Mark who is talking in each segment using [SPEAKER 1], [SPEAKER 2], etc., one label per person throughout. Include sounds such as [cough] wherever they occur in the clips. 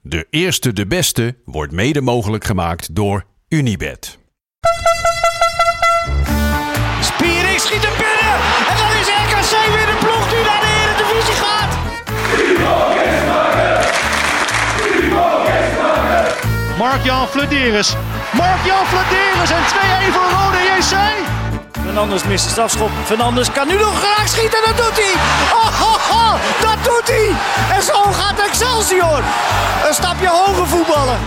[SPEAKER 1] De eerste, de beste wordt mede mogelijk gemaakt door Unibed.
[SPEAKER 2] Spiering schiet hem binnen. En dan is RKC weer de ploeg die naar de Eredivisie gaat. Mark-Jan Flederis. Mark-Jan Flederis en 2-1 voor Rode JC. Fernandes mist de strafschop. Fernandes kan nu nog graag schieten. Dat doet hij. Oh, oh, oh, dat doet hij. En zo gaat Excelsior. Een stapje hoger voetballen.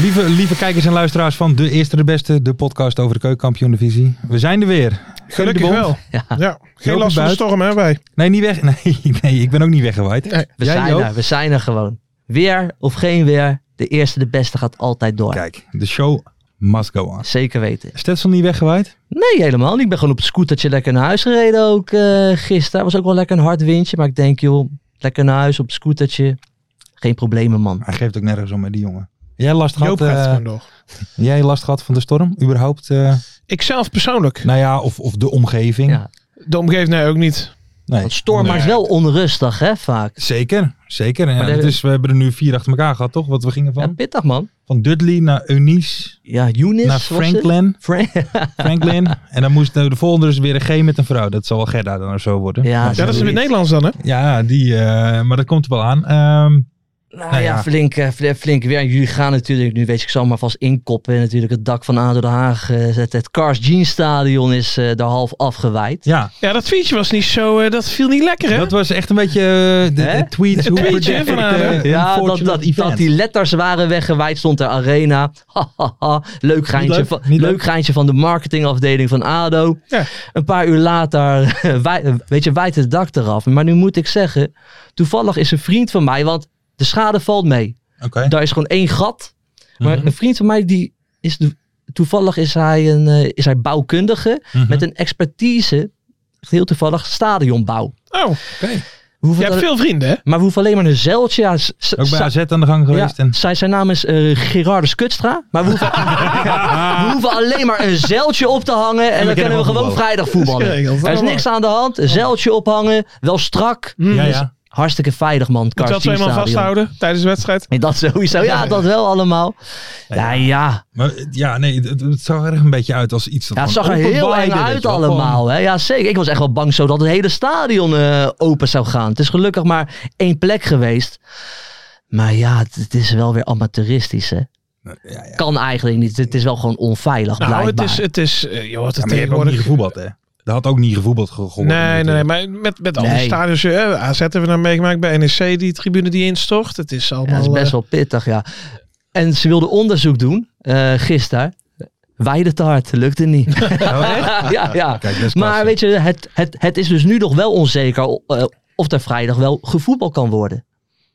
[SPEAKER 3] Lieve, lieve kijkers en luisteraars van De Eerste de Beste, de podcast over de keukenkampioen-divisie. We zijn er weer.
[SPEAKER 4] Gelukkig
[SPEAKER 3] Bond.
[SPEAKER 4] wel. Ja, geen
[SPEAKER 3] Jopie
[SPEAKER 4] last van de
[SPEAKER 3] Buit.
[SPEAKER 4] storm hè wij.
[SPEAKER 3] Nee, niet weg. [laughs] Nee, nee, ik ben ook niet weggewaaid.
[SPEAKER 4] Nee.
[SPEAKER 5] We
[SPEAKER 3] Jij,
[SPEAKER 5] zijn
[SPEAKER 3] Joop?
[SPEAKER 5] er, we zijn er gewoon. Weer of geen weer, de eerste de beste gaat altijd door.
[SPEAKER 3] Kijk, de show must go on.
[SPEAKER 5] Zeker weten.
[SPEAKER 3] Stetson niet weggewaaid?
[SPEAKER 5] Nee, helemaal niet. Ik ben gewoon op het scootertje lekker naar huis gereden ook eh gisteren. was ook wel lekker een hard windje, maar ik denk joh, lekker naar huis op het scootertje. Geen problemen man.
[SPEAKER 3] Hij geeft ook nergens om met die jongen. Jij last gehad,
[SPEAKER 4] Joop gaat
[SPEAKER 3] eh,
[SPEAKER 4] het gewoon door.
[SPEAKER 3] jij last gehad van de storm? Überhaupt? eh,
[SPEAKER 4] Ik zelf persoonlijk.
[SPEAKER 3] nou ja, of, of de omgeving?
[SPEAKER 5] Ja.
[SPEAKER 4] De omgeving nee ook niet.
[SPEAKER 3] Nee.
[SPEAKER 5] Want storm is wel onrustig hè, vaak.
[SPEAKER 3] Zeker, zeker. En
[SPEAKER 5] Maar
[SPEAKER 3] het
[SPEAKER 5] de-
[SPEAKER 3] is, we hebben er nu vier achter elkaar gehad, toch? Wat we gingen
[SPEAKER 5] Ja,
[SPEAKER 3] van?
[SPEAKER 5] pittig man.
[SPEAKER 3] Van Dudley naar Eunice,
[SPEAKER 5] Ja, Younis
[SPEAKER 3] naar
[SPEAKER 5] was het?
[SPEAKER 3] Franklin.
[SPEAKER 5] Frank- [laughs]
[SPEAKER 3] Franklin. [laughs] en dan moest de de volgende dus weer een G met een vrouw. Dat zal wel Gerda dan of zo worden.
[SPEAKER 5] Ja,
[SPEAKER 3] Maar
[SPEAKER 4] Ja, dat is in het
[SPEAKER 5] Zoiets.
[SPEAKER 4] Nederlands dan hè.
[SPEAKER 3] Ja, die, eh, maar dat komt er wel aan. Ehm,
[SPEAKER 5] Nou
[SPEAKER 3] Nou
[SPEAKER 5] ja,
[SPEAKER 3] ja.
[SPEAKER 5] Flink, eh, fl- flink weer. En jullie gaan natuurlijk, nu weet ik zal maar vast inkoppen. Natuurlijk het dak van ADO Den Haag. eh, Het, het Cars Jeans Stadion is eh, daar half afgewijd.
[SPEAKER 3] ja,
[SPEAKER 4] Ja, dat tweetje was niet zo, eh, dat viel niet lekker hè.
[SPEAKER 3] dat was echt een beetje eh, de,
[SPEAKER 5] Hè?
[SPEAKER 3] de tweets. Hoe
[SPEAKER 4] tweetje
[SPEAKER 3] predict
[SPEAKER 4] van
[SPEAKER 3] ik,
[SPEAKER 4] haar,
[SPEAKER 3] eh,
[SPEAKER 4] hè?
[SPEAKER 3] een
[SPEAKER 5] Ja, dat,
[SPEAKER 3] fortunate
[SPEAKER 5] dat,
[SPEAKER 3] event.
[SPEAKER 5] dat die letters waren weggewijd, stond er Arena. Ha, ha, ha. Leuk, geintje,
[SPEAKER 3] leuk,
[SPEAKER 5] van,
[SPEAKER 3] niet
[SPEAKER 5] leuk
[SPEAKER 3] leuk.
[SPEAKER 5] geintje van de marketingafdeling van ADO.
[SPEAKER 4] Ja.
[SPEAKER 5] Een paar uur later, [laughs] wij- weet je, wijdt het dak eraf. Maar nu moet ik zeggen, toevallig is een vriend van mij, want de schade valt mee.
[SPEAKER 3] Oké.
[SPEAKER 5] Daar is gewoon één gat. Maar
[SPEAKER 3] Mhm.
[SPEAKER 5] een vriend van mij, die is de- toevallig is hij, een, eh, is hij bouwkundige
[SPEAKER 3] Mhm.
[SPEAKER 5] met een expertise, echt heel toevallig, stadionbouw.
[SPEAKER 4] Oh,
[SPEAKER 5] We hoeven
[SPEAKER 4] je hebt
[SPEAKER 5] daar-
[SPEAKER 4] veel vrienden hè.
[SPEAKER 5] Maar we hoeven alleen maar een zeiltje. Ja, s- s-
[SPEAKER 3] Ook bij
[SPEAKER 5] sa-
[SPEAKER 3] AZ aan de gang
[SPEAKER 5] ja,
[SPEAKER 3] geweest. En,
[SPEAKER 5] zijn, zijn naam is eh, Gerardus Kutstra. Maar we hoeven,
[SPEAKER 4] [laughs]
[SPEAKER 5] Ja, we hoeven alleen maar een zeiltje op te hangen. En, dan kunnen we gewoon
[SPEAKER 3] voetballen.
[SPEAKER 5] vrijdag voetballen. [laughs]
[SPEAKER 4] Dat is geregeld,
[SPEAKER 5] er is
[SPEAKER 4] allemaal.
[SPEAKER 5] niks aan de hand. Een zeiltje ophangen. Wel strak.
[SPEAKER 4] Mm.
[SPEAKER 3] ja, ja.
[SPEAKER 5] Hartstikke veilig man.
[SPEAKER 4] Moet je
[SPEAKER 5] Cars
[SPEAKER 4] dat twee man
[SPEAKER 5] Teamstadion.
[SPEAKER 4] vasthouden tijdens de wedstrijd.
[SPEAKER 5] Nee, Dat sowieso. Ja, dat wel allemaal. Nou ja.
[SPEAKER 3] Maar, eh, ja, nee, het, het zag er echt een beetje uit als iets. dat
[SPEAKER 5] Ja, het
[SPEAKER 3] van
[SPEAKER 5] zag er heel
[SPEAKER 3] openbaarde,
[SPEAKER 5] eng
[SPEAKER 3] weet
[SPEAKER 5] uit
[SPEAKER 3] je wel, van-
[SPEAKER 5] allemaal. Hè? Ja, zeker. Ik was echt wel bang zo dat het hele stadion eh, open zou gaan. Het is gelukkig maar één plek geweest. Maar ja, het, het is wel weer amateuristisch. Hè?
[SPEAKER 3] Nou, ja, ja.
[SPEAKER 5] Kan eigenlijk niet. Het is wel gewoon onveilig
[SPEAKER 4] Nou, het
[SPEAKER 5] blijkbaar.
[SPEAKER 4] is, het is, eh, joh, wat het
[SPEAKER 3] Ja, maar je hebt ook niet
[SPEAKER 4] tegenwoordig.
[SPEAKER 3] gevoetbald, hè? Dat had ook niet gevoetbald ge- eh, geworden.
[SPEAKER 4] Nee, nee, nee,
[SPEAKER 3] natuurlijk.
[SPEAKER 4] maar met, met al die
[SPEAKER 5] Nee.
[SPEAKER 4] stadions, eh, AZ hebben we nou meegemaakt bij NEC, die tribune die instort. Het is
[SPEAKER 5] Ja,
[SPEAKER 4] allemaal...
[SPEAKER 5] het is best
[SPEAKER 4] eh,
[SPEAKER 5] wel pittig, ja. En ze wilde onderzoek doen eh gisteren. Weide te hard, lukte
[SPEAKER 4] [laughs]
[SPEAKER 5] niet.
[SPEAKER 3] Oh, [laughs] echt?
[SPEAKER 5] ja, ja.
[SPEAKER 3] Kijk, dat is klasse.
[SPEAKER 5] Maar weet je, het, het, het is dus nu nog wel onzeker eh, of er vrijdag wel gevoetbal kan worden.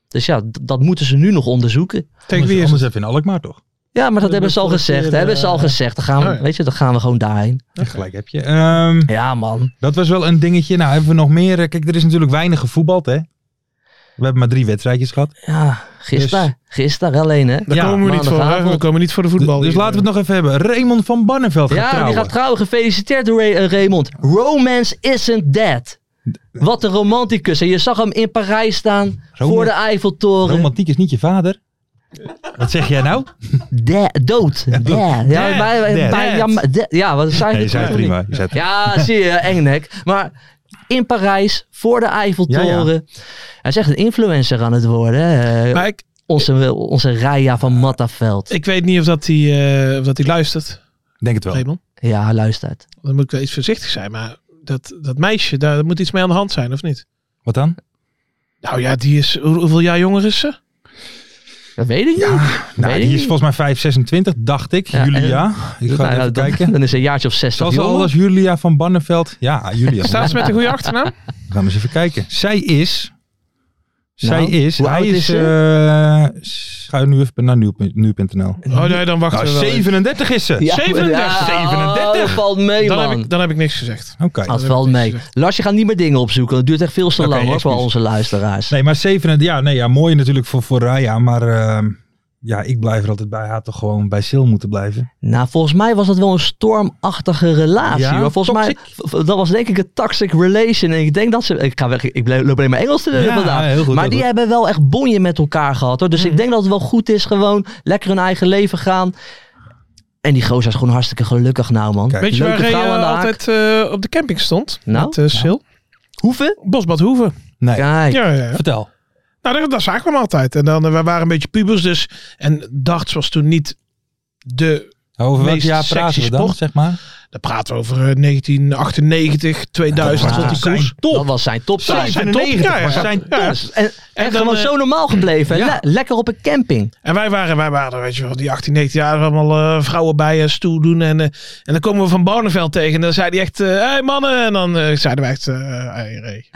[SPEAKER 5] Dus ja, d- dat moeten ze nu nog onderzoeken.
[SPEAKER 4] tegen wie
[SPEAKER 3] Anders-
[SPEAKER 4] is het?
[SPEAKER 3] Anders even in Alkmaar, toch?
[SPEAKER 5] Ja, maar dat hebben ze al
[SPEAKER 3] vorige
[SPEAKER 5] gezegd.
[SPEAKER 3] keer,
[SPEAKER 5] Dat hebben
[SPEAKER 3] eh,
[SPEAKER 5] ze al gezegd. Dan gaan we,
[SPEAKER 4] oh ja.
[SPEAKER 5] Weet je, dan gaan we gewoon daarheen.
[SPEAKER 3] Ja, Gelijk heb je. Ehm,
[SPEAKER 5] Ja, man.
[SPEAKER 3] Dat was wel een dingetje. Nou, hebben we nog meer. eh, Kijk, er is natuurlijk weinig gevoetbald, hè? We hebben maar drie wedstrijdjes gehad.
[SPEAKER 5] Ja, gisteren. Gisteren alleen, hè?
[SPEAKER 4] Dus- Daar
[SPEAKER 3] Ja,
[SPEAKER 4] komen we niet voor, hè.
[SPEAKER 5] maandagavond.
[SPEAKER 4] we komen niet voor de voetbal.
[SPEAKER 3] dus
[SPEAKER 4] hier.
[SPEAKER 3] laten we het nog even hebben. Raymond van Barneveld gaat
[SPEAKER 5] Ja,
[SPEAKER 3] trouwen.
[SPEAKER 5] die gaat trouwen. Gefeliciteerd, Ray- eh, Raymond. Romance isn't dead. Wat een romanticus. En je zag hem in Parijs staan
[SPEAKER 3] Roma-
[SPEAKER 5] voor de Eiffeltoren.
[SPEAKER 3] Romantiek is niet je vader. Wat zeg jij nou?
[SPEAKER 5] De- dood. Dead. Ja, bij, bij- bij- ja, maar de- ja, wat zei
[SPEAKER 3] Nee, je
[SPEAKER 5] ik?
[SPEAKER 3] zei het prima. Je zei het
[SPEAKER 5] Ja, zie je, engnek. Maar in Parijs, voor de Eiffeltoren. Hij is echt een influencer aan het worden. hè.
[SPEAKER 4] Maar ik,
[SPEAKER 5] Onze, onze Raya van Mattaveld.
[SPEAKER 4] ik weet niet of dat hij eh, of dat hij luistert,
[SPEAKER 3] Denk het wel.
[SPEAKER 4] Raymond.
[SPEAKER 5] Ja, luistert.
[SPEAKER 4] Dan moet ik wel iets voorzichtig zijn, maar dat, dat meisje, daar moet iets mee aan de hand zijn, of niet?
[SPEAKER 3] Wat dan?
[SPEAKER 4] Nou ja, die is, hoe- hoeveel jaar jonger is ze?
[SPEAKER 5] Dat weet ik niet.
[SPEAKER 3] Nou, die
[SPEAKER 5] Weet ik
[SPEAKER 3] is
[SPEAKER 5] niet.
[SPEAKER 3] volgens mij 526, dacht ik.
[SPEAKER 5] Ja,
[SPEAKER 3] Julia. Ik ga
[SPEAKER 5] Nou,
[SPEAKER 3] even
[SPEAKER 5] dan,
[SPEAKER 3] kijken.
[SPEAKER 5] dan is hij een jaartje of 60
[SPEAKER 3] Zal ze al
[SPEAKER 5] jonger.
[SPEAKER 3] als Julia van Barneveld? Ja, Julia. van
[SPEAKER 4] Staat ze met een goede achternaam?
[SPEAKER 3] We gaan we eens even kijken. Zij is. Zij
[SPEAKER 5] Nou,
[SPEAKER 3] is.
[SPEAKER 5] hoe
[SPEAKER 3] Hij
[SPEAKER 5] oud
[SPEAKER 3] is.
[SPEAKER 5] is
[SPEAKER 3] eh ga je nu even naar nu.nl. Nu.nl.
[SPEAKER 4] [laughs] Oh nee, dan wachten
[SPEAKER 3] nou,
[SPEAKER 4] we wel. even.
[SPEAKER 3] 37 is ze.
[SPEAKER 5] Ja,
[SPEAKER 4] 37.
[SPEAKER 5] ja, oh,
[SPEAKER 3] 37.
[SPEAKER 5] dat valt mee,
[SPEAKER 4] Dan
[SPEAKER 5] man.
[SPEAKER 4] heb, ik, dan heb ik niks gezegd.
[SPEAKER 3] Oké.
[SPEAKER 5] dat
[SPEAKER 4] heb
[SPEAKER 5] valt
[SPEAKER 4] ik
[SPEAKER 5] mee.
[SPEAKER 4] gezegd.
[SPEAKER 5] Lars, je gaat niet meer dingen opzoeken. Dat duurt echt veel te
[SPEAKER 3] Oké,
[SPEAKER 5] lang hoor, voor
[SPEAKER 3] excuus.
[SPEAKER 5] onze luisteraars.
[SPEAKER 3] Nee, maar 37. Ja, nee, ja, mooi natuurlijk voor, voor Raya. Maar ehm, ja, ik blijf er altijd bij. Hij had toch gewoon bij Sil moeten blijven.
[SPEAKER 5] Nou, volgens mij was dat wel een stormachtige relatie.
[SPEAKER 3] Ja,
[SPEAKER 5] hoor. Volgens mij, v- v- dat was denk ik een toxic relation. En ik denk dat ze, ik, ga weg, ik blijf- loop alleen maar Engels te doen
[SPEAKER 3] Ja,
[SPEAKER 5] vandaag.
[SPEAKER 3] heel goed,
[SPEAKER 5] maar
[SPEAKER 3] heel
[SPEAKER 5] die
[SPEAKER 3] goed.
[SPEAKER 5] hebben wel echt bonje met elkaar gehad hoor. Dus
[SPEAKER 4] Mhm.
[SPEAKER 5] ik denk dat het wel goed is, gewoon lekker hun eigen leven gaan. En die gozer is gewoon hartstikke gelukkig nou man.
[SPEAKER 3] Kijk,
[SPEAKER 4] Weet je
[SPEAKER 5] Leuke
[SPEAKER 4] waar hij
[SPEAKER 5] vrouw aan
[SPEAKER 4] eh,
[SPEAKER 5] de haak.
[SPEAKER 4] altijd eh, op de camping stond?
[SPEAKER 5] Nou?
[SPEAKER 4] Met eh, Sil.
[SPEAKER 5] Hoeven?
[SPEAKER 4] Bosbad Hoeven.
[SPEAKER 3] Nee,
[SPEAKER 5] Kijk.
[SPEAKER 4] Ja, ja, ja.
[SPEAKER 3] vertel.
[SPEAKER 4] Nou, dat, dat zagen we hem altijd. En dan, eh, we waren een beetje pubers dus. En darts was toen niet de...
[SPEAKER 3] Over welk
[SPEAKER 4] Meest
[SPEAKER 3] jaar
[SPEAKER 4] sexy
[SPEAKER 3] praten we dan,
[SPEAKER 4] sport.
[SPEAKER 3] zeg maar?
[SPEAKER 4] Daar praten we over eh, 1998, 2000.
[SPEAKER 5] Dat
[SPEAKER 4] Dat
[SPEAKER 5] was
[SPEAKER 4] was die koers
[SPEAKER 5] Dat
[SPEAKER 4] top.
[SPEAKER 5] was zijn toptijd.
[SPEAKER 4] zijn
[SPEAKER 3] 97
[SPEAKER 4] top, ja, ja.
[SPEAKER 3] was zijn
[SPEAKER 4] Ja, ja.
[SPEAKER 3] top.
[SPEAKER 5] Dus- En, en,
[SPEAKER 4] dan,
[SPEAKER 5] gewoon
[SPEAKER 4] eh,
[SPEAKER 5] zo normaal gebleven. Le- lekker op een camping.
[SPEAKER 4] [laughs] En wij waren, wij waren, weet je wel, die 18, 19 jaar allemaal eh, vrouwen bij eh, stoel doen. En, eh, en dan komen we Van Barneveld tegen. En dan zei hij echt, hé hey, mannen. En dan eh, zeiden wij echt, eh hey, Ray.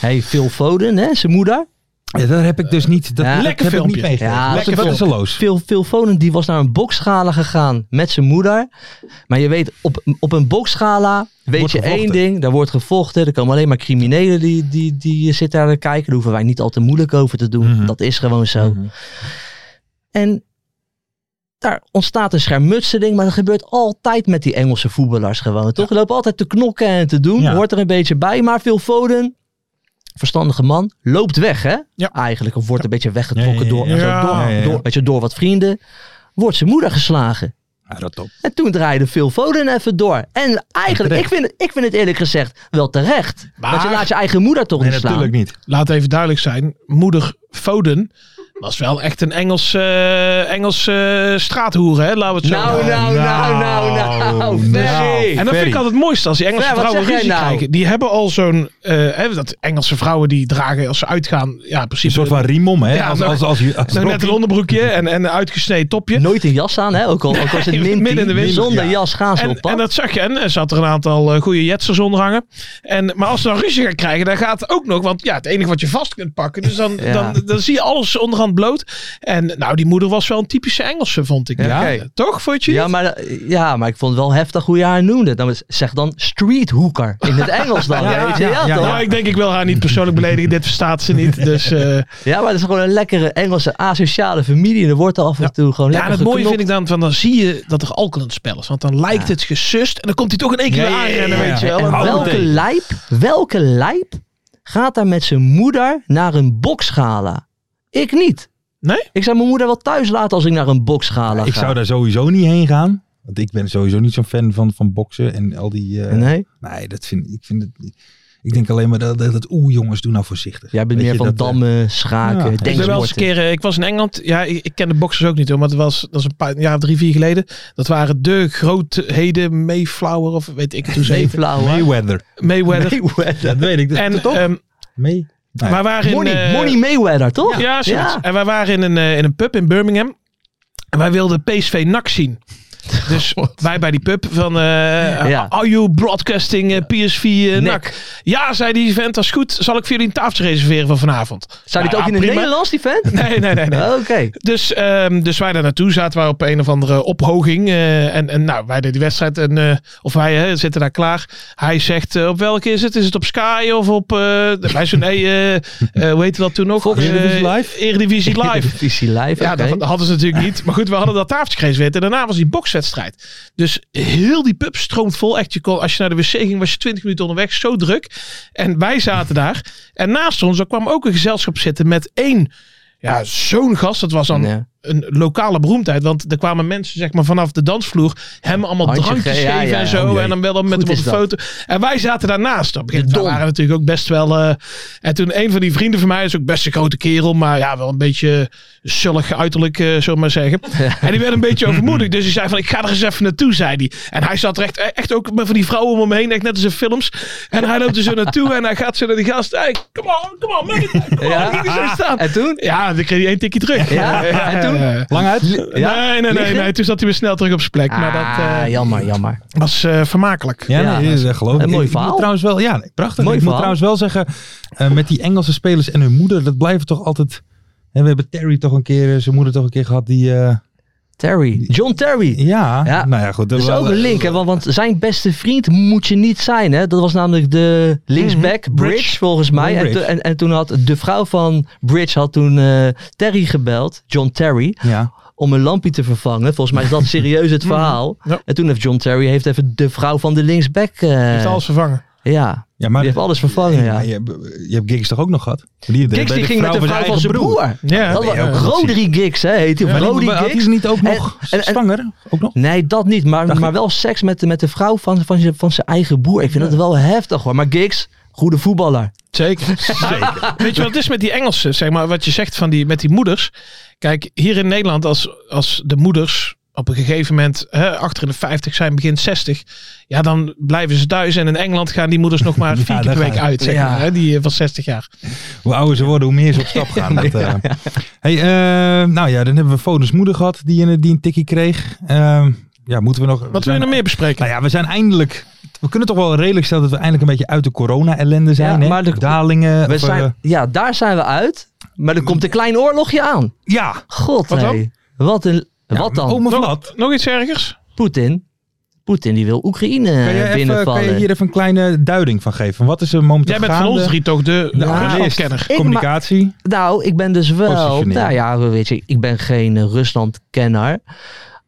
[SPEAKER 5] hey, Phil Foden, hè, zijn moeder.
[SPEAKER 3] Ja, dat heb ik dus niet. Dat,
[SPEAKER 5] Ja.
[SPEAKER 3] dat
[SPEAKER 4] Lekker
[SPEAKER 3] heb ik niet
[SPEAKER 4] filmpje.
[SPEAKER 3] meegekregen.
[SPEAKER 5] Ja,
[SPEAKER 3] Dat-
[SPEAKER 4] lekker
[SPEAKER 3] dat is een loos.
[SPEAKER 5] Phil, Phil Foden die was naar een bokschala gegaan met zijn moeder. Maar je weet, op, op een bokschala weet
[SPEAKER 3] Wordt
[SPEAKER 5] je
[SPEAKER 3] gevochten.
[SPEAKER 5] één ding. Daar wordt gevochten. Er komen alleen maar criminelen die, die, die zitten daar te kijken. Daar hoeven wij niet al te moeilijk over te doen.
[SPEAKER 3] Mhm.
[SPEAKER 5] Dat is gewoon zo.
[SPEAKER 3] Mhm.
[SPEAKER 5] En daar ontstaat een schermutseling. Maar dat gebeurt altijd met die Engelse voetballers gewoon. Toch? Die lopen altijd te knokken en te doen.
[SPEAKER 3] Ja.
[SPEAKER 5] Hoort er een beetje bij. Maar Phil Foden... Verstandige man, loopt weg, hè?
[SPEAKER 4] Ja.
[SPEAKER 5] Eigenlijk. Of wordt een beetje weggetrokken
[SPEAKER 3] Ja, ja, ja,
[SPEAKER 5] door,
[SPEAKER 4] ja.
[SPEAKER 5] door,
[SPEAKER 3] Ja, ja, ja.
[SPEAKER 5] door, weet je, door wat vrienden wordt zijn moeder geslagen.
[SPEAKER 3] Ja, dat top.
[SPEAKER 5] En toen draaide Phil Foden even door. En eigenlijk,
[SPEAKER 3] Terecht.
[SPEAKER 5] ik vind, het- ik vind het eerlijk gezegd wel terecht.
[SPEAKER 4] Maar-
[SPEAKER 5] Want je laat je eigen moeder toch
[SPEAKER 3] Nee,
[SPEAKER 5] niet slaan.
[SPEAKER 3] natuurlijk niet.
[SPEAKER 4] Laat even duidelijk zijn, moeder Foden was wel echt een Engels, eh, Engels eh, straathoer, hè? Laten we het zo
[SPEAKER 5] Nou,
[SPEAKER 4] zeggen.
[SPEAKER 5] nou, nou, nou, nou.
[SPEAKER 3] Nou,
[SPEAKER 5] Ferry.
[SPEAKER 4] En dat vind ik altijd het mooiste als die Engelse
[SPEAKER 5] Ja, wat
[SPEAKER 4] vrouwen
[SPEAKER 5] zeg jij
[SPEAKER 4] ruzie
[SPEAKER 5] nou?
[SPEAKER 4] krijgen. Die hebben al zo'n. eh, hè, dat Engelse vrouwen die dragen als ze uitgaan. Ja, in
[SPEAKER 3] Een
[SPEAKER 4] principe.
[SPEAKER 3] soort van riemom, hè?
[SPEAKER 4] Ja,
[SPEAKER 3] als,
[SPEAKER 4] zo-
[SPEAKER 3] als, als, als, als
[SPEAKER 4] Zo'n net een onderbroekje en, en een uitgesneden topje.
[SPEAKER 5] Nooit een jas aan, hè? Ook al, ook al is het
[SPEAKER 4] Nee, [laughs]
[SPEAKER 5] min
[SPEAKER 4] midden in de
[SPEAKER 5] 10,
[SPEAKER 4] winter,
[SPEAKER 5] Zonder
[SPEAKER 4] ja.
[SPEAKER 5] jas gaan ze
[SPEAKER 4] En,
[SPEAKER 5] op pad.
[SPEAKER 4] en dat zag je. En er zat er een aantal eh, goede jetsers onder hangen. En, maar als ze dan ruzie gaan krijgen, dan gaat het ook nog. Want ja, het enige wat je vast kunt pakken. Dus dan,
[SPEAKER 5] Ja.
[SPEAKER 4] dan, dan zie je alles onderhand bloot. En nou, die moeder was wel een typische Engelse, vond ik.
[SPEAKER 5] Ja?
[SPEAKER 4] Eh, Toch, vond je
[SPEAKER 5] ja,
[SPEAKER 4] niet?
[SPEAKER 5] maar, ja, maar ik vond het wel heftig hoe je haar noemde. Dan is- zeg dan streethooker in
[SPEAKER 4] [laughs]
[SPEAKER 5] het Engels dan.
[SPEAKER 4] Ja,
[SPEAKER 5] weet je? Ja,
[SPEAKER 3] ja,
[SPEAKER 5] toch?
[SPEAKER 4] Nou, ik denk, ik wil haar niet persoonlijk beledigen. Dit verstaat ze niet. Dus, eh,
[SPEAKER 5] Ja, maar het is gewoon een lekkere Engelse asociale familie. En er wordt er af en toe gewoon
[SPEAKER 4] Ja, en
[SPEAKER 5] lekker
[SPEAKER 4] het mooie
[SPEAKER 5] geknokt.
[SPEAKER 4] vind ik dan, van dan zie je dat er alcohol in het spel is. Want dan lijkt het gesust en dan komt hij toch in één keer
[SPEAKER 3] Ja,
[SPEAKER 4] weer
[SPEAKER 3] ja, ja,
[SPEAKER 4] aanrennen,
[SPEAKER 3] ja.
[SPEAKER 4] weet je wel.
[SPEAKER 5] En
[SPEAKER 4] En dan-
[SPEAKER 5] welke lijp, welke lijp gaat daar met zijn moeder naar een boksgala? Ik niet.
[SPEAKER 4] Nee?
[SPEAKER 5] Ik zou mijn moeder wel thuis laten als ik naar een boksgala ga.
[SPEAKER 3] Ik zou daar sowieso niet heen gaan. Want ik ben sowieso niet zo'n fan van, van boksen en al die... eh, nee.
[SPEAKER 5] Nee?
[SPEAKER 3] dat vind ik... Vind het, ik denk alleen maar dat, dat, dat- Oeh, jongens, doe nou voorzichtig.
[SPEAKER 5] Jij bent
[SPEAKER 3] Weet je,
[SPEAKER 5] meer van
[SPEAKER 3] dat, eh,
[SPEAKER 5] dammen, schaken,
[SPEAKER 3] ja. Ik
[SPEAKER 4] Ik ben wel eens een
[SPEAKER 5] denksporten.
[SPEAKER 4] keer, eh, ik was in Engeland. Ja, ik, ik ken de boxers ook niet hoor, maar dat was, dat was een paar jaar of drie, vier geleden. Dat waren de grootheden, Mayflower of weet ik het hoe ze heet.
[SPEAKER 5] Mayflower. [laughs]
[SPEAKER 3] Mayweather.
[SPEAKER 4] Mayweather.
[SPEAKER 3] Dat weet ik. Dat,
[SPEAKER 4] En,
[SPEAKER 3] toch?
[SPEAKER 4] ehm,
[SPEAKER 3] May. Nee.
[SPEAKER 4] wij waren [laughs] in,
[SPEAKER 5] Money,
[SPEAKER 4] eh,
[SPEAKER 5] Money Mayweather, toch?
[SPEAKER 4] Ja, zoiets. En wij waren in een, eh, in een pub in Birmingham. En wij wilden PSV NAC
[SPEAKER 5] [laughs]
[SPEAKER 4] zien. Dus wij bij die pub van eh,
[SPEAKER 5] Ja.
[SPEAKER 4] Are you broadcasting eh, PSV eh, NAC? Ja, zei die vent, dat is goed. Zal ik voor jullie een tafeltje reserveren van vanavond?
[SPEAKER 5] Zou dit
[SPEAKER 4] Nou
[SPEAKER 5] ook in Oh.
[SPEAKER 4] ja,
[SPEAKER 5] het
[SPEAKER 4] prima.
[SPEAKER 5] Nederlands, die vent?
[SPEAKER 4] [laughs] Nee, nee, nee. nee.
[SPEAKER 5] Oké.
[SPEAKER 4] Dus, ehm, dus wij daar naartoe zaten, wij op een of andere ophoging. eh, en, en nou, wij deden die wedstrijd. En, eh, of wij eh, zitten daar klaar. Hij zegt, eh, op welke is het? Is het op Sky of op... eh wij zo, nee, eh, eh, hoe heette dat toen nog?
[SPEAKER 5] Fox.
[SPEAKER 4] Eh,
[SPEAKER 5] Eredivisie Live? [laughs]
[SPEAKER 4] Eredivisie Live.
[SPEAKER 5] Visie live,
[SPEAKER 4] Ja,
[SPEAKER 5] oké.
[SPEAKER 4] dat hadden ze natuurlijk niet. Maar goed, we hadden dat tafeltje gerezen En daarna was die bokswedstrijd. Dus heel die pub stroomt vol. Echt, je kon, als je naar de wc ging, was je 20 minuten onderweg. Zo druk. En wij zaten daar. En naast ons, daar kwam ook een gezelschap zitten met één... Ja, zo'n gast. Dat was dan [laughs]
[SPEAKER 5] Ja.
[SPEAKER 4] een lokale beroemdheid. Want er kwamen mensen zeg maar, vanaf de dansvloer hem allemaal
[SPEAKER 5] Handje
[SPEAKER 4] drankjes
[SPEAKER 5] ge- ja,
[SPEAKER 4] geven
[SPEAKER 5] ja,
[SPEAKER 4] en
[SPEAKER 5] ja.
[SPEAKER 4] zo.
[SPEAKER 3] Oh, jee.
[SPEAKER 4] en dan wel dan met
[SPEAKER 5] Goed
[SPEAKER 4] hem op
[SPEAKER 5] is
[SPEAKER 4] de
[SPEAKER 5] dat.
[SPEAKER 4] foto. En wij zaten daarnaast. Op een gegeven moment
[SPEAKER 5] De Don.
[SPEAKER 4] waren natuurlijk ook best wel... eh, en toen een van die vrienden van mij, is ook best een grote kerel. Maar ja, wel een beetje zullig uiterlijk, eh zullen we maar
[SPEAKER 5] [laughs]
[SPEAKER 4] zeggen. En die werd een beetje overmoedig. Dus hij zei van, ik ga er eens even naartoe, zei hij. En hij zat er echt, eh, echt ook met van die vrouwen om hem heen. Echt net als in films. En hij loopt er zo naartoe en hij gaat zo naar die gast. Hey, come on, come on, man.
[SPEAKER 5] [laughs]
[SPEAKER 4] Come on,
[SPEAKER 5] Ja.
[SPEAKER 4] ging hij zo staan.
[SPEAKER 5] En toen?
[SPEAKER 4] Ja, dan kreeg hij één tikje terug.
[SPEAKER 5] Ja? En toen?
[SPEAKER 3] Lang uit?
[SPEAKER 5] Ja?
[SPEAKER 4] Nee, nee, nee,
[SPEAKER 5] Liggen?
[SPEAKER 4] nee. Toen zat hij weer snel terug op zijn plek. maar dat eh,
[SPEAKER 5] Ah, jammer, jammer.
[SPEAKER 4] was eh, vermakelijk.
[SPEAKER 3] Ja,
[SPEAKER 5] Ja.
[SPEAKER 3] nee, dat is echt geloof ik.
[SPEAKER 5] Een mooi
[SPEAKER 3] Ik- ik moet
[SPEAKER 5] verhaal.
[SPEAKER 3] trouwens wel, ja, nee, prachtig.
[SPEAKER 5] Mooi
[SPEAKER 3] ik moet
[SPEAKER 5] verhaal.
[SPEAKER 3] trouwens wel zeggen, eh, met die Engelse spelers en hun moeder, dat blijven toch altijd... En we hebben Terry toch een keer, eh, zijn moeder toch een keer gehad die... eh,
[SPEAKER 5] Terry. John Terry.
[SPEAKER 3] Ja,
[SPEAKER 5] Ja.
[SPEAKER 3] nou ja, goed.
[SPEAKER 5] Dat is
[SPEAKER 3] wel-
[SPEAKER 5] ook
[SPEAKER 4] eh,
[SPEAKER 5] een link, hè? Want, want zijn beste vriend moet je niet zijn, hè? Dat was namelijk de linksback
[SPEAKER 4] Mhm.
[SPEAKER 5] Bridge,
[SPEAKER 4] Bridge.
[SPEAKER 5] volgens mij. En,
[SPEAKER 3] Bridge.
[SPEAKER 5] to- en, en toen had de vrouw van Bridge had toen eh, Terry gebeld, John Terry,
[SPEAKER 3] Ja.
[SPEAKER 5] om een lampje te vervangen. Volgens mij is dat serieus
[SPEAKER 4] [laughs]
[SPEAKER 5] het verhaal.
[SPEAKER 4] Mhm. Ja.
[SPEAKER 5] En toen heeft John Terry heeft even de vrouw van de linksback. eh,
[SPEAKER 4] Heeft alles vervangen.
[SPEAKER 5] Ja,
[SPEAKER 3] ja, maar
[SPEAKER 5] die heeft alles vervangen, ja.
[SPEAKER 3] Ja, je, hebt- je hebt Giggs toch ook nog gehad? Die,
[SPEAKER 5] Giggs die ging met de vrouw van zijn broer.
[SPEAKER 4] Ja,
[SPEAKER 5] Dat
[SPEAKER 4] ja,
[SPEAKER 5] was
[SPEAKER 4] ja.
[SPEAKER 5] Rodri Giggs, hè? Heet hij? Of
[SPEAKER 3] Maar
[SPEAKER 5] Rodri
[SPEAKER 3] die, had
[SPEAKER 5] Giggs.
[SPEAKER 3] die niet ook nog
[SPEAKER 5] En- en- en-
[SPEAKER 3] zwanger? Ook nog?
[SPEAKER 5] Nee, dat niet. Maar,
[SPEAKER 3] Dacht
[SPEAKER 5] maar
[SPEAKER 3] ik.
[SPEAKER 5] wel seks met, de- met de vrouw van, van, zijn- van zijn eigen boer. Ik vind dat wel heftig hoor. Maar Giggs, goede voetballer. [laughs]
[SPEAKER 4] Zeker. Zeker. Weet je wat het is met die Engelsen? Zeg maar, wat je zegt van die, met die moeders. Kijk, hier in Nederland, als, als de moeders op een gegeven moment hè, achter in de 50 zijn, begin 60. Ja, dan blijven ze thuis. En in Engeland gaan die moeders nog
[SPEAKER 5] [laughs]
[SPEAKER 4] maar
[SPEAKER 3] Ja,
[SPEAKER 4] vier keer
[SPEAKER 3] daar
[SPEAKER 4] per week
[SPEAKER 3] ga je.
[SPEAKER 4] uit. Zeg
[SPEAKER 5] Ja.
[SPEAKER 4] maar, hè, die eh, van 60 jaar.
[SPEAKER 3] Hoe ouder ze worden, hoe meer ze op stap gaan. Dat, [laughs] eh. hey, eh, nou ja, dan hebben we Fodens moeder gehad die een, die een tikkie kreeg. Eh, ja, moeten we nog... we
[SPEAKER 4] Wat wil
[SPEAKER 3] zijn-
[SPEAKER 4] je nog meer bespreken?
[SPEAKER 3] Nou ja, we zijn eindelijk... We kunnen toch wel redelijk stellen dat we eindelijk een beetje uit de corona-ellende zijn.
[SPEAKER 5] Ja,
[SPEAKER 3] hè?
[SPEAKER 5] maar de-
[SPEAKER 3] Dalingen.
[SPEAKER 5] We
[SPEAKER 3] of, eh,
[SPEAKER 5] zijn, ja, daar zijn we uit. Maar er komt een klein oorlogje aan.
[SPEAKER 3] ja.
[SPEAKER 5] God,
[SPEAKER 4] Wat dan?
[SPEAKER 5] hé. Wat, een, wat dan?
[SPEAKER 3] Ome Vlad.
[SPEAKER 4] nog, nog iets ergers?
[SPEAKER 5] Poetin. Poetin die wil Oekraïne
[SPEAKER 4] Eh,
[SPEAKER 3] Kan je, even, kan
[SPEAKER 5] binnenvallen.
[SPEAKER 3] je hier even een kleine duiding van geven? Wat is er momenteel
[SPEAKER 4] Jij bent van
[SPEAKER 3] gaande?
[SPEAKER 4] ons drie toch de
[SPEAKER 3] De
[SPEAKER 5] eh? Ja.
[SPEAKER 3] journalist,
[SPEAKER 4] Ruslandkenner.
[SPEAKER 5] Ik
[SPEAKER 3] communicatie.
[SPEAKER 5] Nou, ik ben dus wel...
[SPEAKER 3] Positioneren.
[SPEAKER 5] Nou ja, weet je, ik ben geen eh, Rusland-kenner.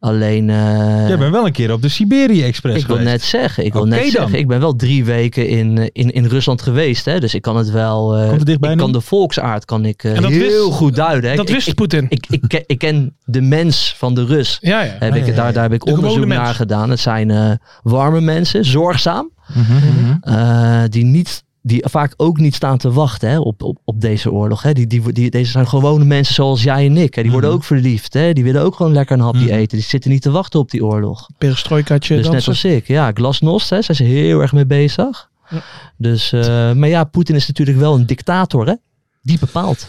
[SPEAKER 5] Alleen... eh,
[SPEAKER 3] Jij bent wel een keer op de Siberië-express
[SPEAKER 5] Ik wil
[SPEAKER 3] geweest.
[SPEAKER 5] net zeggen, ik wil
[SPEAKER 3] Oké
[SPEAKER 5] net
[SPEAKER 3] dan.
[SPEAKER 5] zeggen, ik ben wel drie weken in, eh, in, in Rusland geweest, hè, dus ik kan het wel. eh,
[SPEAKER 3] Komt het dichtbij
[SPEAKER 5] ik
[SPEAKER 3] nu?
[SPEAKER 5] kan de volksaard kan ik eh,
[SPEAKER 4] En dat
[SPEAKER 5] heel
[SPEAKER 4] wist-
[SPEAKER 5] goed duiden. hè.
[SPEAKER 4] Dat
[SPEAKER 5] Ik-
[SPEAKER 4] wist
[SPEAKER 5] ik,
[SPEAKER 4] Poetin.
[SPEAKER 5] ik, Eh, ik, ken- ik ken de mens van de Rus.
[SPEAKER 4] Ja, ja.
[SPEAKER 5] Heb
[SPEAKER 3] Ah,
[SPEAKER 5] ik,
[SPEAKER 3] ja, ja,
[SPEAKER 5] daar, daar heb ik
[SPEAKER 4] De gewone
[SPEAKER 5] onderzoek
[SPEAKER 4] mens.
[SPEAKER 5] naar gedaan. Het zijn eh, warme mensen, zorgzaam,
[SPEAKER 3] Mhm, mhm.
[SPEAKER 5] eh, die, niet, die vaak ook niet staan te wachten hè, op, op, op deze oorlog. Hè. Die, die, die, deze zijn gewone mensen zoals jij en ik. Hè. Die worden
[SPEAKER 3] Mhm.
[SPEAKER 5] ook verliefd. Hè. Die willen ook gewoon lekker een hapje
[SPEAKER 3] Mhm.
[SPEAKER 5] eten. Die zitten niet te wachten op die oorlog.
[SPEAKER 4] Perestroikatje
[SPEAKER 5] Dus net
[SPEAKER 4] dansen.
[SPEAKER 5] als ik. Ja, glasnost, hè, zijn ze heel erg mee bezig.
[SPEAKER 4] Ja.
[SPEAKER 5] Dus, eh, maar ja, Poetin is natuurlijk wel een dictator, hè? Die bepaalt.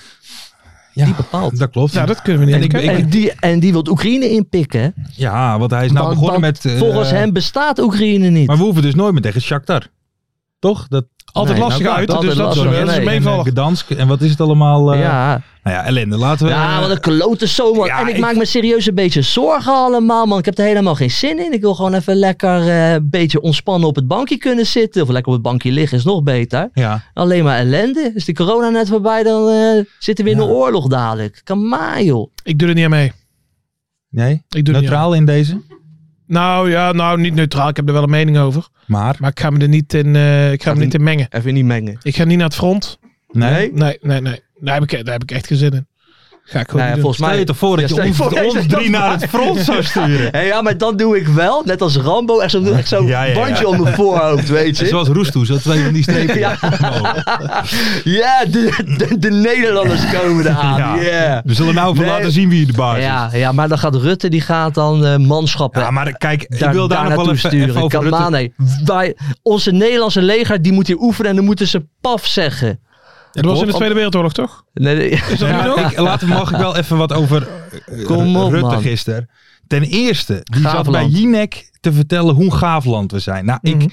[SPEAKER 3] Ja,
[SPEAKER 5] die bepaalt.
[SPEAKER 3] Dat klopt.
[SPEAKER 4] Ja, dat kunnen we
[SPEAKER 3] En
[SPEAKER 4] niet.
[SPEAKER 3] ik-
[SPEAKER 4] ontkennen.
[SPEAKER 3] ik-
[SPEAKER 5] en, die, en die wil Oekraïne inpikken. hè?
[SPEAKER 3] Ja, want hij is nou
[SPEAKER 5] Want-
[SPEAKER 3] begonnen
[SPEAKER 5] want
[SPEAKER 3] met... eh,
[SPEAKER 5] Volgens hem bestaat Oekraïne niet.
[SPEAKER 3] Maar we hoeven dus nooit meer tegen Shakhtar. Toch? Dat,
[SPEAKER 4] Altijd
[SPEAKER 5] Nee,
[SPEAKER 4] lastig
[SPEAKER 5] nou,
[SPEAKER 4] uit,
[SPEAKER 5] dat-
[SPEAKER 4] dus dat
[SPEAKER 5] altijd
[SPEAKER 4] is
[SPEAKER 5] lastig,
[SPEAKER 4] dat is
[SPEAKER 5] nee.
[SPEAKER 3] en, eh,
[SPEAKER 4] meevallig.
[SPEAKER 3] Gdansk. En wat is het allemaal? eh,
[SPEAKER 5] ja.
[SPEAKER 3] Nou ja, ellende. Laten we...
[SPEAKER 5] ja, wat een klote zomer.
[SPEAKER 3] ja,
[SPEAKER 5] en ik,
[SPEAKER 3] ik-
[SPEAKER 5] maak me serieus een beetje zorgen allemaal, man. Ik heb er helemaal geen zin in. Ik wil gewoon even lekker eh, een beetje ontspannen op het bankje kunnen zitten. Of lekker op het bankje liggen is nog beter.
[SPEAKER 3] Ja.
[SPEAKER 5] Alleen maar ellende. Is de corona net voorbij, dan eh, zitten we in
[SPEAKER 3] Ja.
[SPEAKER 5] een oorlog dadelijk. Kan maar, joh.
[SPEAKER 4] Ik doe er niet aan mee.
[SPEAKER 3] Nee?
[SPEAKER 4] Ik doe er niet aan.
[SPEAKER 3] Neutraal in deze.
[SPEAKER 4] Nou ja, nou niet neutraal. Ik heb er wel een mening over.
[SPEAKER 3] Maar...
[SPEAKER 4] Maar ik ga me er niet in, eh, ik ga me
[SPEAKER 5] Gaat
[SPEAKER 4] niet in mengen.
[SPEAKER 5] Even niet mengen.
[SPEAKER 4] Ik ga niet naar het front.
[SPEAKER 3] Nee?
[SPEAKER 4] Nee, nee, nee. Daar heb ik, daar heb ik echt geen zin in. Ga ik gewoon
[SPEAKER 5] Nou ja,
[SPEAKER 4] niet doen.
[SPEAKER 5] volgens
[SPEAKER 3] Stel
[SPEAKER 5] mij...
[SPEAKER 3] je toch voor dat
[SPEAKER 5] Ja,
[SPEAKER 3] je
[SPEAKER 5] stel je
[SPEAKER 3] ons,
[SPEAKER 5] voor dat je
[SPEAKER 3] ons
[SPEAKER 5] dat
[SPEAKER 3] drie naar
[SPEAKER 5] maakt. [laughs]
[SPEAKER 3] het front zou sturen.
[SPEAKER 5] Hé, ja, maar dat doe ik wel. Net als Rambo. Echt zo'n echt zo'n
[SPEAKER 3] [laughs] Ja, ja, ja.
[SPEAKER 5] bandje om mijn voorhoofd,
[SPEAKER 3] [laughs]
[SPEAKER 5] weet je.
[SPEAKER 3] Zoals Roestoe, zo twee van die strepen.
[SPEAKER 5] Ja.
[SPEAKER 3] Oh.
[SPEAKER 5] Ja, de, de, de Nederlanders
[SPEAKER 3] [laughs]
[SPEAKER 5] komen eraan.
[SPEAKER 3] Ja.
[SPEAKER 5] Ja.
[SPEAKER 3] We zullen nou even
[SPEAKER 5] Nee.
[SPEAKER 3] laten zien wie de baas is.
[SPEAKER 5] Ja, ja, maar dan gaat Rutte, die gaat dan eh, manschappen
[SPEAKER 3] Ja, maar kijk,
[SPEAKER 5] daar,
[SPEAKER 3] ik wil daar, nog wel
[SPEAKER 5] naartoe
[SPEAKER 3] even,
[SPEAKER 5] sturen.
[SPEAKER 3] even over Rutte-
[SPEAKER 5] Kamane, wij, onze Nederlandse leger, die moet hier oefenen en dan moeten ze paf zeggen.
[SPEAKER 4] Dat was in de
[SPEAKER 5] Op-
[SPEAKER 4] Tweede Wereldoorlog, toch?
[SPEAKER 5] Nee, [laughs] nee.
[SPEAKER 3] Nee, maar ik, laten we- mag ik wel even wat over eh,
[SPEAKER 5] Kom op,
[SPEAKER 3] Rutte
[SPEAKER 5] man.
[SPEAKER 3] gisteren. Ten eerste, die zat bij
[SPEAKER 5] Gaafland.
[SPEAKER 3] Jinek te vertellen hoe gaaf land we zijn. Nou,
[SPEAKER 4] Mhm.
[SPEAKER 3] ik,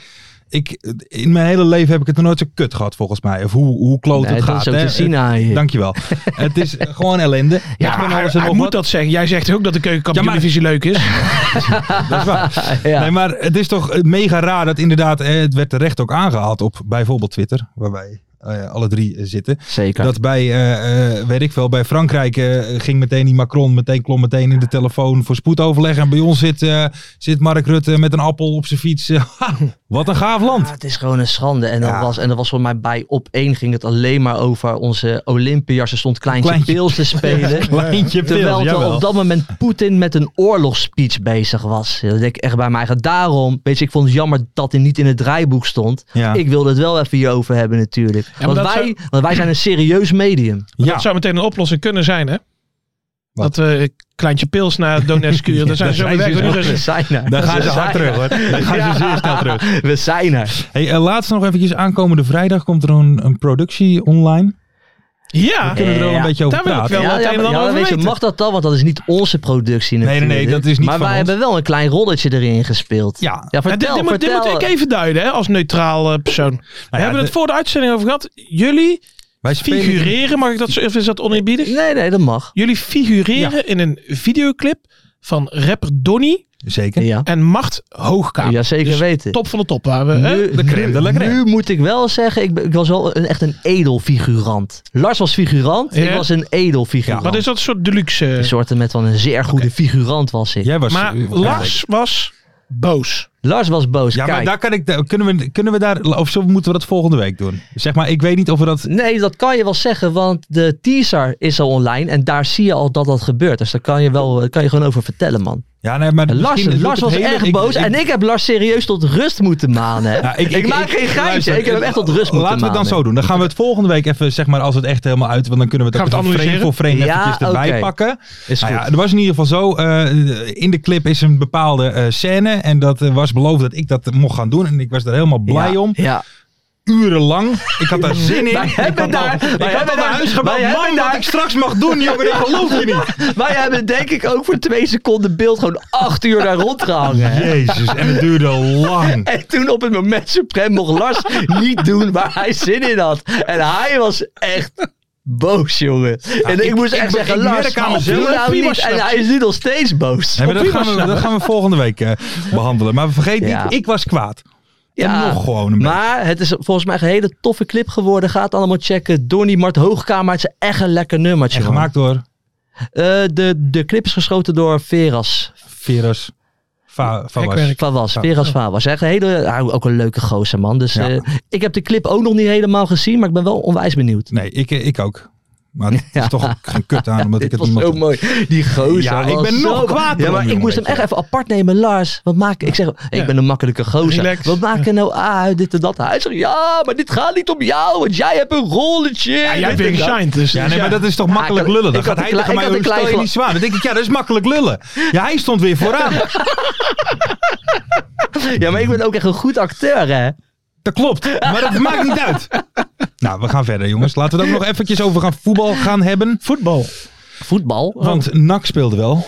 [SPEAKER 3] ik, in mijn hele leven heb ik het nog nooit zo kut gehad, volgens mij. Of hoe, hoe kloot
[SPEAKER 5] Nee,
[SPEAKER 3] het
[SPEAKER 5] dat
[SPEAKER 3] gaat.
[SPEAKER 5] is ook
[SPEAKER 3] hè.
[SPEAKER 5] te zien aan je.
[SPEAKER 3] Eh,
[SPEAKER 5] [laughs]
[SPEAKER 3] Dankjewel. het is gewoon ellende.
[SPEAKER 4] Ja,
[SPEAKER 3] Ik ben
[SPEAKER 4] maar hij,
[SPEAKER 3] alles en
[SPEAKER 4] hij
[SPEAKER 3] nog
[SPEAKER 4] moet
[SPEAKER 3] wat.
[SPEAKER 4] dat zeggen. Jij zegt ook dat de keukenkampioen-divisie leuk
[SPEAKER 5] [laughs]
[SPEAKER 4] is.
[SPEAKER 3] [laughs] Dat is waar.
[SPEAKER 5] Ja.
[SPEAKER 3] Nee, maar het is toch eh, mega raar dat inderdaad, eh, het werd terecht ook aangehaald op bijvoorbeeld Twitter, waar wij eh, alle drie eh, zitten.
[SPEAKER 5] Zeker.
[SPEAKER 3] Dat bij, eh, eh, weet ik veel, bij Frankrijk eh, ging meteen die Macron, meteen klom meteen in de telefoon voor spoedoverleg. En bij ons zit, eh, zit Mark Rutte met een appel op zijn fiets. [laughs] Ha, wat een gaaf
[SPEAKER 5] Ja,
[SPEAKER 3] land.
[SPEAKER 5] Ah, het is gewoon een schande. En dat,
[SPEAKER 3] Ja.
[SPEAKER 5] was, en dat was voor mij bij op één ging het alleen maar over onze Olympiërs. Er stond Kleintje,
[SPEAKER 3] Kleintje- [laughs]
[SPEAKER 5] Pils te spelen.
[SPEAKER 3] Kleintje
[SPEAKER 5] Terwijl
[SPEAKER 3] pils,
[SPEAKER 5] er
[SPEAKER 3] jawel.
[SPEAKER 5] op dat moment Poetin met een oorlogsspeech bezig was. Dat denk ik echt bij mij. eigen. Daarom, weet je, ik vond het jammer dat hij niet in het draaiboek stond.
[SPEAKER 3] Ja.
[SPEAKER 5] Ik wilde het wel even hierover hebben natuurlijk.
[SPEAKER 4] maar
[SPEAKER 5] want,
[SPEAKER 4] dat
[SPEAKER 5] wij, want wij zijn een serieus medium.
[SPEAKER 3] Ja.
[SPEAKER 4] Dat zou meteen een oplossing kunnen zijn, hè?
[SPEAKER 3] Wat?
[SPEAKER 4] Dat we kleintje pils naar
[SPEAKER 5] [laughs]
[SPEAKER 4] Donetsk kuren. Dan zijn ze zo
[SPEAKER 3] daar
[SPEAKER 4] weer weg.
[SPEAKER 3] zijn ze
[SPEAKER 4] hoor.
[SPEAKER 3] zo.
[SPEAKER 4] Dus-
[SPEAKER 5] We zijn er.
[SPEAKER 3] Daar gaan
[SPEAKER 5] We
[SPEAKER 3] ze
[SPEAKER 5] zijn
[SPEAKER 3] hard terug hoor. Daar gaan ze zeer snel terug.
[SPEAKER 5] er. We zijn er.
[SPEAKER 3] Hey, eh, laatst nog eventjes aankomende vrijdag komt er een, een productie online.
[SPEAKER 4] Ja,
[SPEAKER 3] Kunnen we er wel
[SPEAKER 5] Ja.
[SPEAKER 3] een beetje over
[SPEAKER 4] Daar wil ik
[SPEAKER 3] praten?
[SPEAKER 4] wel. het een en ander over
[SPEAKER 5] weet je,
[SPEAKER 4] weten.
[SPEAKER 5] mag dat dan? Want dat is niet onze productie
[SPEAKER 3] nee,
[SPEAKER 5] natuurlijk.
[SPEAKER 3] nee, dat is niet
[SPEAKER 5] Maar
[SPEAKER 3] van
[SPEAKER 5] wij
[SPEAKER 3] ons.
[SPEAKER 5] hebben wel een klein rolletje erin gespeeld.
[SPEAKER 3] Ja,
[SPEAKER 5] Ja,
[SPEAKER 4] Ja, dit-
[SPEAKER 5] vertel,
[SPEAKER 4] dit, moet, dit
[SPEAKER 5] vertel. Nou
[SPEAKER 4] moet ik even duiden, hè, als neutraal eh, persoon. We
[SPEAKER 3] ja,
[SPEAKER 4] hebben
[SPEAKER 3] de-
[SPEAKER 4] het voor de uitzending over gehad. Jullie
[SPEAKER 3] wij spelen-
[SPEAKER 4] figureren, mag ik dat zo, of is dat oneerbiedig?
[SPEAKER 5] Nee, nee, dat mag.
[SPEAKER 4] Jullie figureren in een videoclip van rapper Donny
[SPEAKER 3] Zeker.
[SPEAKER 5] Ja,
[SPEAKER 4] en Mart Hoogkamer.
[SPEAKER 5] ja zeker
[SPEAKER 4] Dus
[SPEAKER 5] weten.
[SPEAKER 4] Top van de top waren we. hè?
[SPEAKER 3] de crème de la crème.
[SPEAKER 5] Nu moet ik wel zeggen, ik, ben- ik was wel een, echt een edel figurant. Lars was figurant, ik
[SPEAKER 4] Ja.
[SPEAKER 5] was een edel figurant.
[SPEAKER 4] Wat is dat een soort deluxe? eh,
[SPEAKER 5] Een soort met van een zeer goede figurant was ik.
[SPEAKER 3] Jij was...
[SPEAKER 4] maar
[SPEAKER 3] eh,
[SPEAKER 4] Lars was boos.
[SPEAKER 5] Lars was boos.
[SPEAKER 3] Ja, maar
[SPEAKER 5] Kijk,
[SPEAKER 3] daar kan ik, daar- kunnen, we, kunnen we daar, of zo moeten we dat volgende week doen? Zeg maar, ik weet niet of we dat...
[SPEAKER 5] Nee, dat kan je wel zeggen, want de teaser is al online en daar zie je al dat dat gebeurt. Dus daar kan je, wel, daar kan je gewoon over vertellen, man.
[SPEAKER 3] Ja, nee, maar
[SPEAKER 5] En Lars,
[SPEAKER 3] misschien-
[SPEAKER 5] Lars
[SPEAKER 3] het
[SPEAKER 5] was
[SPEAKER 3] hele-
[SPEAKER 5] erg
[SPEAKER 3] ik-
[SPEAKER 5] boos
[SPEAKER 3] ik-
[SPEAKER 5] en ik heb Lars serieus tot rust moeten manen. hè.
[SPEAKER 3] Nou,
[SPEAKER 5] ik, maak geen geintje,
[SPEAKER 3] luister, eh,
[SPEAKER 5] ik heb hem echt tot rust moeten
[SPEAKER 3] Laten we het dan
[SPEAKER 5] manen.
[SPEAKER 3] zo doen. Dan gaan we het volgende week even, zeg maar, als het echt helemaal uit... Want dan kunnen we het
[SPEAKER 4] Gaan we
[SPEAKER 3] ook
[SPEAKER 4] het
[SPEAKER 3] even frame voor
[SPEAKER 4] analyseren?
[SPEAKER 3] frame
[SPEAKER 5] Ja,
[SPEAKER 3] eventjes erbij
[SPEAKER 5] oké.
[SPEAKER 3] pakken.
[SPEAKER 5] Is goed.
[SPEAKER 3] Nou ja, er was in ieder geval zo. eh, in de clip is een bepaalde eh, scène. En dat eh, was beloofd dat ik dat mocht gaan doen. En ik was daar helemaal blij
[SPEAKER 5] Ja,
[SPEAKER 3] om.
[SPEAKER 5] Ja.
[SPEAKER 3] Urenlang. Ik had daar zin in.
[SPEAKER 5] [laughs] Wij
[SPEAKER 3] Ik
[SPEAKER 5] hebben
[SPEAKER 3] had
[SPEAKER 5] daar-
[SPEAKER 3] al-
[SPEAKER 5] wij
[SPEAKER 3] Ik had
[SPEAKER 5] hebben
[SPEAKER 3] al naar
[SPEAKER 5] daar-
[SPEAKER 3] huis
[SPEAKER 5] wij
[SPEAKER 3] gebeld.
[SPEAKER 5] hebben
[SPEAKER 3] Man, wat
[SPEAKER 5] daar-
[SPEAKER 3] ik straks mag doen, jongen. Dat geloof je niet.
[SPEAKER 5] [laughs] Wij hebben denk ik ook voor twee seconden beeld gewoon acht uur daar rondgehangen. hè.
[SPEAKER 3] Jezus, en het duurde
[SPEAKER 5] [laughs]
[SPEAKER 3] lang.
[SPEAKER 5] En toen op het moment Supreme mocht Lars niet doen waar hij zin in had. En hij was echt boos, jongen. en ik,
[SPEAKER 3] ik-
[SPEAKER 5] moest echt
[SPEAKER 3] ik-
[SPEAKER 5] zeggen,
[SPEAKER 3] ik merk
[SPEAKER 5] Lars,
[SPEAKER 3] aan
[SPEAKER 5] doe
[SPEAKER 3] mezelf,
[SPEAKER 5] nou
[SPEAKER 4] prima
[SPEAKER 5] niet. En
[SPEAKER 4] snap.
[SPEAKER 5] hij is nu nog steeds boos.
[SPEAKER 3] Nee, maar dat,
[SPEAKER 4] Prima
[SPEAKER 3] gaan we,
[SPEAKER 4] snap
[SPEAKER 3] dat gaan we volgende week eh, behandelen. Maar vergeet niet,
[SPEAKER 5] Ja.
[SPEAKER 3] ik was kwaad.
[SPEAKER 5] Ja,
[SPEAKER 3] En nog gewoon een beetje.
[SPEAKER 5] Maar het is volgens mij een hele toffe clip geworden. Ga het allemaal checken. Donnie Mart Hoogkamer. Het is echt een lekker nummertje.
[SPEAKER 3] En
[SPEAKER 5] man.
[SPEAKER 3] gemaakt door
[SPEAKER 5] Eh, de, de clip is geschoten door Veras.
[SPEAKER 3] Veras Va- Vauwas.
[SPEAKER 4] Hekwerk.
[SPEAKER 5] Favas.
[SPEAKER 3] Ja.
[SPEAKER 5] Veras Favas. Echt een hele, ah, ook een leuke gozer man. Dus
[SPEAKER 3] Ja.
[SPEAKER 5] eh, ik heb de clip ook nog niet helemaal gezien. Maar ik ben wel onwijs benieuwd.
[SPEAKER 3] Nee, ik, ik ook. Maar het is
[SPEAKER 5] Ja.
[SPEAKER 3] toch ook geen kut aan, omdat ik het
[SPEAKER 5] Dit was
[SPEAKER 3] niet
[SPEAKER 5] zo
[SPEAKER 3] mocht.
[SPEAKER 5] mooi. Die gozer
[SPEAKER 3] Ja, ik
[SPEAKER 5] was
[SPEAKER 3] ben
[SPEAKER 5] zo-
[SPEAKER 3] nog kwaad
[SPEAKER 5] Ja,
[SPEAKER 3] erom,
[SPEAKER 5] maar ik
[SPEAKER 3] jongen,
[SPEAKER 5] moest hem
[SPEAKER 3] weet
[SPEAKER 5] echt
[SPEAKER 3] je.
[SPEAKER 5] even apart nemen. Lars, wat maak ik? Ik zeg, ik
[SPEAKER 4] Ja.
[SPEAKER 5] ben een makkelijke gozer.
[SPEAKER 4] Relax.
[SPEAKER 5] Wat maak je nou uit? Dit en dat. Hij zegt, ja, maar dit gaat niet om jou. Want jij hebt een rolletje.
[SPEAKER 4] Ja, jij
[SPEAKER 5] Dit
[SPEAKER 4] hebt
[SPEAKER 5] en
[SPEAKER 4] weer
[SPEAKER 5] dat.
[SPEAKER 4] gesigned. Dus,
[SPEAKER 3] Ja, nee, maar
[SPEAKER 4] ja.
[SPEAKER 3] dat is toch makkelijk
[SPEAKER 5] ik-
[SPEAKER 3] lullen?
[SPEAKER 5] ik
[SPEAKER 3] Dan
[SPEAKER 5] had
[SPEAKER 3] gaat
[SPEAKER 5] een
[SPEAKER 3] hij
[SPEAKER 5] klein-
[SPEAKER 3] tegen
[SPEAKER 5] ik
[SPEAKER 3] mij,
[SPEAKER 5] had een
[SPEAKER 3] hoe stel je
[SPEAKER 5] klein
[SPEAKER 3] niet zwaar? Dan denk ik, ja, dat is makkelijk lullen. Ja, hij stond weer vooraan.
[SPEAKER 5] Ja, maar ik ben ook echt een goed acteur, hè?
[SPEAKER 3] Dat klopt, maar dat maakt niet uit. Nou, we gaan verder, jongens. Laten we het ook nog eventjes over gaan voetbal gaan hebben.
[SPEAKER 4] voetbal.
[SPEAKER 5] Voetbal.
[SPEAKER 3] Want NAC speelde wel.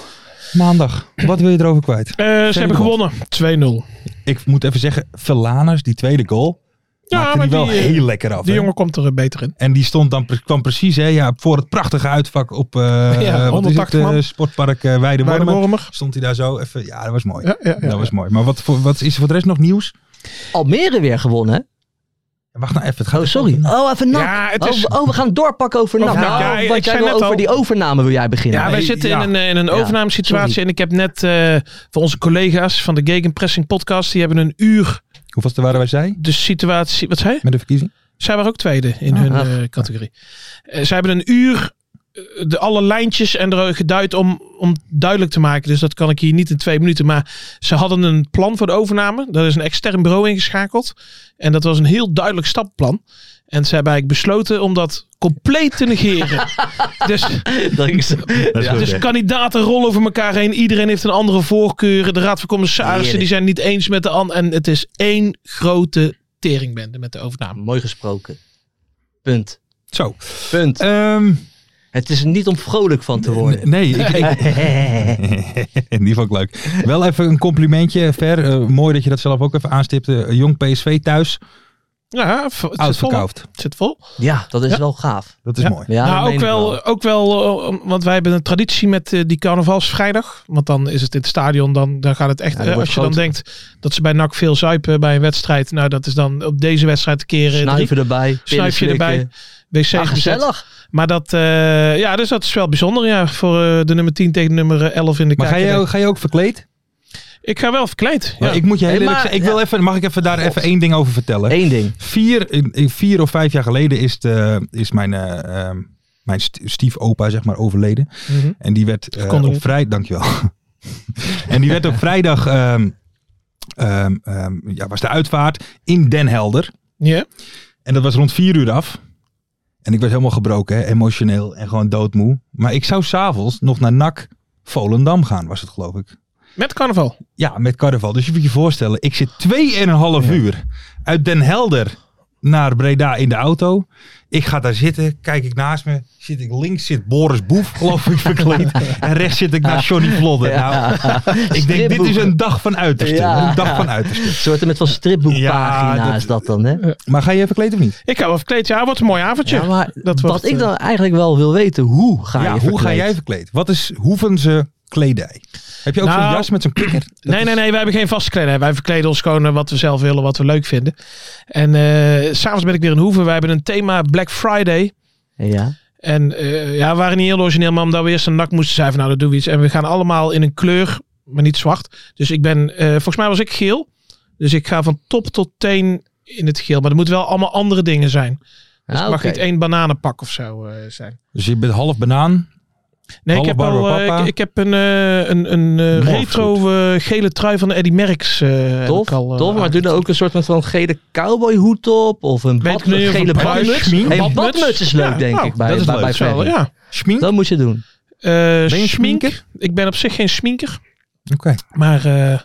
[SPEAKER 3] Maandag. Wat wil je erover kwijt?
[SPEAKER 4] Eh, ze hebben gewonnen. 2-0.
[SPEAKER 3] Ik moet even zeggen, Velaners, die tweede goal,
[SPEAKER 4] Ja,
[SPEAKER 3] maakte
[SPEAKER 4] maar
[SPEAKER 3] die wel
[SPEAKER 4] die, eh,
[SPEAKER 3] heel lekker af.
[SPEAKER 4] Die
[SPEAKER 3] hè?
[SPEAKER 4] jongen komt er eh, beter in.
[SPEAKER 3] En die stond dan, pre- kwam precies hè, ja, voor het prachtige uitvak
[SPEAKER 4] [laughs]
[SPEAKER 3] op eh wat is het,
[SPEAKER 4] 180 man.
[SPEAKER 3] eh, sportpark eh
[SPEAKER 4] Bij de
[SPEAKER 3] Weidewormen.
[SPEAKER 4] Wormer.
[SPEAKER 3] Stond hij daar zo even. Ja, dat was mooi.
[SPEAKER 4] Ja, ja, ja.
[SPEAKER 3] dat was mooi. Maar wat, voor, wat is er voor de rest nog nieuws?
[SPEAKER 5] Almere weer gewonnen.
[SPEAKER 3] Wacht nou even. Het gaat
[SPEAKER 5] Oh, sorry. Oh, even NAC.
[SPEAKER 4] Ja, het is-
[SPEAKER 5] oh, oh, we gaan doorpakken over NAC.
[SPEAKER 4] Over NAC,
[SPEAKER 5] Nou,
[SPEAKER 4] ja, ik
[SPEAKER 5] want jij
[SPEAKER 4] zei
[SPEAKER 5] wil
[SPEAKER 4] net
[SPEAKER 5] over
[SPEAKER 4] al-
[SPEAKER 5] die overname wil jij beginnen.
[SPEAKER 4] Ja,
[SPEAKER 3] Nee,
[SPEAKER 4] wij zitten
[SPEAKER 3] ja.
[SPEAKER 4] in een, eh, in een overnamesituatie.
[SPEAKER 5] sorry.
[SPEAKER 4] En ik heb net eh, voor onze collega's van de Gegenpressing podcast. Die hebben een uur
[SPEAKER 3] Hoeveelste waren wij zij
[SPEAKER 4] de situatie. Wat zei je?
[SPEAKER 3] met de verkiezing?
[SPEAKER 4] Zij waren ook tweede in
[SPEAKER 5] Ah,
[SPEAKER 4] hun
[SPEAKER 5] ach.
[SPEAKER 4] eh, categorie. Eh, zij hebben een uur eh, de alle lijntjes en er geduid om, om duidelijk te maken. Dus dat kan ik hier niet in twee minuten. Maar ze hadden een plan voor de overname. Daar is een extern bureau ingeschakeld. En dat was een heel duidelijk stapplan. En ze hebben eigenlijk besloten om dat compleet te negeren. dus,
[SPEAKER 5] [laughs] Dat is zo. Ja.
[SPEAKER 4] dus kandidaten rollen over elkaar heen. Iedereen heeft een andere voorkeur. De raad van commissarissen die
[SPEAKER 5] Heerlijk.
[SPEAKER 4] zijn niet eens met de an. En het is één grote teringbende met de overname.
[SPEAKER 5] Mooi gesproken. Punt.
[SPEAKER 3] Zo.
[SPEAKER 5] Punt.
[SPEAKER 4] Eh,
[SPEAKER 3] Ehm,
[SPEAKER 5] Het is er niet om vrolijk van te worden.
[SPEAKER 3] nee, ik,
[SPEAKER 5] [laughs]
[SPEAKER 3] ik- [laughs] die vond ik leuk. Wel even een complimentje, Ver. Eh, mooi dat je dat zelf ook even aanstipte. Eh, Jong PSV thuis,
[SPEAKER 4] Ja, v- het zit vol. hè?
[SPEAKER 3] uitverkoud.
[SPEAKER 4] Het zit vol.
[SPEAKER 5] Ja, dat is wel gaaf.
[SPEAKER 3] Dat is
[SPEAKER 4] Ja.
[SPEAKER 3] mooi.
[SPEAKER 5] Ja, dat
[SPEAKER 4] nou,
[SPEAKER 5] meen
[SPEAKER 4] ook
[SPEAKER 5] ik
[SPEAKER 4] wel, ook wel, eh, want wij hebben een traditie met eh, die carnavalsvrijdag. Want dan is het in het stadion, dan, dan gaat het echt.
[SPEAKER 5] Ja, dat
[SPEAKER 4] eh, als
[SPEAKER 5] wordt
[SPEAKER 4] je dan
[SPEAKER 5] groot.
[SPEAKER 4] denkt dat ze bij NAC veel zuipen bij een wedstrijd. Nou, dat is dan op deze wedstrijd te keren.
[SPEAKER 5] Snuiven erbij. pillen
[SPEAKER 4] Snuifje
[SPEAKER 5] slikken.
[SPEAKER 4] erbij. WC
[SPEAKER 5] Ah, gezellig.
[SPEAKER 4] Maar dat, eh, ja, dus dat is wel bijzonder. Ja, voor eh, de nummer 10 tegen de nummer 11 in de
[SPEAKER 3] Maar ga
[SPEAKER 4] kijker.
[SPEAKER 3] je, ook- ga je ook verkleed?
[SPEAKER 4] Ik ga wel verkleed. Ja.
[SPEAKER 3] Maar ik moet je heel
[SPEAKER 5] Hey,
[SPEAKER 3] eerlijk
[SPEAKER 5] maar-
[SPEAKER 3] zeggen, ik wil even, mag ik even daar even één ding over vertellen?
[SPEAKER 5] Eén ding.
[SPEAKER 3] Vier, in- in- vier of vijf jaar geleden is, de, is mijn, eh, ehm, mijn st- stiefopa zeg maar, overleden.
[SPEAKER 4] Mhm.
[SPEAKER 3] En die werd eh, op
[SPEAKER 4] Gecondoleerd.
[SPEAKER 3] vrijdag... Dankjewel. [laughs] en die werd op vrijdag... ehm, ehm, ehm, ja, was de uitvaart in Den Helder.
[SPEAKER 4] Ja.
[SPEAKER 3] En dat was rond vier uur af. En ik was helemaal gebroken, hè, emotioneel en gewoon doodmoe. Maar ik zou s'avonds nog naar NAC Volendam gaan, was het geloof ik.
[SPEAKER 4] Met carnaval.
[SPEAKER 3] Ja, met carnaval. Dus je moet je voorstellen, ik zit 2,5 half uur uit Den Helder naar Breda in de auto. Ik ga daar zitten, kijk ik naast me, zit ik links zit Boris Boef, geloof ik, verkleed. En rechts zit ik naar Johnny Vlodder.
[SPEAKER 4] [laughs]
[SPEAKER 3] Nou, ik denk, dit is een dag van uiterste.
[SPEAKER 5] Ja.
[SPEAKER 3] Een dag van uiterste.
[SPEAKER 5] soorten met van stripboekpagina
[SPEAKER 3] Ja, dat-
[SPEAKER 5] is dat dan, hè?
[SPEAKER 3] Maar ga je even verkleed of niet?
[SPEAKER 4] Ik ga wel verkleed. Ja, wat een mooi avondje.
[SPEAKER 5] Ja, maar
[SPEAKER 4] dat
[SPEAKER 5] wat
[SPEAKER 4] wordt,
[SPEAKER 5] ik
[SPEAKER 4] eh,
[SPEAKER 5] dan eigenlijk wel wil weten, hoe ga
[SPEAKER 3] ja,
[SPEAKER 5] je
[SPEAKER 3] hoe
[SPEAKER 5] verkleed?
[SPEAKER 3] ga jij verkleed? Wat is Hoevense kledij? Heb je ook zo'n
[SPEAKER 4] Nou,
[SPEAKER 3] jas met zo'n
[SPEAKER 5] [clears throat]
[SPEAKER 3] kikker?
[SPEAKER 4] nee, nee, nee. Wij hebben geen vaste kleding. Wij verkleden ons gewoon eh, wat we zelf willen, wat we leuk vinden. En eh, s s'avonds ben ik weer in Hoeven. Wij hebben een thema Black Friday.
[SPEAKER 5] Ja.
[SPEAKER 4] En eh, ja, we waren niet heel origineel, maar omdat we eerst een nak moesten zijn van nou, dat doen we iets. En we gaan allemaal in een kleur, maar niet zwart. Dus ik ben, eh, volgens mij was ik geel. Dus ik ga van top tot teen in het geel. Maar er moeten wel allemaal andere dingen zijn. Dus
[SPEAKER 5] Ah,
[SPEAKER 4] het mag
[SPEAKER 5] oké.
[SPEAKER 4] niet één bananenpak of zo eh, zijn.
[SPEAKER 3] Dus je bent half banaan.
[SPEAKER 4] Nee,
[SPEAKER 3] Hallo,
[SPEAKER 4] ik heb, al,
[SPEAKER 3] Barbara
[SPEAKER 4] eh,
[SPEAKER 3] Papa.
[SPEAKER 4] ik, ik heb een, eh, een, een eh,
[SPEAKER 3] Morgengoed.
[SPEAKER 4] retro eh, gele trui van Eddie Merckx. eh, heb
[SPEAKER 5] Tof,
[SPEAKER 4] ik al, eh,
[SPEAKER 5] tof, maar doe
[SPEAKER 4] aangetrokken.
[SPEAKER 5] dan ook een soort met zo'n gele cowboyhoed op of een
[SPEAKER 4] Weet
[SPEAKER 5] bad-
[SPEAKER 4] ik niet of
[SPEAKER 5] gele
[SPEAKER 4] een bruis-
[SPEAKER 5] badmuts.
[SPEAKER 4] schmink?
[SPEAKER 5] Hey,
[SPEAKER 4] Badmuts?
[SPEAKER 5] badmuts is leuk,
[SPEAKER 4] Ja,
[SPEAKER 5] denk
[SPEAKER 4] nou,
[SPEAKER 5] ik, bij,
[SPEAKER 3] dat is
[SPEAKER 5] bij,
[SPEAKER 3] leuk.
[SPEAKER 5] bij
[SPEAKER 4] Zo,
[SPEAKER 5] Ferry.
[SPEAKER 4] ja.
[SPEAKER 3] Schmink?
[SPEAKER 5] Dat moet je doen.
[SPEAKER 4] Eh
[SPEAKER 3] je een
[SPEAKER 4] schminker? Ik ben op zich geen sminker.
[SPEAKER 3] Oké.
[SPEAKER 4] Maar eh,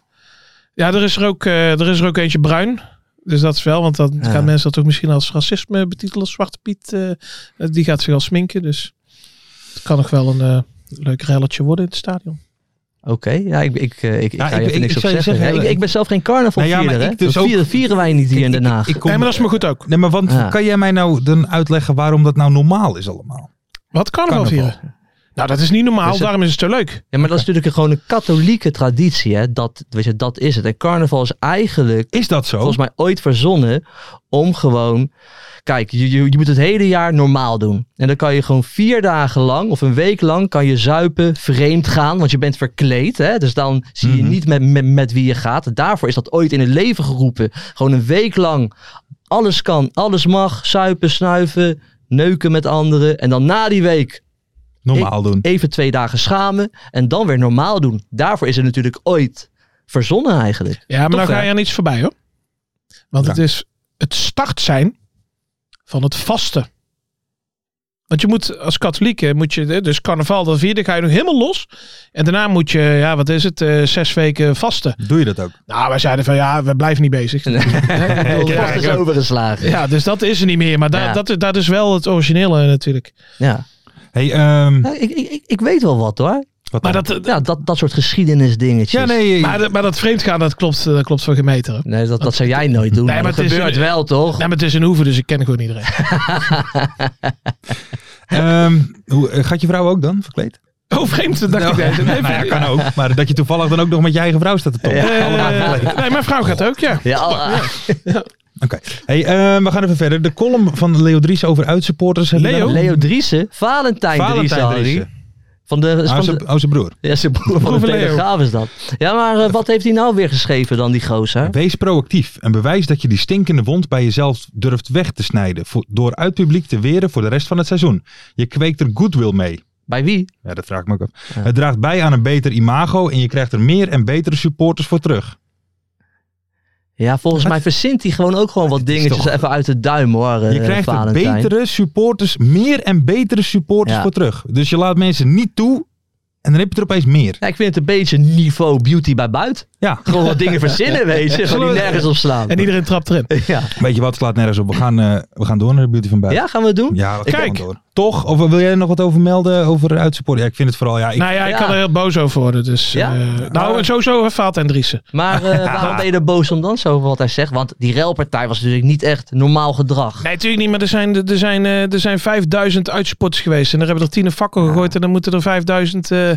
[SPEAKER 4] ja, er is er, ook, eh, er is er ook eentje bruin. Dus dat is wel, want dan
[SPEAKER 5] Ja.
[SPEAKER 4] gaan mensen dat ook misschien als racisme betitelen. als Zwarte Piet, eh, die gaat zich al sminken. Dus het kan nog wel een eh, leuk relletje worden in het stadion.
[SPEAKER 5] Oké, ja, ik, ik, eh, ik, ik
[SPEAKER 3] Ja,
[SPEAKER 5] ga
[SPEAKER 3] ik-
[SPEAKER 5] je even
[SPEAKER 3] ik-
[SPEAKER 5] niks
[SPEAKER 3] ik
[SPEAKER 5] op
[SPEAKER 3] zou je
[SPEAKER 5] zeggen.
[SPEAKER 3] zeggen,
[SPEAKER 5] Ja, ik,
[SPEAKER 3] eh,
[SPEAKER 5] ik ben zelf geen carnavalvierder,
[SPEAKER 3] Nou ja, maar
[SPEAKER 5] hè?
[SPEAKER 3] ik dus
[SPEAKER 5] Dat vieren, vieren wij niet hier in Den Haag.
[SPEAKER 3] Ik kom-
[SPEAKER 4] Nee, maar dat is maar goed ook.
[SPEAKER 3] Nee, maar want
[SPEAKER 5] Ja.
[SPEAKER 3] kan jij mij nou dan uitleggen waarom dat nou normaal is allemaal?
[SPEAKER 4] Wat carnaval
[SPEAKER 3] Carnaval.
[SPEAKER 4] vieren? Nou, dat is niet normaal,
[SPEAKER 5] Dus het-
[SPEAKER 4] daarom is het zo leuk.
[SPEAKER 5] Ja, maar dat is natuurlijk gewoon een katholieke traditie, hè? Dat, weet je, dat is het. En carnaval is eigenlijk
[SPEAKER 3] Is dat zo?
[SPEAKER 5] volgens mij ooit verzonnen om gewoon... Kijk, je, je, je moet het hele jaar normaal doen. En dan kan je gewoon vier dagen lang of een week lang kan je zuipen, vreemd gaan. Want je bent verkleed, hè? Dus dan zie je
[SPEAKER 3] Mhm.
[SPEAKER 5] niet met, met, met wie je gaat. Daarvoor is dat ooit in het leven geroepen. Gewoon een week lang. Alles kan, alles mag. Zuipen, snuiven, neuken met anderen. En dan na die week
[SPEAKER 3] normaal doen.
[SPEAKER 5] even twee dagen schamen. En dan weer normaal doen. Daarvoor is het natuurlijk ooit verzonnen eigenlijk.
[SPEAKER 4] Ja, maar
[SPEAKER 5] Toch,
[SPEAKER 4] dan ga
[SPEAKER 5] hè?
[SPEAKER 4] je aan iets voorbij hoor. Want
[SPEAKER 3] Ja.
[SPEAKER 4] het is het start zijn van het vasten. Want je moet als katholiek, hè, moet je, dus carnaval, dan vierde ga je nog helemaal los. En daarna moet je, ja, wat is het, eh, zes weken vasten.
[SPEAKER 3] Doe je dat ook?
[SPEAKER 4] Nou, wij zeiden van ja, we blijven niet bezig. [laughs]
[SPEAKER 5] Het
[SPEAKER 4] Ja,
[SPEAKER 5] is
[SPEAKER 4] ik ook.
[SPEAKER 5] overgeslagen.
[SPEAKER 4] Ja, dus dat is er niet meer. Maar da-
[SPEAKER 5] Ja.
[SPEAKER 4] dat, is- dat is wel het originele eh, natuurlijk.
[SPEAKER 5] Ja.
[SPEAKER 3] Hey, ehm,
[SPEAKER 5] Nou, ik, ik, ik- ik weet wel wat hoor.
[SPEAKER 3] wat
[SPEAKER 4] Maar
[SPEAKER 3] dan?
[SPEAKER 4] dat,
[SPEAKER 5] Ja, dat, dat soort geschiedenisdingetjes.
[SPEAKER 3] ja, nee.
[SPEAKER 4] maar, dat- maar dat vreemdgaan, dat klopt, eh, dat klopt voor geen meter. hè.
[SPEAKER 5] Nee, dat, dat zou jij nooit doen.
[SPEAKER 4] Nee,
[SPEAKER 5] maar
[SPEAKER 4] maar
[SPEAKER 5] dat
[SPEAKER 4] het is-
[SPEAKER 5] gebeurt wel toch?
[SPEAKER 4] Nee, maar het is een hoeven, dus ik ken gewoon iedereen. [laughs]
[SPEAKER 3] ehm, hoe, eh, gaat je vrouw ook dan verkleed?
[SPEAKER 4] Oh, vreemd, dat
[SPEAKER 3] [laughs]
[SPEAKER 4] dacht ik.
[SPEAKER 3] Nou,
[SPEAKER 4] Nee,
[SPEAKER 3] nou ja, kan ook. Maar dat je toevallig dan ook nog met je eigen vrouw staat te toppen.
[SPEAKER 4] Eh,
[SPEAKER 3] Allemaal verkleed.
[SPEAKER 4] nee, mijn vrouw gaat ook, ja.
[SPEAKER 5] Ja, al- ah,
[SPEAKER 3] Oké. Hey, ehm, we gaan even verder. De column van Leo Dries over uitsupporters. Hebben we
[SPEAKER 4] Leo?
[SPEAKER 3] daar nog-
[SPEAKER 5] ah, Leo Driessen, Valentijn, Driessen,
[SPEAKER 3] Valentijn
[SPEAKER 5] Harry.
[SPEAKER 3] Driessen.
[SPEAKER 5] Van de,
[SPEAKER 3] Ah,
[SPEAKER 5] van
[SPEAKER 3] zijn-
[SPEAKER 5] de,
[SPEAKER 3] oh, zijn broer.
[SPEAKER 5] ja, zijn broer van de
[SPEAKER 4] Broer van Leo.
[SPEAKER 5] Telegraaf is dat. Ja, maar eh, wat heeft hij nou weer geschreven dan, die gozer?
[SPEAKER 3] Wees proactief en bewijs dat je die stinkende wond bij jezelf durft weg te snijden. Voor, door uit publiek te weren voor de rest van het seizoen. Je kweekt er goodwill mee.
[SPEAKER 5] Bij wie?
[SPEAKER 3] Ja, dat vraag ik me ook af. Het draagt bij aan een beter imago en je krijgt er meer en betere supporters voor terug.
[SPEAKER 5] Ja, volgens mij verzint hij gewoon ook gewoon wat
[SPEAKER 3] is
[SPEAKER 5] dingetjes
[SPEAKER 3] toch-
[SPEAKER 5] even uit de duim hoor. eh,
[SPEAKER 3] Je krijgt er
[SPEAKER 5] Valentijn.
[SPEAKER 3] betere supporters, meer en betere supporters
[SPEAKER 5] Ja.
[SPEAKER 3] voor terug. Dus je laat mensen niet toe en dan heb je er opeens meer.
[SPEAKER 5] Ja, ik vind het een beetje niveau beauty bij buiten.
[SPEAKER 3] Ja,
[SPEAKER 5] Gewoon wat dingen verzinnen, weet je. Gewoon die nergens op slaan.
[SPEAKER 4] En iedereen trapt erin.
[SPEAKER 5] Ja.
[SPEAKER 3] weet je wat, slaat nergens op. We gaan, eh, we gaan door naar de beauty van buiten.
[SPEAKER 5] ja, gaan we het doen?
[SPEAKER 3] Ja, we gaan
[SPEAKER 4] Kijk.
[SPEAKER 3] door. Toch? Of wil jij er nog wat over melden over uitsupporters? Ja, ik vind het vooral, ja, ik,
[SPEAKER 4] nou ja, ik
[SPEAKER 5] Ja.
[SPEAKER 4] kan er heel boos over worden. Dus,
[SPEAKER 5] Ja?
[SPEAKER 4] eh, nou, en sowieso eh, Vaat en Driessen.
[SPEAKER 5] Maar eh, waarom ben je er boos om dan zo over wat hij zegt? Want die ruilpartij was natuurlijk niet echt normaal gedrag.
[SPEAKER 4] Nee, natuurlijk niet. Maar er zijn, er zijn, eh, er zijn 5000 uitspots geweest. En daar hebben er tien in vakken gegooid. En dan moeten er 5000... eh,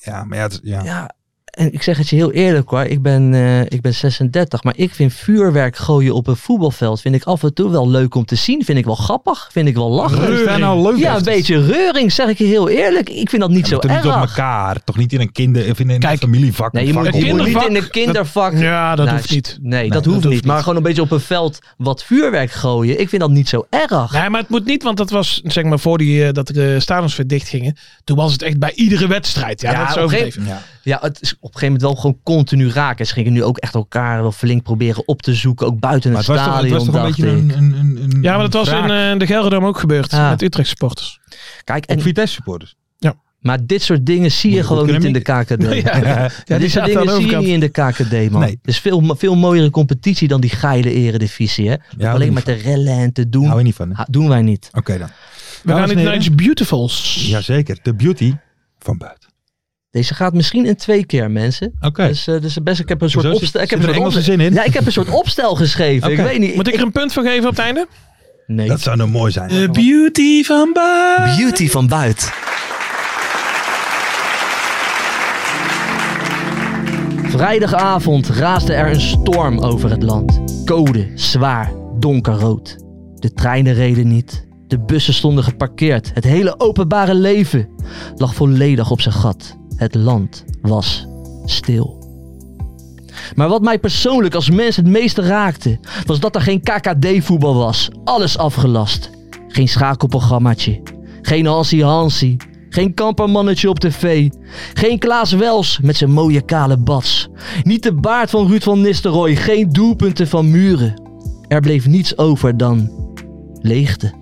[SPEAKER 3] ja, maar ja, het, ja.
[SPEAKER 5] Ja, en ik zeg het je heel eerlijk hoor. Ik ben, eh, ik ben 36, maar ik vind vuurwerk gooien op een voetbalveld... vind ik af en toe wel leuk om te zien. Vind ik wel grappig. Vind ik wel lachen.
[SPEAKER 3] Is daar nou leuk
[SPEAKER 5] Ja, een beetje reuring, zeg ik je heel eerlijk. Ik vind dat niet
[SPEAKER 3] Ja,
[SPEAKER 5] zo
[SPEAKER 3] maar toch
[SPEAKER 5] erg.
[SPEAKER 3] niet op elkaar. Toch niet in een kinder of in een
[SPEAKER 4] Kijk,
[SPEAKER 3] familievak.
[SPEAKER 5] Nee, je moet,
[SPEAKER 3] Vak-
[SPEAKER 5] je
[SPEAKER 4] Het
[SPEAKER 5] moet niet
[SPEAKER 4] kindervak,
[SPEAKER 5] in een kindervak.
[SPEAKER 4] ja, dat
[SPEAKER 5] Nou,
[SPEAKER 4] hoeft niet.
[SPEAKER 5] Nee, dat,
[SPEAKER 4] dat
[SPEAKER 5] hoeft
[SPEAKER 4] hoeft
[SPEAKER 5] niet. Maar
[SPEAKER 4] niet.
[SPEAKER 5] gewoon een beetje op een veld wat vuurwerk gooien. Ik vind dat niet zo erg.
[SPEAKER 4] Nee, maar het moet niet, want dat was zeg maar voor die, eh, dat de stadions weer dicht gingen. Toen was het echt bij iedere wedstrijd. Ja,
[SPEAKER 5] Ja,
[SPEAKER 4] dat is
[SPEAKER 5] op een
[SPEAKER 4] overdreven.
[SPEAKER 3] Ja.
[SPEAKER 5] Ja, het is op een gegeven moment wel gewoon continu raken. Ze gingen nu ook echt elkaar wel flink proberen op te zoeken. Ook buiten
[SPEAKER 3] Maar
[SPEAKER 5] het,
[SPEAKER 3] het was toch, het
[SPEAKER 5] stadion,
[SPEAKER 3] was toch een
[SPEAKER 5] dacht
[SPEAKER 3] beetje
[SPEAKER 5] ik.
[SPEAKER 3] een, een, een, een-
[SPEAKER 4] Ja, maar dat was
[SPEAKER 3] een
[SPEAKER 4] in
[SPEAKER 3] wraak
[SPEAKER 4] eh, de Gelredome ook gebeurd.
[SPEAKER 5] Ja.
[SPEAKER 4] Met Utrecht supporters.
[SPEAKER 5] Kijk,
[SPEAKER 3] op
[SPEAKER 5] en,
[SPEAKER 3] Vitesse supporters.
[SPEAKER 5] maar dit soort dingen
[SPEAKER 3] Moet
[SPEAKER 5] zie je
[SPEAKER 3] je goed
[SPEAKER 5] gewoon niet in de
[SPEAKER 3] [laughs]
[SPEAKER 5] KKD.
[SPEAKER 4] Ja, ja,
[SPEAKER 5] [laughs]
[SPEAKER 4] die
[SPEAKER 5] dit soort
[SPEAKER 4] zaten aan
[SPEAKER 5] dingen
[SPEAKER 4] de
[SPEAKER 5] zie je
[SPEAKER 4] overkant.
[SPEAKER 5] niet in de KKD, man.
[SPEAKER 3] Nee.
[SPEAKER 5] Het is veel, veel mooiere competitie dan die geile eredivisie, hè.
[SPEAKER 3] Ja,
[SPEAKER 5] Alleen
[SPEAKER 3] niet
[SPEAKER 5] maar
[SPEAKER 3] van.
[SPEAKER 5] te rellen en te doen,
[SPEAKER 3] Hou je niet van, hè?
[SPEAKER 5] ha- doen wij niet.
[SPEAKER 3] Oké dan.
[SPEAKER 4] We gaan
[SPEAKER 3] Dames en
[SPEAKER 4] niet naar
[SPEAKER 3] heren.
[SPEAKER 4] iets beautifuls.
[SPEAKER 3] Jazeker, de beauty van buiten.
[SPEAKER 5] Deze gaat misschien in twee keer, mensen.
[SPEAKER 3] Oké.
[SPEAKER 5] Dus, eh, dus best, ik heb een
[SPEAKER 3] Hoezo?
[SPEAKER 5] soort
[SPEAKER 3] Zit-
[SPEAKER 5] opstel... Ik
[SPEAKER 3] zit
[SPEAKER 5] heb
[SPEAKER 3] er
[SPEAKER 5] een
[SPEAKER 3] Engelse
[SPEAKER 5] opstel-
[SPEAKER 3] zin in?
[SPEAKER 5] Ja, ik heb een soort opstel geschreven. Ik
[SPEAKER 3] Oké.
[SPEAKER 5] weet niet.
[SPEAKER 4] Moet ik er een punt voor geven op het einde?
[SPEAKER 5] Nee.
[SPEAKER 3] Dat zou nou mooi zijn.
[SPEAKER 4] beauty van Baar.
[SPEAKER 5] Beauty van buiten. Vrijdagavond raasde er een storm over het land. Code, zwaar, donkerrood. De treinen reden niet. De bussen stonden geparkeerd. Het hele openbare leven lag volledig op zijn gat. Het land was stil. Maar wat mij persoonlijk als mens het meeste raakte, was dat er geen KKD-voetbal was. Alles afgelast. Geen schakelprogrammaatje. Geen Hansi Hansi. Geen kampermannetje op tv. Geen Klaas Wels met zijn mooie kale bats. Niet de baard van Ruud van Nistelrooy. Geen doelpunten van muren. Er bleef niets over dan leegte.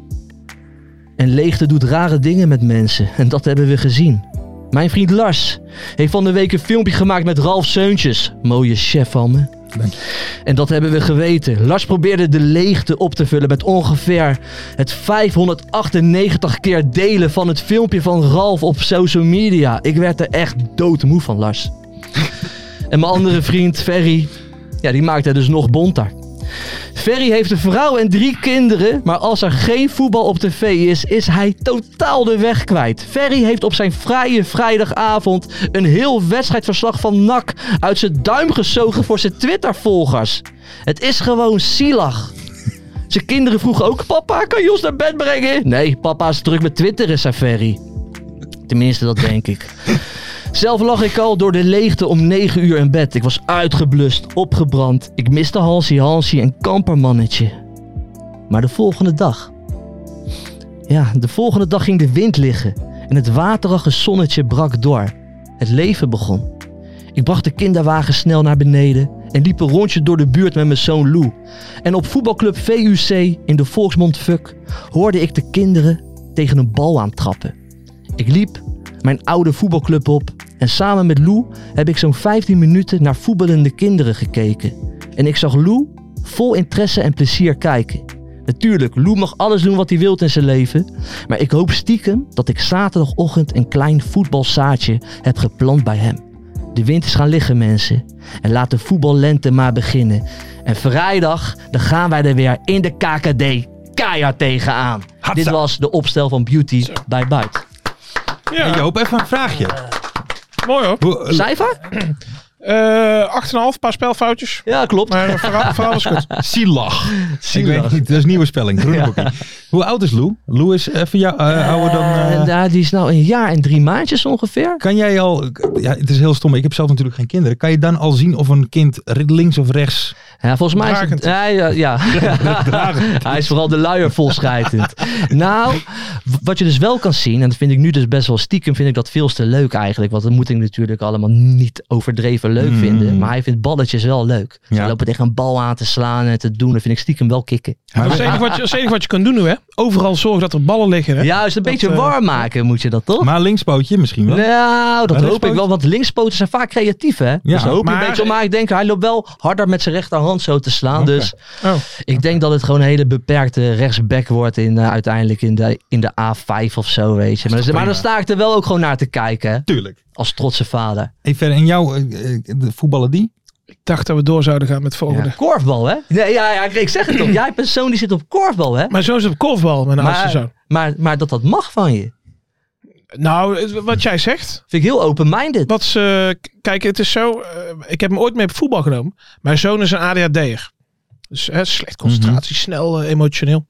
[SPEAKER 5] En leegte doet rare dingen met mensen. En dat hebben we gezien. Mijn vriend Lars heeft van de week een filmpje gemaakt met Ralf Seuntjes. Mooie chef van me. En dat hebben we geweten. Lars probeerde de leegte op te vullen met ongeveer het 598 keer delen van het filmpje van Ralf op social media. Ik werd er echt doodmoe van, Lars. en mijn andere vriend, Ferry, ja, die maakte het dus nog bonter. Ferry heeft een vrouw en drie kinderen, maar als er geen voetbal op tv is, is hij totaal de weg kwijt. Ferry heeft op zijn vrije vrijdagavond een heel wedstrijdverslag van NAC uit zijn duim gezogen voor zijn Twitter-volgers. Het is gewoon zielig. Zijn kinderen vroegen ook, papa, kan je ons naar bed brengen? Nee, papa is druk met Twitter, zei Ferry. Tenminste, dat denk ik. Zelf lag ik al door de leegte om 9 uur in bed. Ik was uitgeblust, opgebrand. Ik miste Hansie Hansie en kampermannetje. Maar de volgende dag. Ja, de volgende dag ging de wind liggen. En het waterige zonnetje brak door. Het leven begon. Ik bracht de kinderwagen snel naar beneden. En liep een rondje door de buurt met mijn zoon Lou. En op voetbalclub VUC in de volksmond Fuck hoorde ik de kinderen tegen een bal aan trappen. Ik liep mijn oude voetbalclub op en samen met Lou heb ik zo'n 15 minuten naar voetballende kinderen gekeken. En ik zag Lou vol interesse en plezier kijken. Natuurlijk, Lou mag alles doen wat hij wilt in zijn leven, maar ik hoop stiekem dat ik zaterdagochtend een klein voetbalzaadje heb geplant bij hem. De wind is gaan liggen, mensen. En laat de voetballente maar beginnen. En vrijdag, dan gaan wij er weer in de KKD keihard tegenaan. Dit was de opstel van Beauty bij Buit.
[SPEAKER 4] Ja,
[SPEAKER 3] Hey, Joop, even een vraagje.
[SPEAKER 4] mooi hoor.
[SPEAKER 3] Hoe- eh,
[SPEAKER 5] Cijfer?
[SPEAKER 4] Eh 8,5, paar spelfoutjes.
[SPEAKER 5] Ja, klopt.
[SPEAKER 4] Maar eh, vooral, vooral is goed.
[SPEAKER 3] [laughs] Silag. Ik
[SPEAKER 5] Silag.
[SPEAKER 3] weet het niet, dat is nieuwe
[SPEAKER 5] [laughs]
[SPEAKER 3] spelling. groene boekie. Hoe oud is Lou? Lou is even jou, eh, ouder dan... eh,
[SPEAKER 5] Eh, nou, die is nou een jaar en drie maandjes ongeveer.
[SPEAKER 3] Kan jij al, ja, het is heel stom, ik heb zelf natuurlijk geen kinderen. Kan je dan al zien of een kind links of
[SPEAKER 5] [laughs]
[SPEAKER 3] rechts...
[SPEAKER 5] Ja, volgens mij is het,
[SPEAKER 4] Dragend.
[SPEAKER 5] hij, eh, ja.
[SPEAKER 3] [laughs]
[SPEAKER 5] hij is vooral de luier volschijtend. nou, w- wat je dus wel kan zien, en dat vind ik nu dus best wel stiekem, vind ik dat veel te leuk eigenlijk. Want dat moet ik natuurlijk allemaal niet overdreven leuk
[SPEAKER 3] Mm.
[SPEAKER 5] vinden. Maar hij vindt balletjes wel leuk. Ze
[SPEAKER 3] Ja.
[SPEAKER 5] lopen tegen een bal aan te slaan en te doen, dat vind ik stiekem wel kicken.
[SPEAKER 4] Dat is het enige wat je- dat is het enige wat je kunt doen nu, hè. Overal zorgen dat er ballen liggen, hè.
[SPEAKER 5] Juist, een
[SPEAKER 4] Dat,
[SPEAKER 5] beetje
[SPEAKER 4] eh,
[SPEAKER 5] warm maken moet je dat toch?
[SPEAKER 3] Maar linkspootje misschien wel.
[SPEAKER 5] Nou,
[SPEAKER 3] Maar
[SPEAKER 5] dat hoop ik
[SPEAKER 3] linkspoot-
[SPEAKER 5] wel, want linkspoten zijn vaak creatief, hè? dus daar hoop ik
[SPEAKER 4] maar-
[SPEAKER 5] een beetje om. Maar ik denk, hij loopt wel harder met zijn rechterhand zo te slaan.
[SPEAKER 3] Oké.
[SPEAKER 5] Dus
[SPEAKER 4] Oh.
[SPEAKER 5] ik denk dat het gewoon een hele beperkte rechtsback wordt in, eh, uiteindelijk in de, in de A5 of zo, weet je. Maar, maar dan sta ik er wel ook gewoon naar te kijken, hè,
[SPEAKER 3] Tuurlijk.
[SPEAKER 5] als trotse vader.
[SPEAKER 3] Even, en jou, eh, eh, de voetballer die?
[SPEAKER 4] Ik dacht dat we door zouden gaan met het volgende.
[SPEAKER 5] Ja. Korfbal, hè? Nee, ja, ja, ik zeg het
[SPEAKER 4] [clears throat]
[SPEAKER 5] toch. Jij persoon die zit op korfbal, hè?
[SPEAKER 4] Mijn zoon Nou, is op korfbal, mijn oudste
[SPEAKER 5] Maar,
[SPEAKER 4] zoon.
[SPEAKER 5] maar, maar dat dat mag van je.
[SPEAKER 4] Nou, het- wat jij zegt.
[SPEAKER 5] Vind ik heel open-minded.
[SPEAKER 4] Wat ze, k- kijk, het is zo. eh, ik heb hem ooit mee op voetbal genomen. Mijn zoon is een ADHD'er. Dus hè, slecht concentratie, snel eh, emotioneel.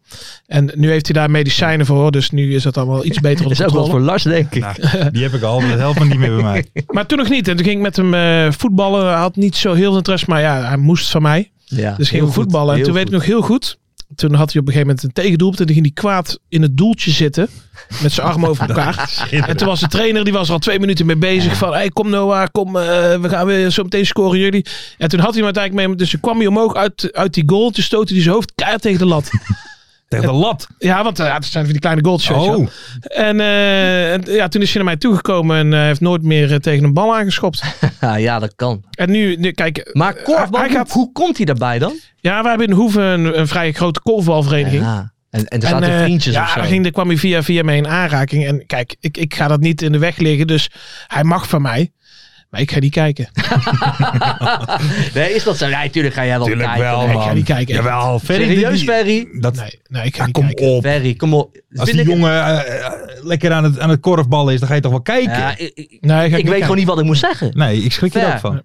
[SPEAKER 4] En nu heeft hij daar medicijnen voor. hoor, Dus nu is dat allemaal iets
[SPEAKER 5] [laughs]
[SPEAKER 4] beter
[SPEAKER 5] Dat
[SPEAKER 4] onder
[SPEAKER 5] is ook
[SPEAKER 4] controle.
[SPEAKER 5] wel voor Lars, denk ik.
[SPEAKER 3] Die heb ik al, dat helpt me niet meer bij mij.
[SPEAKER 4] Maar toen nog niet. En toen ging ik met hem eh, voetballen. Hij had niet zo heel veel interesse. Maar ja, hij moest van mij.
[SPEAKER 5] Ja,
[SPEAKER 4] Dus
[SPEAKER 5] heel
[SPEAKER 4] ging we
[SPEAKER 5] goed,
[SPEAKER 4] voetballen. En
[SPEAKER 5] heel
[SPEAKER 4] toen weet ik
[SPEAKER 5] goed.
[SPEAKER 4] nog heel goed. Toen had hij op een gegeven moment een tegendoelpunt. En toen ging hij kwaad in het doeltje zitten. Met zijn armen
[SPEAKER 5] [laughs]
[SPEAKER 4] over elkaar. En toen was de trainer, die was er al twee minuten mee bezig. Van, hey, kom Noah, kom, eh, we gaan weer zo meteen scoren jullie. En toen had hij hem uiteindelijk mee. Dus toen kwam hij omhoog uit, uit die goal. Toen stootte hij zijn hoofd keihard tegen de
[SPEAKER 5] [laughs]
[SPEAKER 4] lat.
[SPEAKER 3] [laughs] Tegen de lat.
[SPEAKER 4] ja, want eh, het zijn van die kleine goals. weet je wel.
[SPEAKER 3] Oh,
[SPEAKER 4] En, eh, en, ja, toen is hij naar mij toegekomen. En eh, heeft nooit meer eh, tegen een bal aangeschopt.
[SPEAKER 5] Ja, ja, dat kan.
[SPEAKER 4] En nu, nu kijk.
[SPEAKER 5] Maar korfbal,
[SPEAKER 4] Eh, Hij
[SPEAKER 5] hoe,
[SPEAKER 4] gaat-
[SPEAKER 5] hoe komt hij daarbij dan?
[SPEAKER 4] Ja, wij hebben in Hoeven een, een vrij grote korfbalvereniging.
[SPEAKER 5] Ja. En, en er
[SPEAKER 4] En,
[SPEAKER 5] zaten
[SPEAKER 4] eh,
[SPEAKER 5] vriendjes
[SPEAKER 4] ja,
[SPEAKER 5] of zo.
[SPEAKER 4] daar ging, daar kwam hij via via mee in aanraking. En kijk, ik, ik ga dat niet in de weg liggen. Dus hij mag van mij. Maar ik ga niet kijken.
[SPEAKER 5] Nee, is dat zo? Nee, tuurlijk ga jij wel
[SPEAKER 3] tuurlijk
[SPEAKER 5] kijken.
[SPEAKER 3] wel,
[SPEAKER 5] Nee,
[SPEAKER 4] ik ga
[SPEAKER 3] man.
[SPEAKER 4] niet kijken.
[SPEAKER 3] Jawel, Ferry.
[SPEAKER 5] Serieus,
[SPEAKER 3] die-
[SPEAKER 5] Ferry?
[SPEAKER 3] Dat,
[SPEAKER 4] Nee, nee ik ga
[SPEAKER 3] ja,
[SPEAKER 4] niet
[SPEAKER 3] kom
[SPEAKER 4] kijken.
[SPEAKER 3] op.
[SPEAKER 5] Ferry, kom op.
[SPEAKER 3] Als
[SPEAKER 5] Vind
[SPEAKER 3] die
[SPEAKER 5] ik-
[SPEAKER 3] jongen eh, eh, lekker aan het, aan het korfballen is, dan ga je toch wel kijken?
[SPEAKER 5] Ja, ik ik-
[SPEAKER 4] Nee, ga
[SPEAKER 5] ik
[SPEAKER 4] niet
[SPEAKER 5] weet
[SPEAKER 4] kijken.
[SPEAKER 5] gewoon niet wat ik moet zeggen. [laughs]
[SPEAKER 3] Nee, ik schrik er
[SPEAKER 5] Ver.
[SPEAKER 3] ook van.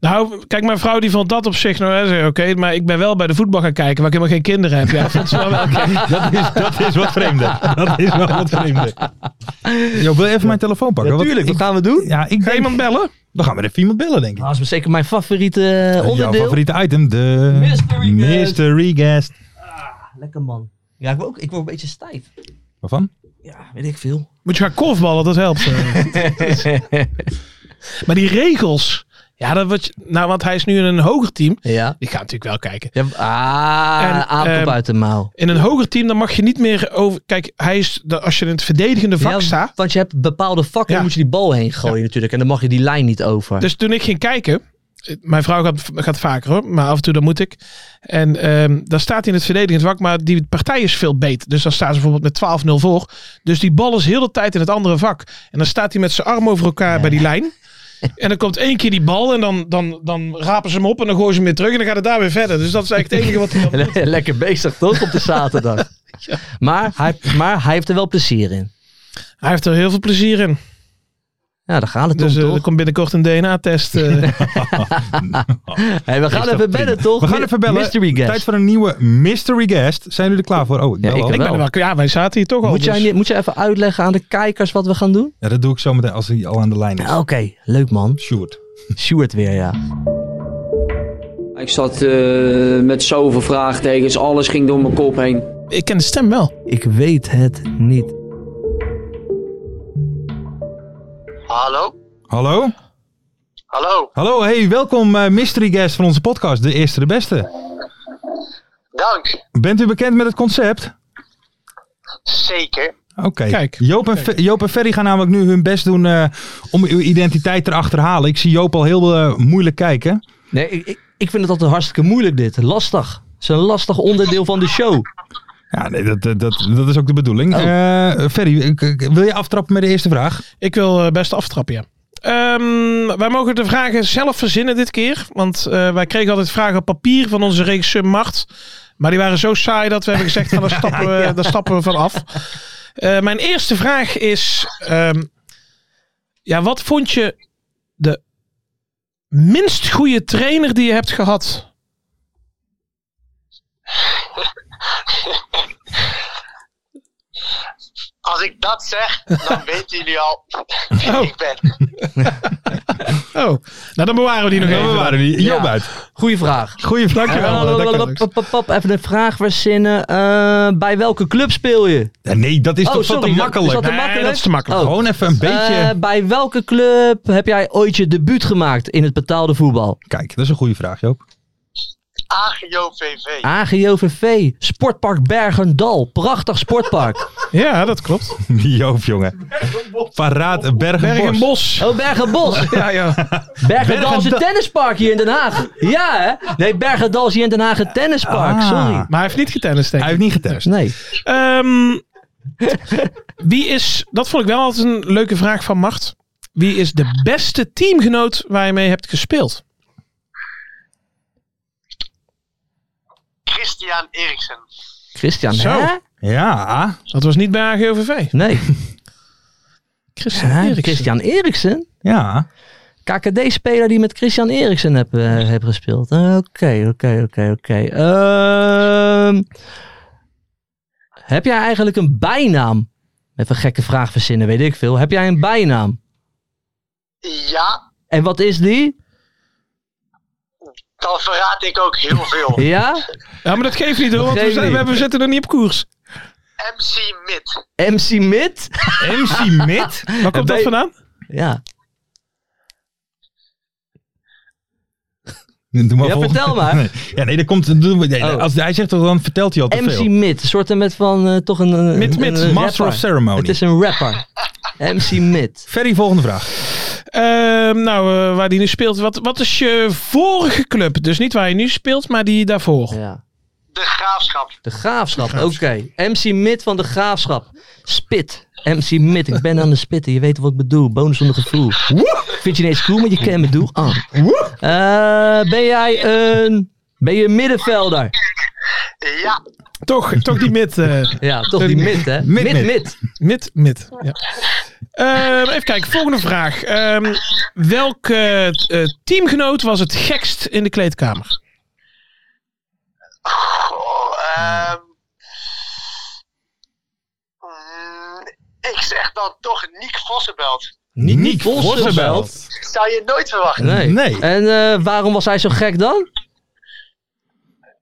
[SPEAKER 4] Nou, kijk, mijn vrouw die vond dat op zich nou, hè, zei, oké, maar ik ben wel bij de voetbal gaan kijken, waar ik helemaal geen kinderen heb. Ja, [laughs] vond ze wel wel oké.
[SPEAKER 3] [laughs] Dat is, dat is wat vreemder. Dat is wel wat vreemder. Jo, wil je even mijn telefoon pakken? Want
[SPEAKER 5] Natuurlijk,
[SPEAKER 3] ik-
[SPEAKER 5] wat gaan we doen? Nou,
[SPEAKER 3] ja, ik
[SPEAKER 4] Ga
[SPEAKER 3] denk-
[SPEAKER 4] iemand bellen?
[SPEAKER 3] Dan gaan we even iemand bellen, denk ik.
[SPEAKER 5] Dat is zeker mijn favoriete eh,
[SPEAKER 3] Jouw
[SPEAKER 5] onderdeel.
[SPEAKER 3] favoriete item, de
[SPEAKER 5] Mystery guest.
[SPEAKER 3] Mystery guest.
[SPEAKER 5] Lekker man. Ja, ik word, ook, ik word een beetje stijf.
[SPEAKER 3] Waarvan?
[SPEAKER 5] Ja, Ah, weet ik veel.
[SPEAKER 4] Moet je gaan korfballen, dat helpt. eh.
[SPEAKER 5] [laughs]
[SPEAKER 4] maar die regels, ja, dat wordt, nou, want hij is nu in een hoger team.
[SPEAKER 5] Ja.
[SPEAKER 4] Die gaan natuurlijk wel kijken.
[SPEAKER 5] ja ah,
[SPEAKER 4] En,
[SPEAKER 5] aap
[SPEAKER 4] ehm,
[SPEAKER 5] op uit de mouw.
[SPEAKER 4] In een hoger team, dan mag je niet meer over. Kijk, hij is, de, als je in het verdedigende vak
[SPEAKER 5] Ja,
[SPEAKER 4] staat.
[SPEAKER 5] Want je hebt bepaalde vakken,
[SPEAKER 4] Ja.
[SPEAKER 5] moet je die bal heen gooien natuurlijk. En dan mag je die lijn niet over.
[SPEAKER 4] Dus toen ik ging kijken. eh, Mijn vrouw gaat, gaat vaker hoor, maar af en toe dan moet ik. En ehm dan staat hij in het verdedigend vak, maar die partij is veel beter. Dus dan staan ze bijvoorbeeld met 12-0 voor. Dus die bal is heel de tijd in het andere vak. En dan staat hij met zijn arm over elkaar bij die
[SPEAKER 5] [laughs]
[SPEAKER 4] lijn. En dan komt één keer die bal en dan, dan, dan rapen ze hem op en dan gooien ze hem weer terug. En dan gaat het daar weer verder. Dus dat is eigenlijk het enige wat hij
[SPEAKER 5] [laughs]
[SPEAKER 4] dan doet.
[SPEAKER 5] Le- Lekker bezig toch op de zaterdag. maar, hij, maar hij heeft er wel plezier in.
[SPEAKER 4] Hij heeft er heel veel plezier in.
[SPEAKER 5] Ja, daar gaat het
[SPEAKER 4] Dus
[SPEAKER 5] om
[SPEAKER 4] eh,
[SPEAKER 5] toch?
[SPEAKER 4] er komt binnenkort een DNA-test.
[SPEAKER 5] [laughs]
[SPEAKER 4] eh.
[SPEAKER 5] Hey, we gaan
[SPEAKER 3] dat
[SPEAKER 5] even
[SPEAKER 3] prima.
[SPEAKER 5] bellen toch?
[SPEAKER 3] We gaan
[SPEAKER 5] Mi-
[SPEAKER 3] even bellen.
[SPEAKER 5] Mystery guest.
[SPEAKER 3] Tijd voor een nieuwe mystery guest. Zijn jullie er klaar voor? Oh, ik
[SPEAKER 5] Ja,
[SPEAKER 3] bel
[SPEAKER 5] ik
[SPEAKER 3] al.
[SPEAKER 5] wel.
[SPEAKER 4] Ik ben er wel, ja, wij zaten hier toch al.
[SPEAKER 5] Moet, jij,
[SPEAKER 4] dus-
[SPEAKER 5] niet- moet jij even uitleggen aan de kijkers wat we gaan doen?
[SPEAKER 3] Ja, dat doe ik zo meteen als hij al aan de lijn is.
[SPEAKER 5] Oké, leuk man.
[SPEAKER 3] Sjoerd.
[SPEAKER 5] Stuart weer, ja.
[SPEAKER 6] Ik zat eh, met zoveel vraagtekens, alles ging door mijn kop heen.
[SPEAKER 4] Ik ken de stem wel.
[SPEAKER 5] Ik weet het niet.
[SPEAKER 7] Hallo?
[SPEAKER 3] Hallo?
[SPEAKER 7] Hallo?
[SPEAKER 3] Hallo, hey, welkom eh, mystery guest van onze podcast, De Eerste de Beste.
[SPEAKER 7] Dank.
[SPEAKER 3] Bent u bekend met het concept?
[SPEAKER 7] Zeker.
[SPEAKER 3] Oké.
[SPEAKER 4] Kijk.
[SPEAKER 3] Joop en, Fe- Joop en Ferry gaan namelijk nu hun best doen eh, om uw identiteit erachter te halen. Ik zie Joop al heel eh, moeilijk kijken.
[SPEAKER 5] Nee, ik, ik, ik vind het altijd hartstikke moeilijk dit. Lastig. Het is een lastig onderdeel van de show.
[SPEAKER 3] Ja, nee, dat, dat, dat, dat is ook de bedoeling.
[SPEAKER 5] Oh.
[SPEAKER 3] Eh, Ferry, ik- ik- wil je aftrappen met de eerste vraag?
[SPEAKER 4] Ik wil eh, best aftrappen, ja. Ehm, wij mogen de vragen zelf verzinnen dit keer. Want eh, wij kregen altijd vragen op papier van onze regisseur Mart. Maar die waren zo saai dat we hebben gezegd, van, daar, stappen we, daar stappen we van af. Eh, mijn eerste vraag is... ehm, ja, wat vond je de minst goede trainer die je hebt gehad?
[SPEAKER 7] Als ik dat zeg, dan weten jullie al [laughs] wie
[SPEAKER 4] Oh.
[SPEAKER 7] ik ben.
[SPEAKER 4] Oh, nou dan bewaren we die nog even.
[SPEAKER 3] die.
[SPEAKER 5] Ja.
[SPEAKER 3] Joop uit.
[SPEAKER 5] Goeie vraag.
[SPEAKER 3] Goeie vraag. Dankjewel. Dankjewel.
[SPEAKER 5] Pap, pap, pap, Even een vraag verzinnen. Eh, bij welke club speel je?
[SPEAKER 3] Ja, Eh, Nee, dat is
[SPEAKER 5] Oh,
[SPEAKER 3] toch
[SPEAKER 5] sorry,
[SPEAKER 3] wat te
[SPEAKER 5] dat-
[SPEAKER 3] makkelijk.
[SPEAKER 5] is dat te
[SPEAKER 4] Nee,
[SPEAKER 5] makkelijk?
[SPEAKER 4] dat is te makkelijk.
[SPEAKER 5] Oh.
[SPEAKER 3] Gewoon even een beetje...
[SPEAKER 5] Eh, bij welke club heb jij ooit je debuut gemaakt in het betaalde voetbal?
[SPEAKER 3] Kijk, dat is een goede vraag, Joop. [laughs]
[SPEAKER 7] AGO VV.
[SPEAKER 5] AGOVV, Sportpark Bergendal. Prachtig sportpark.
[SPEAKER 4] Ja, dat klopt.
[SPEAKER 3] Joop, jongen. Paraat Bergenbos.
[SPEAKER 4] Bergenbos.
[SPEAKER 5] Oh, Bergenbos.
[SPEAKER 4] Ja, ja.
[SPEAKER 5] Bergendal is een
[SPEAKER 3] Bergendal.
[SPEAKER 5] tennispark hier in Den Haag. Ja, hè? Nee, Bergendal is hier in Den Haag een tennispark.
[SPEAKER 3] Ah.
[SPEAKER 5] Sorry.
[SPEAKER 4] Maar hij heeft niet getennist, denk
[SPEAKER 3] Hij
[SPEAKER 4] ik.
[SPEAKER 3] heeft niet getest.
[SPEAKER 5] Nee.
[SPEAKER 4] Ehm, wie is, dat vond ik wel altijd een leuke vraag van Mart. Wie is de beste teamgenoot waar je mee hebt gespeeld?
[SPEAKER 7] Christian Eriksen.
[SPEAKER 5] Christian,
[SPEAKER 4] Zo.
[SPEAKER 5] hè?
[SPEAKER 3] Ja.
[SPEAKER 4] Dat was niet bij AGOVV.
[SPEAKER 5] Nee.
[SPEAKER 4] Christian
[SPEAKER 5] Hè?
[SPEAKER 4] Eriksen.
[SPEAKER 5] Christian Eriksen?
[SPEAKER 3] Ja.
[SPEAKER 5] KKD-speler die met Christian Eriksen heb, eh, heb gespeeld. Eh, Oké, oké, oké, oké. Ehm, Heb jij eigenlijk een bijnaam? Even een gekke vraag verzinnen, weet ik veel. Heb jij een bijnaam?
[SPEAKER 7] Ja,
[SPEAKER 5] En wat is die?
[SPEAKER 7] dan verraad ik ook heel
[SPEAKER 5] [laughs]
[SPEAKER 7] veel.
[SPEAKER 5] Ja?
[SPEAKER 4] Ja, maar dat geeft niet hoor, want we,
[SPEAKER 5] geeft
[SPEAKER 4] zijn- we,
[SPEAKER 5] niet.
[SPEAKER 4] hebben- we zitten nog niet op koers.
[SPEAKER 7] MC Mid.
[SPEAKER 5] MC Mid?
[SPEAKER 3] MC Mid?
[SPEAKER 4] Waar komt dat
[SPEAKER 5] bij-
[SPEAKER 4] vandaan?
[SPEAKER 5] Ja.
[SPEAKER 3] Doe maar
[SPEAKER 5] Ja,
[SPEAKER 3] volgende. [laughs]
[SPEAKER 5] vertel maar.
[SPEAKER 3] Nee. Ja, nee, dat komt... doen we- nee,
[SPEAKER 5] Oh.
[SPEAKER 3] Als hij zegt, dat, dan vertelt hij al te
[SPEAKER 5] MC
[SPEAKER 3] veel.
[SPEAKER 5] Mid, een soort met van eh, toch een, een,
[SPEAKER 4] Mid,
[SPEAKER 5] een-
[SPEAKER 4] Mid,
[SPEAKER 5] een
[SPEAKER 3] Master
[SPEAKER 5] rapper.
[SPEAKER 3] of Ceremony.
[SPEAKER 5] Het is een rapper. MC Mid.
[SPEAKER 3] Ferry, volgende vraag.
[SPEAKER 4] Ehm, nou, eh, waar die nu speelt. Wat, wat is je vorige club? Dus niet waar je nu speelt, maar die daarvoor.
[SPEAKER 5] Ja.
[SPEAKER 7] De Graafschap.
[SPEAKER 5] De Graafschap, oké. MC Mid van de Graafschap. Spit. MC Mid, ik ben aan de spitten. Je weet wat ik bedoel. Bonus zonder gevoel. Vind je ineens cool, maar je kent me doe aan. Eh, ben jij een... Ben je een middenvelder?
[SPEAKER 7] Ja,
[SPEAKER 4] Toch, toch die mid. eh
[SPEAKER 5] Ja, toch die mid, hè?
[SPEAKER 3] Mid, mid.
[SPEAKER 5] mid.
[SPEAKER 4] mid, mid. Ja. Ehm, even kijken, volgende vraag. Ehm welk eh, eh, teamgenoot was het gekst in de kleedkamer?
[SPEAKER 7] Goh, ehm. Mm, ik zeg dan toch Nick Vossenbelt.
[SPEAKER 3] Niek
[SPEAKER 5] Vossenbelt.
[SPEAKER 7] Zou je nooit verwachten.
[SPEAKER 5] Nee.
[SPEAKER 3] Nee.
[SPEAKER 5] En eh, waarom was hij zo gek dan?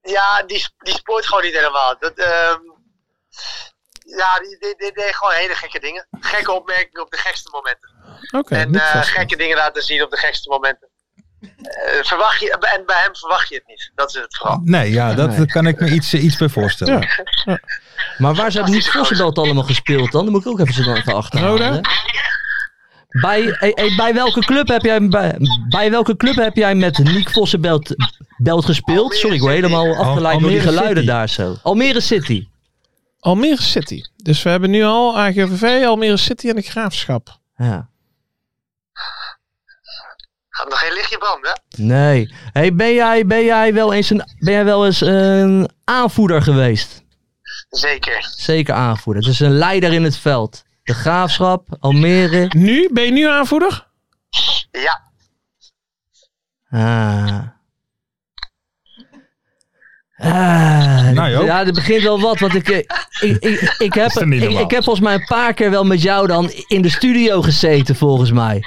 [SPEAKER 7] Ja, die, die spoort gewoon niet helemaal. Dat, ehm, ja, die die- die deed gewoon hele gekke dingen. Gekke opmerkingen op de gekste momenten.
[SPEAKER 4] Oké,
[SPEAKER 7] en
[SPEAKER 4] Nick
[SPEAKER 7] eh,
[SPEAKER 4] Vos.
[SPEAKER 7] gekke dingen laten zien op de gekste momenten. Eh, verwacht je, en bij hem verwacht je het niet. Dat is het vooral.
[SPEAKER 3] Nee, ja, dat
[SPEAKER 5] Nee.
[SPEAKER 3] kan ik me iets, eh, iets bij voorstellen.
[SPEAKER 4] Ja.
[SPEAKER 5] Maar waar ze hebben niet Vossenbelt allemaal gespeeld dan? Dan moet ik ook even zo even achterhalen.
[SPEAKER 4] Roda?
[SPEAKER 5] Bij, eh, eh, bij, welke club heb jij, bij, bij welke club heb jij met Niek Vossenbelt belt gespeeld? Sorry, ik word helemaal afgeleid door die
[SPEAKER 3] Almere
[SPEAKER 5] geluiden
[SPEAKER 3] City.
[SPEAKER 5] daar zo. Almere City.
[SPEAKER 4] Almere City. Dus we hebben nu al AGVV, Almere City en de Graafschap.
[SPEAKER 5] Ja.
[SPEAKER 7] Gaat nog geen lichtje branden, hè?
[SPEAKER 5] Nee. Hey, ben, jij, ben, jij wel eens een, ben jij wel eens een aanvoerder geweest?
[SPEAKER 7] Zeker.
[SPEAKER 5] Zeker aanvoerder. Dus een leider in het veld. De Graafschap, Almere.
[SPEAKER 4] Nu? Ben je nu aanvoerder?
[SPEAKER 7] Ja.
[SPEAKER 5] Ah. Ah,
[SPEAKER 3] Nou, Joop.
[SPEAKER 5] ja, er begint wel wat, want ik, eh, ik, ik, ik, heb,
[SPEAKER 3] er niet
[SPEAKER 5] ik,
[SPEAKER 3] normaal.
[SPEAKER 5] ik heb volgens mij een paar keer wel met jou dan in de studio gezeten, volgens mij.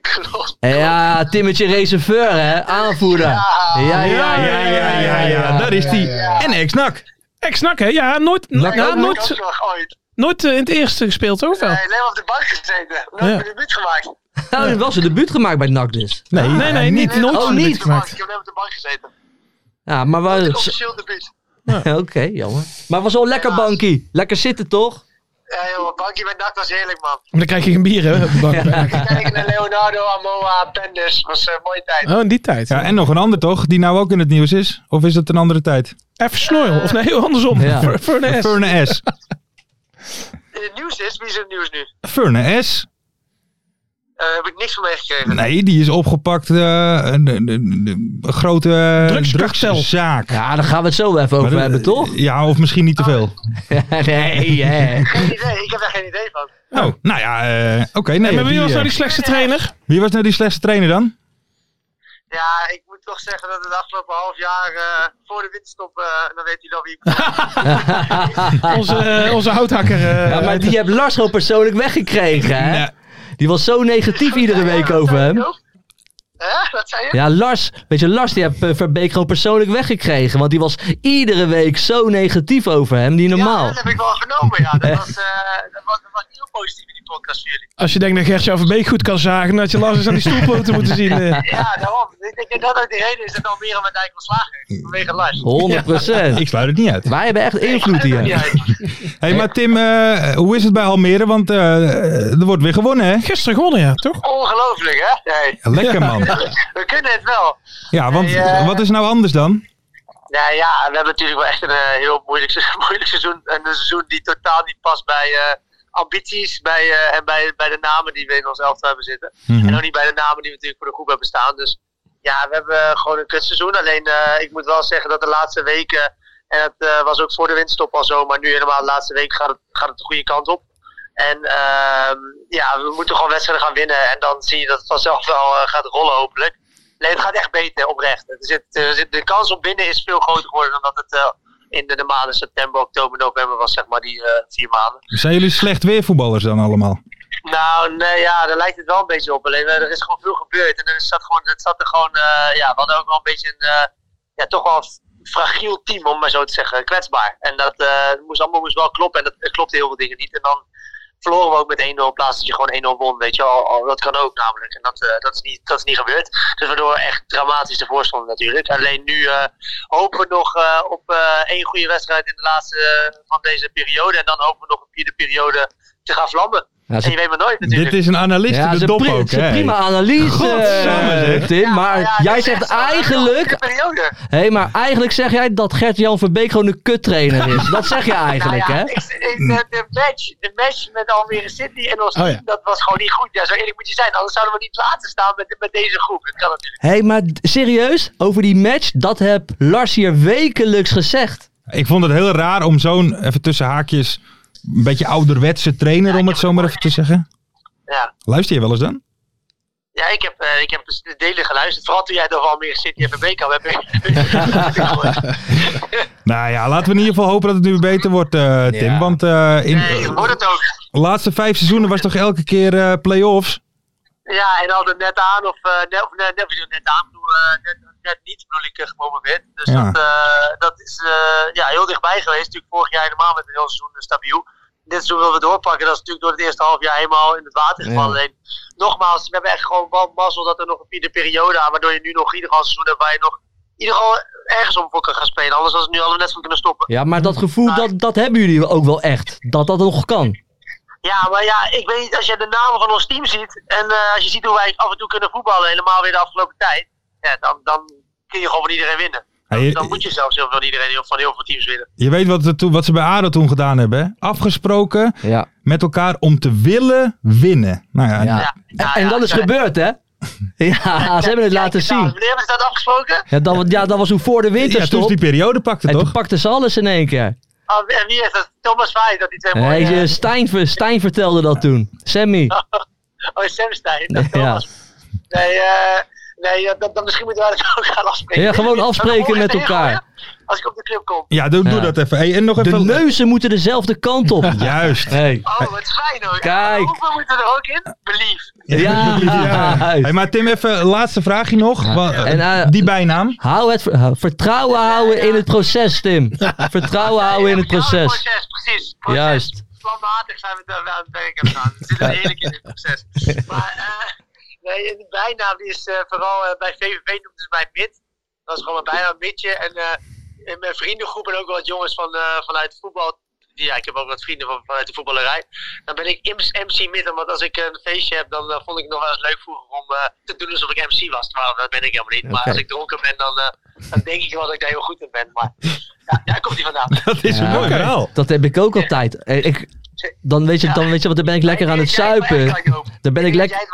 [SPEAKER 7] Klopt.
[SPEAKER 5] Ja, Timmetje reserveur, hè? Aanvoerder. Ja, ja, ja, ja, ja.
[SPEAKER 3] daar is die. En ex-nak.
[SPEAKER 4] Ik snak, hè? Ja, nooit, ja,
[SPEAKER 7] Ik heb ook
[SPEAKER 4] nooit,
[SPEAKER 7] nog ooit.
[SPEAKER 4] nooit eh, in het eerste gespeeld, toch wel?
[SPEAKER 7] Nee, alleen maar op de bank gezeten. Nooit
[SPEAKER 4] Ja.
[SPEAKER 7] een debuut gemaakt.
[SPEAKER 5] Nou, er was een debuut gemaakt bij NAC dus.
[SPEAKER 3] Nee,
[SPEAKER 4] Nee, nee, niet,
[SPEAKER 7] Nee,
[SPEAKER 4] nooit
[SPEAKER 5] Oh,
[SPEAKER 4] een debuut
[SPEAKER 5] niet.
[SPEAKER 7] op de bank.
[SPEAKER 4] gemaakt.
[SPEAKER 7] Ik heb alleen op de bank gezeten.
[SPEAKER 5] Ja, maar
[SPEAKER 7] Een
[SPEAKER 5] was...
[SPEAKER 7] Officieel debuut.
[SPEAKER 5] [laughs] Oké, jammer. Maar was wel lekker bankie. Lekker zitten, toch?
[SPEAKER 7] Ja, joh, een bankje met dak was heerlijk, man.
[SPEAKER 4] Maar dan krijg je geen bier, hè? op de bank.
[SPEAKER 7] Kijken naar Leonardo, Amoa, Pendus. Was een mooie tijd.
[SPEAKER 4] Oh, in die tijd.
[SPEAKER 3] Ja, en nog een ander toch, die nou ook in het nieuws is? Of is dat een andere tijd?
[SPEAKER 4] Even snoil. Of nee, heel andersom.
[SPEAKER 5] Ja.
[SPEAKER 4] Ver- Furness.
[SPEAKER 3] Furne S.
[SPEAKER 7] In het nieuws is, wie is in het nieuws nu?
[SPEAKER 3] Furne S.
[SPEAKER 7] Eh, heb ik niks van meegekregen.
[SPEAKER 3] Nee, die is opgepakt. eh, een, een- een- een grote
[SPEAKER 4] Drugskartel.
[SPEAKER 3] drugszaak.
[SPEAKER 5] Ja, daar gaan we het zo even over
[SPEAKER 3] Maar eh, dat-
[SPEAKER 5] hebben, toch? [laughs]
[SPEAKER 3] Ja, of misschien niet te veel.
[SPEAKER 5] nee, hè.
[SPEAKER 7] Geen idee, ik heb daar geen idee van.
[SPEAKER 3] Oh, nou ja, eh, oké. nee,
[SPEAKER 4] maar wie
[SPEAKER 3] die,
[SPEAKER 4] was nou
[SPEAKER 3] eh,
[SPEAKER 4] die slechtste trainer?
[SPEAKER 3] wie was nou die slechtste trainer dan?
[SPEAKER 7] Ja, ik moet toch zeggen dat het afgelopen half jaar eh, voor de winterstop, eh, dan weet hij dan wie ik
[SPEAKER 4] Onze, eh, onze houthakker. eh,
[SPEAKER 5] Ja, maar die heb Lars gewoon persoonlijk weggekregen, hè?
[SPEAKER 3] Nee.
[SPEAKER 5] Die was zo negatief iedere week over hem.
[SPEAKER 7] Hè, wat zei je?
[SPEAKER 5] Ja, Lars, weet je, Lars die heb eh, Verbeek gewoon persoonlijk weggekregen. Want die was iedere week zo negatief over hem, niet normaal.
[SPEAKER 7] Ja, dat heb ik wel genomen, ja.
[SPEAKER 5] [laughs]
[SPEAKER 7] Dat was, eh, dat was, dat was niet heel positief in die podcast voor jullie.
[SPEAKER 4] Als je denkt dat Gertje Verbeek goed kan zagen, dat je Lars eens aan die stoelpoten moeten zien. eh.
[SPEAKER 7] Ja, daarom. Ik denk dat dat ook de reden is dat Almere met Dijk ontslagen is. Vanwege Lars.
[SPEAKER 5] 100 procent.
[SPEAKER 3] Ik sluit het niet uit.
[SPEAKER 5] Wij hebben echt invloed
[SPEAKER 7] Maakt niet
[SPEAKER 5] hier.
[SPEAKER 7] uit.
[SPEAKER 3] hey, maar Tim, eh, hoe is het bij Almere? Want eh, er wordt weer gewonnen, hè?
[SPEAKER 4] Gisteren gewonnen, ja, toch?
[SPEAKER 7] Ongelooflijk, hè? Nee,
[SPEAKER 3] Lekker, man.
[SPEAKER 7] we kunnen het wel.
[SPEAKER 3] Ja, want
[SPEAKER 7] Nee, eh,
[SPEAKER 3] wat is nou anders dan?
[SPEAKER 7] Nou ja, we hebben natuurlijk wel echt een eh, heel moeilijk, se- [laughs] moeilijk seizoen. En een seizoen die totaal niet past bij eh, ambities bij, eh, en bij, bij de namen die we in ons elftal hebben zitten. En ook niet bij de namen die we natuurlijk voor de groep hebben staan. Dus ja, we hebben eh, gewoon een kutseizoen. Alleen eh, ik moet wel zeggen dat de laatste weken, en dat eh, was ook voor de winststop al zo, maar nu helemaal de laatste week gaat het, gaat het de goede kant op. En ehm, ja, we moeten gewoon wedstrijden gaan winnen. En dan zie je dat het vanzelf wel eh, gaat rollen hopelijk. Nee, het gaat echt beter, oprecht. Er zit, er zit- de kans op winnen is veel groter geworden dan dat het eh, in de, de maanden september, oktober, november was, zeg maar, die eh, vier maanden.
[SPEAKER 3] Zijn jullie slecht weervoetballers dan allemaal?
[SPEAKER 7] Nou, nee, ja, daar lijkt het wel een beetje op. Alleen eh, er is gewoon veel gebeurd. En er zat, gewoon, het zat er gewoon, eh, ja, we hadden ook wel een beetje een, eh, ja, toch wel een fragiel team, om maar zo te zeggen. Kwetsbaar. En dat eh, moest allemaal moest wel kloppen. En dat eh, klopte heel veel dingen niet. En dan verloren we ook met 1-0 in plaats dat je gewoon 1-0 won, weet je wel. Al- Dat kan ook namelijk. En dat, eh, dat, is niet, dat is niet gebeurd. Dus waardoor we echt dramatisch ervoor stonden natuurlijk. Alleen nu eh, hopen we nog eh, op eh, één goede wedstrijd in de laatste eh, van deze periode. En dan hopen we nog een vierde periode te gaan vlammen.
[SPEAKER 5] Ja, ze-
[SPEAKER 7] En je weet maar nooit natuurlijk.
[SPEAKER 3] Dit is een
[SPEAKER 4] Nou,
[SPEAKER 3] analist
[SPEAKER 5] Ja,
[SPEAKER 3] in
[SPEAKER 5] ze
[SPEAKER 3] de dop
[SPEAKER 5] pri-
[SPEAKER 3] ook,
[SPEAKER 5] ze
[SPEAKER 3] hè?
[SPEAKER 5] prima analyse,
[SPEAKER 3] Godsamme,
[SPEAKER 5] eh,
[SPEAKER 3] zeg.
[SPEAKER 5] Tim. Maar
[SPEAKER 7] Ja,
[SPEAKER 5] jij
[SPEAKER 7] dit is
[SPEAKER 5] zegt
[SPEAKER 7] echt wel
[SPEAKER 5] eigenlijk...
[SPEAKER 7] een periode.
[SPEAKER 5] Hé, maar eigenlijk zeg jij dat Gert-Jan Verbeek gewoon een kuttrainer is. Dat
[SPEAKER 7] [laughs]
[SPEAKER 5] zeg je eigenlijk,
[SPEAKER 7] Nou ja,
[SPEAKER 5] hè?
[SPEAKER 7] ik- ik- de, de, match, de match met Almere City en ons
[SPEAKER 4] Oh ja.
[SPEAKER 7] team, dat was gewoon niet goed. Ja, zo eerlijk moet je zijn, anders zouden we niet laten staan met, met deze groep. Dat kan natuurlijk.
[SPEAKER 5] Hé, maar d- serieus, over die match, dat heb Lars hier wekelijks gezegd.
[SPEAKER 3] Ik vond het heel raar om zo'n, even tussen haakjes, een beetje ouderwetse trainer, om het zo maar even te zeggen.
[SPEAKER 7] Ja.
[SPEAKER 3] Luister je wel eens dan?
[SPEAKER 7] Ja, ik heb, eh, ik heb dus de delen geluisterd. Vooral toen jij het over Almere City en VB kan
[SPEAKER 5] [laughs]
[SPEAKER 7] [laughs] hebben. nee,
[SPEAKER 3] Nou ja, laten we in ieder geval hopen dat het nu beter wordt, eh, Tim.
[SPEAKER 8] Ja.
[SPEAKER 3] Want eh, in
[SPEAKER 7] ik hoor het ook.
[SPEAKER 3] de laatste vijf seizoenen was toch elke keer eh play-offs?
[SPEAKER 7] Ja, en altijd net aan of, eh, net, of net, net, net aan. bedoel, eh, net, net niet bedoel ik eh, gepromoveerd. Dus
[SPEAKER 3] Ja.
[SPEAKER 7] dat, eh, dat is eh, ja, heel dichtbij geweest. Natuurlijk vorig jaar helemaal met een heel seizoen eh, stabiel. Dit seizoen willen we doorpakken. Dat is natuurlijk door het eerste half jaar helemaal in het water gevallen.
[SPEAKER 8] Ja.
[SPEAKER 7] Alleen, nogmaals, we hebben echt gewoon wel mazzel dat er nog een vierde periode aan. Waardoor je nu nog in ieder geval een seizoen hebt waar je nog in ieder geval ergens om voor kan gaan spelen. Anders hadden we nu al net van kunnen stoppen.
[SPEAKER 5] Ja, maar dat gevoel, dat, dat hebben jullie ook wel echt. Dat dat nog kan.
[SPEAKER 7] Ah. Ja, maar ja, ik weet niet, als je de namen van ons team ziet en eh, als je ziet hoe wij af en toe kunnen voetballen, helemaal weer de afgelopen tijd, ja, dan, dan kun je gewoon van iedereen winnen. Dan,
[SPEAKER 3] Ja, je-
[SPEAKER 7] dan moet je zelfs heel veel van iedereen, heel- van heel veel teams winnen.
[SPEAKER 3] Je weet wat, er toen, wat ze bij ADO toen gedaan hebben, hè? Afgesproken
[SPEAKER 5] Ja.
[SPEAKER 3] met elkaar om te willen winnen. Nou ja,
[SPEAKER 5] ja.
[SPEAKER 7] Ja.
[SPEAKER 5] En, en dat is
[SPEAKER 7] ja,
[SPEAKER 5] gebeurd,
[SPEAKER 7] [laughs]
[SPEAKER 5] hè? Ja, ze hebben het laten
[SPEAKER 7] Nou,
[SPEAKER 5] zien.
[SPEAKER 7] wanneer hebben ze dat afgesproken?
[SPEAKER 5] Ja, dat, ja, dat was hoe voor de
[SPEAKER 3] ja, toen ze
[SPEAKER 5] winterstop.
[SPEAKER 3] die periode pakte,
[SPEAKER 5] En toen
[SPEAKER 3] toch?
[SPEAKER 5] pakten ze alles in één keer.
[SPEAKER 7] Ah, en wie is dat? Thomas Vaai, dat die twee mooie...
[SPEAKER 5] Hey, eh,
[SPEAKER 7] eh,
[SPEAKER 5] Stijn, ver- Stijn vertelde dat toen. Sammy.
[SPEAKER 7] oh, Sam Stein. Dat
[SPEAKER 5] Ja.
[SPEAKER 7] Thomas. Nee, eh, nee ja, dan, dan misschien moeten wij dat ook gaan afspreken.
[SPEAKER 5] Ja, gewoon
[SPEAKER 7] Dan
[SPEAKER 5] afspreken
[SPEAKER 7] morgen
[SPEAKER 5] met
[SPEAKER 7] tegen,
[SPEAKER 5] elkaar.
[SPEAKER 7] hoor, Als ik op de club kom.
[SPEAKER 3] Ja, doe, doe
[SPEAKER 5] Ja.
[SPEAKER 3] dat even. Hey, en nog
[SPEAKER 5] De
[SPEAKER 3] even...
[SPEAKER 5] neuzen moeten dezelfde kant op.
[SPEAKER 3] Juist.
[SPEAKER 5] Hey.
[SPEAKER 7] Oh, wat fijn hoor.
[SPEAKER 5] Kijk.
[SPEAKER 7] Hoeveel moeten er ook in? Belief.
[SPEAKER 5] Ja,
[SPEAKER 3] Hey, maar Tim, even een laatste vraagje nog. Wa-
[SPEAKER 5] En, eh,
[SPEAKER 3] die bijnaam.
[SPEAKER 5] Hou het ver- hou- vertrouwen houden in het proces, Tim. Vertrouwen houden in het proces.
[SPEAKER 7] proces, precies. Proces.
[SPEAKER 5] Juist.
[SPEAKER 7] Planmatig zijn we daar wel aan het werk aan gedaan. We zitten eerlijk in dit proces. Maar eh, nee, de bijnaam die is eh, vooral eh, bij VVV noemden ze mij Mid. Dat is gewoon mijn bijnaam, Midje. En eh, in mijn vriendengroep en ook wat jongens van, eh, vanuit voetbal. Ja, ik heb ook wat vrienden van, vanuit de voetballerij. Dan ben ik Ims- MC Mid, want als ik een feestje heb, dan eh, vond ik het nog wel eens leuk vroeger om eh, te doen alsof ik MC was. Terwijl dat ben ik helemaal niet. Maar
[SPEAKER 5] Oké.
[SPEAKER 7] als ik dronken ben, dan, eh, dan denk ik wel dat ik daar heel goed in ben. Maar ja, daar komt hij vandaan.
[SPEAKER 3] Dat is een
[SPEAKER 5] Ja.
[SPEAKER 3] mooi verhaal.
[SPEAKER 5] Oh. Dat heb ik ook altijd. Eh, Ik, dan, weet je, dan weet je wat, dan ben ik lekker aan het zuipen. Dan ben ik lekker...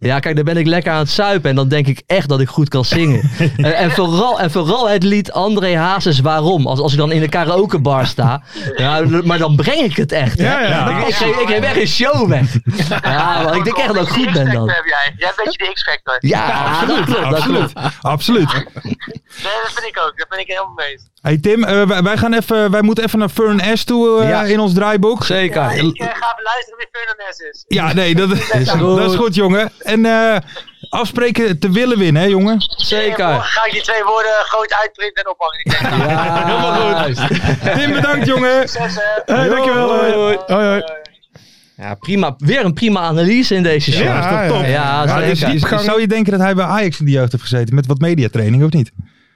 [SPEAKER 5] Ja, kijk, dan ben ik lekker aan het zuipen en dan denk ik echt dat ik goed kan zingen. en, en, vooral, en vooral het lied André Hazes Waarom, als, als ik dan in de karaokebar sta. Ja, maar dan breng ik het echt. hè.
[SPEAKER 4] Ja, ja.
[SPEAKER 5] Ik, ik, geef- ik geef echt een show weg. Ja, maar ik denk echt dat ik goed ben dan.
[SPEAKER 7] Heb jij. jij bent een beetje de X-Factor.
[SPEAKER 5] Ja, dat klopt. Dat klopt.
[SPEAKER 3] Absoluut. Absoluut.
[SPEAKER 7] Nee, dat vind ik ook. Dat ben ik helemaal mee eens.
[SPEAKER 3] Hey Tim, eh, wij, wij gaan even, wij moeten even naar Fern S toe eh,
[SPEAKER 5] Ja.
[SPEAKER 3] in ons draaiboek.
[SPEAKER 7] Ja,
[SPEAKER 5] Zeker.
[SPEAKER 7] ik eh, ga beluisteren wie Fernandez is.
[SPEAKER 3] Ja, nee, [laughs]
[SPEAKER 5] [laughs]
[SPEAKER 3] dat is,
[SPEAKER 5] goed.
[SPEAKER 3] dat is goed, jongen. En eh, afspreken te willen winnen, hè, jongen.
[SPEAKER 7] En morgen
[SPEAKER 5] Zeker.
[SPEAKER 7] ga ik die twee woorden groot uitprinten en ophangen. Ik denk, nou,
[SPEAKER 5] Helemaal goed.
[SPEAKER 3] Tim, bedankt, jongen.
[SPEAKER 7] succes, eh.
[SPEAKER 4] Hey, dankjewel.
[SPEAKER 3] Hoi,
[SPEAKER 4] Hoi, hoi. hoi, hoi.
[SPEAKER 5] Ja, prima. Weer een prima analyse in deze show.
[SPEAKER 4] Ja,
[SPEAKER 5] Ja,
[SPEAKER 4] is toch top?
[SPEAKER 5] ja,
[SPEAKER 3] Ja, dus
[SPEAKER 5] zeker.
[SPEAKER 3] die- zou je denken dat hij bij Ajax in de jeugd heeft gezeten met wat mediatraining, of niet?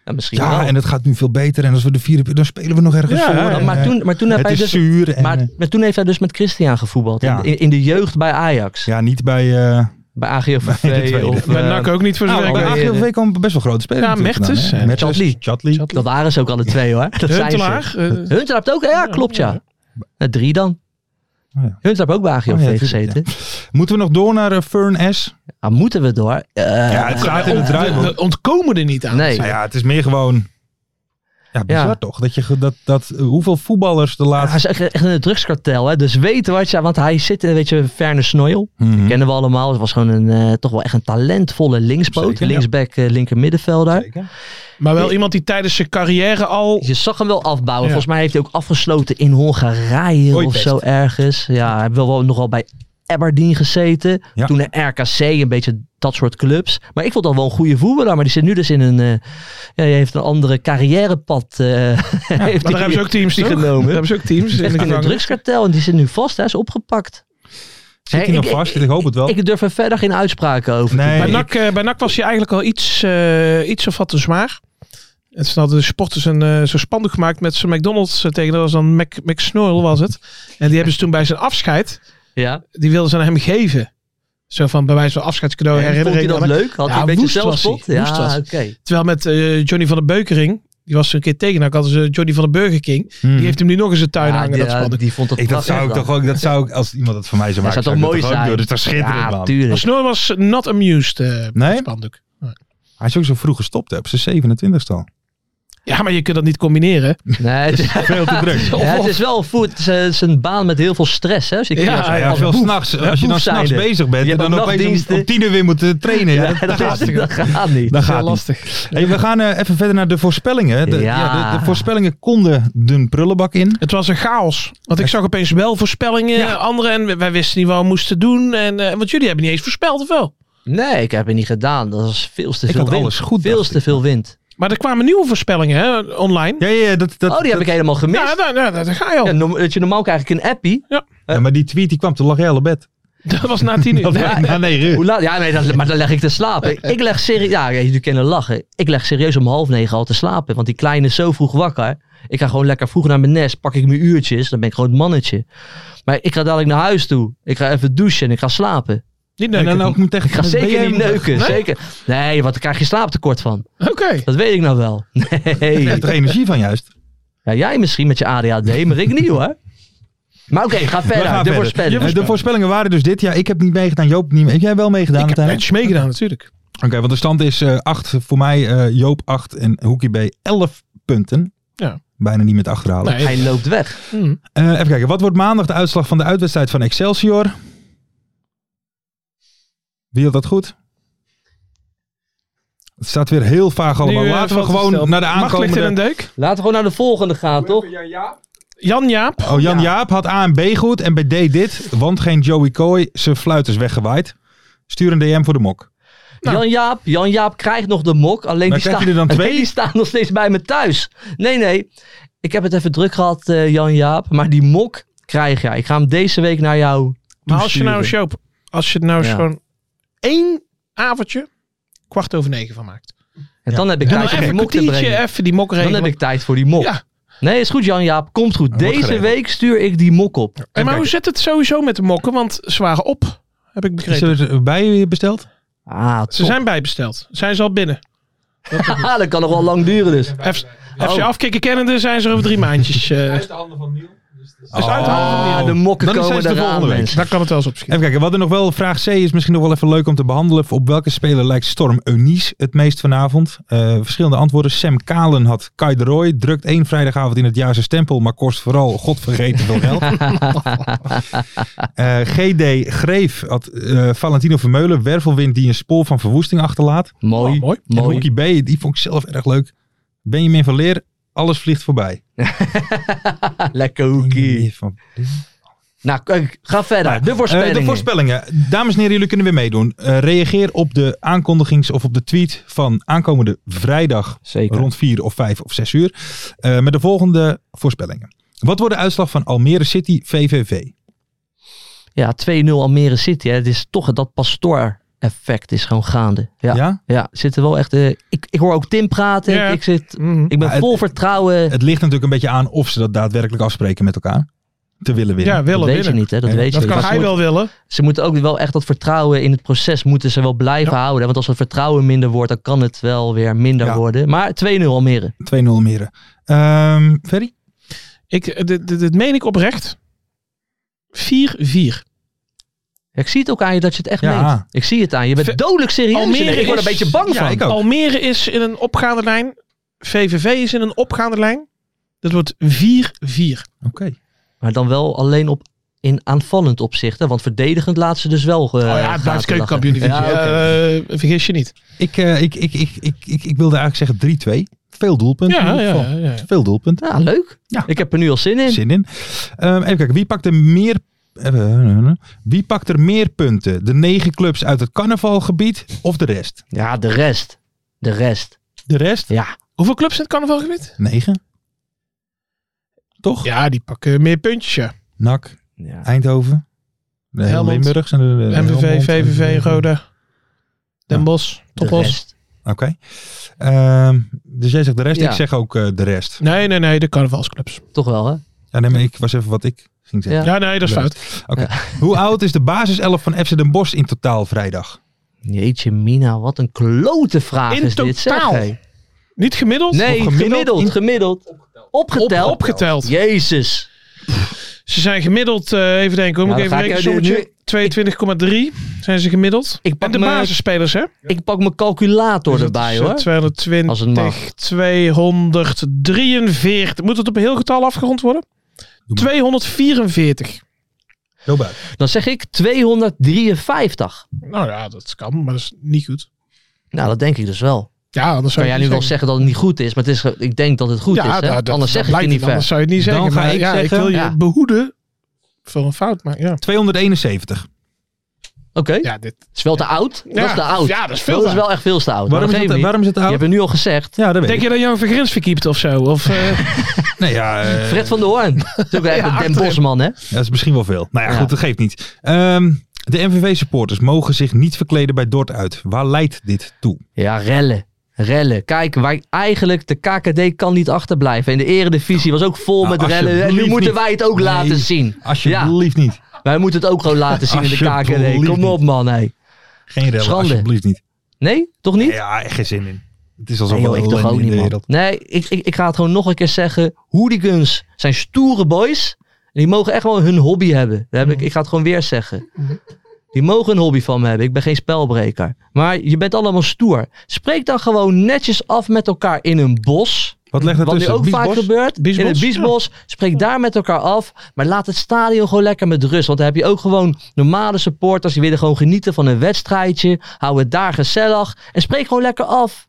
[SPEAKER 5] Ja, misschien
[SPEAKER 3] Ja,
[SPEAKER 5] wel.
[SPEAKER 3] en het gaat nu veel beter. En als we de vierde, dan spelen we nog ergens
[SPEAKER 4] Ja,
[SPEAKER 3] voor.
[SPEAKER 4] ja,
[SPEAKER 5] Maar-
[SPEAKER 3] En,
[SPEAKER 5] maar,
[SPEAKER 3] eh,
[SPEAKER 5] toen, maar, toen heeft
[SPEAKER 3] het
[SPEAKER 5] hij
[SPEAKER 3] is
[SPEAKER 5] dus,
[SPEAKER 3] zuur. En,
[SPEAKER 5] maar,
[SPEAKER 3] eh,
[SPEAKER 5] maar toen heeft hij dus met Christian gevoetbald.
[SPEAKER 3] Ja.
[SPEAKER 5] In, in de jeugd bij Ajax.
[SPEAKER 3] ja, niet bij... eh
[SPEAKER 5] Bij AGOVV.
[SPEAKER 3] Bij de tweede.
[SPEAKER 5] of,
[SPEAKER 4] Bij
[SPEAKER 5] eh,
[SPEAKER 4] NAC ook niet voor
[SPEAKER 5] nou,
[SPEAKER 4] zover ik
[SPEAKER 3] bij
[SPEAKER 5] bij
[SPEAKER 4] weet.
[SPEAKER 3] AGOV komen best wel grote spelers.
[SPEAKER 4] Ja,
[SPEAKER 3] natuurlijk
[SPEAKER 4] Mertens
[SPEAKER 3] vandaan, hè?
[SPEAKER 4] en
[SPEAKER 3] Mertens,
[SPEAKER 5] Chadli.
[SPEAKER 3] Chadli.
[SPEAKER 5] Dat waren ze ook al de twee hoor. Dat zijn ze.
[SPEAKER 4] Huntelaar. eh,
[SPEAKER 5] Hunter hebt ook, ja klopt ja. Eh, Drie dan.
[SPEAKER 3] Oh, ja.
[SPEAKER 5] Hunter heeft ook bij AGOVV
[SPEAKER 3] Oh ja, tuurlijk,
[SPEAKER 5] gezeten.
[SPEAKER 3] Moeten we nog door naar eh, Fern S?
[SPEAKER 5] Ah, moeten we door? Eh,
[SPEAKER 3] Ja, het staat in
[SPEAKER 4] on-
[SPEAKER 3] het draaiboek.
[SPEAKER 4] we ontkomen er niet aan.
[SPEAKER 5] nee.
[SPEAKER 3] Nou ja, het is meer gewoon... Ja, bizar
[SPEAKER 5] Ja.
[SPEAKER 3] toch? Dat je, ge- dat, dat, hoeveel voetballers de
[SPEAKER 5] Hij
[SPEAKER 3] laatste...
[SPEAKER 5] is echt, echt in het drugskartel, hè? dus weten wat je... Want hij zit in, weet je, Verne Snoil.
[SPEAKER 3] Mhm.
[SPEAKER 5] Kennen we allemaal. Het was gewoon een, eh, toch wel echt een talentvolle linkspoot.
[SPEAKER 3] Zeker, ja.
[SPEAKER 5] Linksback, eh, linker middenvelder.
[SPEAKER 4] Maar wel iemand die tijdens zijn carrière al...
[SPEAKER 5] Je zag hem wel afbouwen.
[SPEAKER 4] Ja.
[SPEAKER 5] Volgens mij heeft hij ook afgesloten in Hongarije
[SPEAKER 3] Ooit
[SPEAKER 5] of
[SPEAKER 3] best.
[SPEAKER 5] zo ergens. Ja, hij heeft wel, wel nogal bij Aberdeen gezeten.
[SPEAKER 3] Ja.
[SPEAKER 5] Toen naar RKC, een beetje dat soort clubs. Maar ik vond dat wel een goede voetballer. Maar die zit nu dus in een... eh, ja, die heeft een andere carrièrepad. eh, [laughs] heeft
[SPEAKER 4] Maar
[SPEAKER 5] die-
[SPEAKER 4] daar hebben ze ook teams
[SPEAKER 5] die
[SPEAKER 4] toch?
[SPEAKER 5] genomen.
[SPEAKER 4] Daar hebben ze ook teams. in de
[SPEAKER 5] Echt in een
[SPEAKER 4] gevangenis.
[SPEAKER 5] drugskartel. En die zit nu vast. Hij is opgepakt.
[SPEAKER 3] Zit hij
[SPEAKER 5] Hey,
[SPEAKER 3] nog
[SPEAKER 5] ik-
[SPEAKER 3] vast? Ik hoop het wel.
[SPEAKER 5] Ik durf er verder geen uitspraken over. te
[SPEAKER 3] Oh. Nee,
[SPEAKER 4] Bij
[SPEAKER 3] ik-
[SPEAKER 4] NAC, eh, bij NAC was hij eigenlijk al iets, eh, iets of wat te zwaar. En toen hadden de sporters een eh zo'n spandoek gemaakt met zijn McDonald's eh, tegen. Dat was dan Mac, McSnurl was het. En die hebben ze toen bij zijn afscheid,
[SPEAKER 5] doen. Ja.
[SPEAKER 4] die wilden ze aan hem geven. Zo van bij wijze van afscheidscadeau
[SPEAKER 5] En Vond
[SPEAKER 4] herinnering.
[SPEAKER 5] hij dat
[SPEAKER 4] aan-
[SPEAKER 5] leuk? Had
[SPEAKER 4] Ja,
[SPEAKER 5] hij een beetje
[SPEAKER 4] woest was
[SPEAKER 5] zelfspot?
[SPEAKER 4] hij.
[SPEAKER 5] Ja,
[SPEAKER 4] Woest was
[SPEAKER 5] oké.
[SPEAKER 4] hij. Terwijl met eh, Johnny van der Beukering, die was er een keer tegen. Nou, hadden ze Johnny van der Burger King.
[SPEAKER 3] Hmm.
[SPEAKER 4] Die heeft hem nu nog eens een tuin
[SPEAKER 5] Ja,
[SPEAKER 4] hangen,
[SPEAKER 5] die,
[SPEAKER 4] dat
[SPEAKER 5] ja,
[SPEAKER 4] spandoek.
[SPEAKER 5] die vond dat
[SPEAKER 3] Ik, dat zou ik
[SPEAKER 5] prachtig
[SPEAKER 3] toch ook, dat zou ik, als iemand dat voor mij zou
[SPEAKER 5] dan.
[SPEAKER 3] maken,
[SPEAKER 5] Dat zou toch mooi
[SPEAKER 3] ik dat ook
[SPEAKER 5] zijn?
[SPEAKER 3] doen. Dat is toch schitterend,
[SPEAKER 5] Ja,
[SPEAKER 3] man.
[SPEAKER 5] tuurlijk.
[SPEAKER 4] Snor was not amused, eh,
[SPEAKER 3] Nee?
[SPEAKER 4] spandoek.
[SPEAKER 3] Hij is ook zo vroeg gestopt hè, op zijn 27 e al.
[SPEAKER 4] Ja, maar je kunt dat niet combineren.
[SPEAKER 5] Nee, het is,
[SPEAKER 3] [laughs] Veel te druk.
[SPEAKER 5] [laughs] ja, het is wel voet. Het is, het is een baan met heel veel stress. Hè, dus als je
[SPEAKER 4] Ja,
[SPEAKER 5] als-
[SPEAKER 3] Ja, ja,
[SPEAKER 5] als
[SPEAKER 3] veel
[SPEAKER 5] boef.
[SPEAKER 3] s'nachts.
[SPEAKER 5] hè,
[SPEAKER 3] Als je dan
[SPEAKER 5] boef
[SPEAKER 3] s'nachts
[SPEAKER 5] zijnde.
[SPEAKER 3] bezig bent
[SPEAKER 5] Je
[SPEAKER 3] en
[SPEAKER 5] hebt
[SPEAKER 3] dan
[SPEAKER 5] ook
[SPEAKER 3] opeens om,
[SPEAKER 5] nachtdiensten.
[SPEAKER 3] om tien uur weer moet trainen. Ja, [laughs]
[SPEAKER 5] Ja,
[SPEAKER 3] dat,
[SPEAKER 5] [laughs] dat,
[SPEAKER 3] gaat
[SPEAKER 5] is, dat gaat niet.
[SPEAKER 3] Dat
[SPEAKER 4] Heel
[SPEAKER 3] gaat niet.
[SPEAKER 4] lastig.
[SPEAKER 3] Hey, we gaan eh, even verder naar de voorspellingen. De, ja.
[SPEAKER 5] Ja.
[SPEAKER 3] de, de voorspellingen konden de prullenbak in.
[SPEAKER 4] Het was een chaos. Want ik zag opeens wel voorspellingen,
[SPEAKER 3] Ja.
[SPEAKER 4] anderen. En wij wisten niet wat we moesten doen. En, eh, want jullie hebben niet eens voorspeld, of wel?
[SPEAKER 5] Nee, ik heb het niet gedaan. Dat was veel te
[SPEAKER 3] Ik
[SPEAKER 5] veel
[SPEAKER 3] had
[SPEAKER 5] wind.
[SPEAKER 3] alles goed,
[SPEAKER 5] Veel
[SPEAKER 3] dacht
[SPEAKER 5] te veel wind.
[SPEAKER 4] Maar er kwamen nieuwe voorspellingen hè, online.
[SPEAKER 3] Ja, ja, ja, dat, dat,
[SPEAKER 5] Oh, die heb ik helemaal gemist.
[SPEAKER 4] Ja, daar, daar, daar, daar ga je al.
[SPEAKER 5] Ja, norm- dat je normaal krijg ik een appie.
[SPEAKER 3] ja, maar die tweet die kwam, toen lag jij al op bed.
[SPEAKER 4] [laughs] Dat was na tien uur.
[SPEAKER 3] Dat
[SPEAKER 4] Ja,
[SPEAKER 3] was na negen uur.
[SPEAKER 5] Hoe laat? Ja, nee, dat, maar dan leg ik te slapen.
[SPEAKER 3] Eh,
[SPEAKER 5] Ik leg serieus. Ja, jullie kennen lachen. Ik leg serieus om half negen al te slapen. Want die kleine is zo vroeg wakker. Ik ga gewoon lekker vroeg naar mijn nest. Pak ik mijn uurtjes. Dan ben ik gewoon het mannetje. Maar ik ga dadelijk naar huis toe. Ik ga even douchen en ik ga slapen.
[SPEAKER 4] Niet
[SPEAKER 3] En
[SPEAKER 4] neuken.
[SPEAKER 3] dan ook moet echt,
[SPEAKER 5] Ik ga zeker niet neuken.
[SPEAKER 4] Nee?
[SPEAKER 5] Zeker. Nee, want dan krijg je slaaptekort van.
[SPEAKER 4] Oké.
[SPEAKER 5] Dat weet ik nou wel. [laughs]
[SPEAKER 3] Je
[SPEAKER 5] Nee.
[SPEAKER 3] krijgt er energie van juist.
[SPEAKER 5] Ja, jij misschien met je ADHD, maar ik niet hoor. Maar oké, ga
[SPEAKER 3] We
[SPEAKER 5] verder.
[SPEAKER 3] gaan
[SPEAKER 5] de
[SPEAKER 3] verder.
[SPEAKER 5] voorspelling.
[SPEAKER 3] Eh, De voorspellingen waren dus dit. Ja, ik heb niet meegedaan. Joop, niet mee. heb jij wel meegedaan?
[SPEAKER 4] Ik heb
[SPEAKER 3] uiteindelijk?
[SPEAKER 4] netjes meegedaan natuurlijk.
[SPEAKER 3] Oké, want de stand is eh 8 voor mij. eh, Joop 8 en Hoekie B 11 punten.
[SPEAKER 4] Ja.
[SPEAKER 3] Bijna niet met achterhalen.
[SPEAKER 4] Nee.
[SPEAKER 5] Hij loopt weg.
[SPEAKER 4] Hm.
[SPEAKER 3] Eh, even kijken, wat wordt maandag de uitslag van de uitwedstrijd van Excelsior? Wie had dat goed? Het staat weer heel vaag allemaal.
[SPEAKER 4] Nu, eh,
[SPEAKER 3] Laten we
[SPEAKER 4] valt het
[SPEAKER 3] gewoon
[SPEAKER 4] stil.
[SPEAKER 3] naar de
[SPEAKER 4] Mag ligt in een
[SPEAKER 3] aankomende...
[SPEAKER 4] deuk.
[SPEAKER 5] Laten we gewoon naar de volgende gaan, toch?
[SPEAKER 4] Jan Jaap.
[SPEAKER 3] Oh, Jan Jaap had A en B goed en bij D dit, want geen Joey Coy, zijn fluit is weggewaaid. Stuur een DM voor de mok.
[SPEAKER 5] Jan, Jaap, Jan Jaap krijgt nog de mok. Alleen
[SPEAKER 3] Nou. Maar
[SPEAKER 5] die,
[SPEAKER 3] krijgt
[SPEAKER 5] staan-
[SPEAKER 3] hij er dan
[SPEAKER 5] [laughs] alleen
[SPEAKER 3] twee?
[SPEAKER 5] die staan nog steeds bij me thuis. Nee, nee. Ik heb het even druk gehad, eh, Jan Jaap. Maar die mok krijg jij. Ik ga hem deze week naar jou.
[SPEAKER 4] Maar als je nou eens,
[SPEAKER 5] toesturen.
[SPEAKER 4] Joop, als je er nou eens
[SPEAKER 5] Ja.
[SPEAKER 4] gewoon één avondje, kwart over negen van maakt.
[SPEAKER 5] En dan heb
[SPEAKER 4] En dan
[SPEAKER 5] ik tijd om
[SPEAKER 4] even
[SPEAKER 5] die
[SPEAKER 4] een
[SPEAKER 5] mok te
[SPEAKER 4] kwartiertje,
[SPEAKER 5] brengen.
[SPEAKER 4] even die mok
[SPEAKER 5] Dan
[SPEAKER 4] regelen.
[SPEAKER 5] heb ik tijd voor die mok.
[SPEAKER 4] Ja.
[SPEAKER 5] Nee, is goed, Jan Jaap. Komt goed.
[SPEAKER 3] wordt
[SPEAKER 5] Deze
[SPEAKER 3] geregeld.
[SPEAKER 5] week stuur ik die mok op. [laughs]
[SPEAKER 4] En maar hoe zit het sowieso met de mokken? Want ze waren op, heb ik
[SPEAKER 3] Is
[SPEAKER 4] begrepen.
[SPEAKER 3] er bij je besteld?
[SPEAKER 5] Ah,
[SPEAKER 4] Ze
[SPEAKER 5] top.
[SPEAKER 4] zijn bijbesteld. Zijn ze al binnen?
[SPEAKER 5] Ah, dat kan nog wel lang duren
[SPEAKER 3] Oh.
[SPEAKER 5] dus.
[SPEAKER 4] F- FC afkikken kennende zijn ze er over drie
[SPEAKER 5] [laughs]
[SPEAKER 4] maandjes. eh.
[SPEAKER 3] Is
[SPEAKER 4] uit de handen van Niel.
[SPEAKER 5] Ah, de mokken
[SPEAKER 3] Dan zijn
[SPEAKER 5] komen
[SPEAKER 3] ze de
[SPEAKER 5] eraan,
[SPEAKER 3] volgende week.
[SPEAKER 5] mensen.
[SPEAKER 4] daar kan het wel eens op schieten.
[SPEAKER 3] Even kijken, wat er nog wel, vraag C is misschien nog wel even leuk om te behandelen. Op welke speler lijkt Storm Eunice het meest vanavond? Eh, verschillende antwoorden. Sam Kalen had Kai de Roy. Drukt één vrijdagavond in het jaar zijn stempel, maar kost vooral godvergeten veel geld. Eh, GD Greef had eh, Valentino Vermeulen. Wervelwind die een spoor van verwoesting achterlaat.
[SPEAKER 5] Mooi.
[SPEAKER 4] Oh, mooi.
[SPEAKER 3] En
[SPEAKER 5] mooi.
[SPEAKER 3] Hoekie B, die vond ik zelf erg leuk. Benjamin van Leer, alles vliegt voorbij.
[SPEAKER 5] Lekker hoekie.
[SPEAKER 3] Benjamin van-
[SPEAKER 5] Nou, kijk, ga verder. De
[SPEAKER 3] Eh,
[SPEAKER 5] voorspellingen.
[SPEAKER 3] de voorspellingen. Dames en heren, jullie kunnen weer meedoen. Eh, reageer op de aankondigings of op de tweet van aankomende vrijdag
[SPEAKER 5] Zeker.
[SPEAKER 3] rond 4 of 5 of 6 uur. eh, met de volgende voorspellingen. Wat wordt de uitslag van Almere City VVV?
[SPEAKER 5] Ja, 2-0 Almere City. Hè. Het is toch dat pastoor-effect is gewoon gaande. Ja, ja? zit er wel echt. eh, ik, ik hoor ook Tim praten.
[SPEAKER 4] Ja.
[SPEAKER 5] Ik, ik zit,
[SPEAKER 4] Mhm.
[SPEAKER 5] ik ben
[SPEAKER 3] Maar het-
[SPEAKER 5] vol vertrouwen.
[SPEAKER 3] Het ligt natuurlijk een beetje aan of ze dat daadwerkelijk afspreken met elkaar. Te willen winnen.
[SPEAKER 4] Ja,
[SPEAKER 5] Dat
[SPEAKER 4] willen,
[SPEAKER 5] weet je
[SPEAKER 4] winnen.
[SPEAKER 5] niet, hè? Dat
[SPEAKER 3] Ja,
[SPEAKER 5] weet
[SPEAKER 4] Dat
[SPEAKER 5] je
[SPEAKER 4] kan
[SPEAKER 5] niet. Maar
[SPEAKER 4] hij
[SPEAKER 5] ze,
[SPEAKER 4] wel willen.
[SPEAKER 5] moeten, ze moeten ook wel echt dat vertrouwen in het proces moeten ze wel blijven houden. Want als het vertrouwen minder wordt, dan kan het wel weer minder
[SPEAKER 3] Ja.
[SPEAKER 5] worden. Maar 2-0 Almere.
[SPEAKER 3] 2-0 Almere. Ehm Ferry?
[SPEAKER 4] Ik, eh, dit, dit, dit meen ik oprecht. 4-4.
[SPEAKER 5] Ja, ik zie het ook aan je dat je het echt
[SPEAKER 3] Ja.
[SPEAKER 5] meent. Ik zie het aan je. Je bent
[SPEAKER 4] Ver-
[SPEAKER 5] dodelijk serieus.
[SPEAKER 4] Almere
[SPEAKER 5] ik word
[SPEAKER 4] is-
[SPEAKER 5] een beetje bang
[SPEAKER 3] Ja,
[SPEAKER 5] van.
[SPEAKER 3] ik ook.
[SPEAKER 4] Almere is in een opgaande lijn. VVV is in een opgaande lijn. Dat wordt 4-4.
[SPEAKER 3] Oké.
[SPEAKER 5] Maar dan wel alleen op in aanvallend opzicht. Hè? Want verdedigend laat ze dus wel.
[SPEAKER 4] oh ja, het blijft keukenkampioen-divisie.
[SPEAKER 5] Ja, oké.
[SPEAKER 4] Eh, vergis je niet.
[SPEAKER 3] Ik, eh, ik, ik, ik, ik, ik, ik wilde eigenlijk zeggen 3-2. Veel doelpunten. in
[SPEAKER 4] Ja,
[SPEAKER 3] ieder
[SPEAKER 4] ja,
[SPEAKER 3] geval.
[SPEAKER 4] ja.
[SPEAKER 3] Veel doelpunten.
[SPEAKER 5] Ja, leuk.
[SPEAKER 3] Ja.
[SPEAKER 5] Ik heb er nu al zin in.
[SPEAKER 3] zin in. Ehm, even kijken, wie pakt er meer... eh, Wie pakt er meer punten? De negen clubs uit het carnavalgebied of de rest?
[SPEAKER 5] Ja, de rest. De rest.
[SPEAKER 3] De rest?
[SPEAKER 5] Ja.
[SPEAKER 4] Hoeveel clubs in het carnavalgebied?
[SPEAKER 3] Negen. Toch?
[SPEAKER 4] Ja, die pakken meer puntjes, ja.
[SPEAKER 3] NAC,
[SPEAKER 5] ja.
[SPEAKER 3] Eindhoven. De hele
[SPEAKER 4] Helmond.
[SPEAKER 3] Limburgs en de, de- de
[SPEAKER 4] MVV,
[SPEAKER 3] Helmond.
[SPEAKER 4] VVV, Roda, Den
[SPEAKER 3] Ja.
[SPEAKER 4] Bosch,
[SPEAKER 5] eh, De
[SPEAKER 4] Topos.
[SPEAKER 5] rest.
[SPEAKER 3] Oké. Ehm, dus jij zegt de rest,
[SPEAKER 5] Ja.
[SPEAKER 3] ik zeg ook eh, de rest.
[SPEAKER 4] Nee, nee, nee, de carnavalsclubs.
[SPEAKER 5] Toch wel, hè?
[SPEAKER 3] Ja, nee, maar ik was even wat ik ging zeggen.
[SPEAKER 5] Ja.
[SPEAKER 4] Ja, nee, dat is
[SPEAKER 3] De
[SPEAKER 4] fout.
[SPEAKER 3] Oké. Hoe oud is de basiself van FC Den Bosch in totaal vrijdag?
[SPEAKER 5] Jeetje mina, wat een klote vraag
[SPEAKER 4] In
[SPEAKER 5] is dit. Zeg,
[SPEAKER 4] totaal.
[SPEAKER 5] hé.
[SPEAKER 4] Niet gemiddeld?
[SPEAKER 5] Nee,
[SPEAKER 3] Of gemiddeld
[SPEAKER 5] gemiddeld.
[SPEAKER 3] in-
[SPEAKER 5] Gemiddeld.
[SPEAKER 4] Op-
[SPEAKER 5] Opgeteld.
[SPEAKER 4] opgeteld.
[SPEAKER 5] Jezus.
[SPEAKER 4] Ze zijn gemiddeld, eh, even denken, hoor,
[SPEAKER 5] Ja,
[SPEAKER 4] moet ik even
[SPEAKER 5] dan ga ik
[SPEAKER 4] rekenen.
[SPEAKER 5] er nu-
[SPEAKER 4] sommetje. 222,3 zijn ze gemiddeld.
[SPEAKER 5] Ik pak
[SPEAKER 4] en de
[SPEAKER 5] me-
[SPEAKER 4] basisspelers, hè?
[SPEAKER 5] Ik pak mijn calculator erbij
[SPEAKER 4] Dus, eh,
[SPEAKER 5] hoor.
[SPEAKER 4] 220,
[SPEAKER 5] Als het mag.
[SPEAKER 4] 243. Moet het op een heel getal afgerond worden?
[SPEAKER 3] Doe maar.
[SPEAKER 4] 244.
[SPEAKER 3] Heel buiten.
[SPEAKER 5] Dan zeg ik 253.
[SPEAKER 4] Nou ja, dat kan, maar dat is niet goed.
[SPEAKER 5] Nou, dat denk ik dus wel.
[SPEAKER 4] Ja, anders zou
[SPEAKER 5] Kan jij
[SPEAKER 4] het
[SPEAKER 5] nu
[SPEAKER 4] niet
[SPEAKER 5] wel zeggen dat het niet goed is, maar het is, ge- ik denk dat het goed is.
[SPEAKER 4] ja,
[SPEAKER 5] Hè?
[SPEAKER 4] nou, dat-
[SPEAKER 5] Anders
[SPEAKER 4] dat
[SPEAKER 5] zeg ik het
[SPEAKER 4] blijkt
[SPEAKER 5] niet
[SPEAKER 4] Anders
[SPEAKER 5] ver.
[SPEAKER 4] zou je het niet
[SPEAKER 3] Dan
[SPEAKER 4] zeggen.
[SPEAKER 3] ga
[SPEAKER 4] maar
[SPEAKER 3] ik
[SPEAKER 4] ja,
[SPEAKER 3] zeggen-
[SPEAKER 4] ik wil je
[SPEAKER 5] Ja.
[SPEAKER 4] behoeden voor een fout. Maar ja,
[SPEAKER 3] 271.
[SPEAKER 5] Oké,
[SPEAKER 4] ja dit,
[SPEAKER 5] het is wel te oud.
[SPEAKER 4] Ja,
[SPEAKER 5] Dat is te oud.
[SPEAKER 4] ja, dat is veel te
[SPEAKER 5] wel echt veel te oud.
[SPEAKER 3] Waarom is, het, waarom is het
[SPEAKER 5] Je
[SPEAKER 3] oud?
[SPEAKER 5] hebt het nu al gezegd.
[SPEAKER 3] Ja, dat weet
[SPEAKER 4] Denk
[SPEAKER 3] ik.
[SPEAKER 4] je dat Jan Vergrins verkiept of zo? Of, [laughs] eh,
[SPEAKER 3] Nee, ja, eh,
[SPEAKER 4] Oh.
[SPEAKER 5] Fred van
[SPEAKER 4] [laughs]
[SPEAKER 5] der Hoorn. Dat is ook echt een Den Bosman, hè?
[SPEAKER 3] dat is misschien wel veel. Nou ja,
[SPEAKER 5] Ja.
[SPEAKER 3] goed, dat geeft niet. Ehm, de MVV-supporters mogen zich niet verkleden bij Dort uit. Waar leidt dit toe?
[SPEAKER 5] Ja, rellen. Rellen. Kijk, waar eigenlijk de KKD kan niet achterblijven. En de eredivisie was ook vol
[SPEAKER 3] Nou,
[SPEAKER 5] met rellen. En nu
[SPEAKER 3] alsjeblieft
[SPEAKER 5] moeten
[SPEAKER 3] niet.
[SPEAKER 5] wij het ook
[SPEAKER 3] Nee.
[SPEAKER 5] laten zien.
[SPEAKER 3] Alsjeblieft niet.
[SPEAKER 5] Wij moeten het ook gewoon laten zien in de KKD.
[SPEAKER 3] Alsjeblieft
[SPEAKER 5] Kom op, man. hé.
[SPEAKER 3] Geen rellen,
[SPEAKER 5] Schande.
[SPEAKER 3] alsjeblieft niet.
[SPEAKER 5] Nee, toch niet?
[SPEAKER 3] Ja, echt geen zin in. Het is alsof
[SPEAKER 5] Nee, joh,
[SPEAKER 3] we
[SPEAKER 5] ik toch
[SPEAKER 3] alleen
[SPEAKER 5] ook
[SPEAKER 3] in
[SPEAKER 5] niet,
[SPEAKER 3] de
[SPEAKER 5] man.
[SPEAKER 3] wereld-
[SPEAKER 5] Nee, ik, ik, ik ga het gewoon nog een keer zeggen. Hooligans zijn stoere boys. En die mogen echt wel hun hobby hebben. Dat heb ik, ik ga het gewoon weer zeggen. Die mogen een hobby van me hebben. Ik ben geen spelbreker. Maar je bent allemaal stoer. Spreek dan gewoon netjes af met elkaar in een bos.
[SPEAKER 3] Wat legt er
[SPEAKER 5] Wat nu
[SPEAKER 3] tussen?
[SPEAKER 5] ook vaak
[SPEAKER 3] Biesbos?
[SPEAKER 5] gebeurt.
[SPEAKER 4] Biesbos?
[SPEAKER 5] In het biesbos. Spreek daar met elkaar af. Maar laat het stadion gewoon lekker met rust. Want dan heb je ook gewoon normale supporters. Die willen gewoon genieten van een wedstrijdje. Hou het daar gezellig. En spreek gewoon lekker af.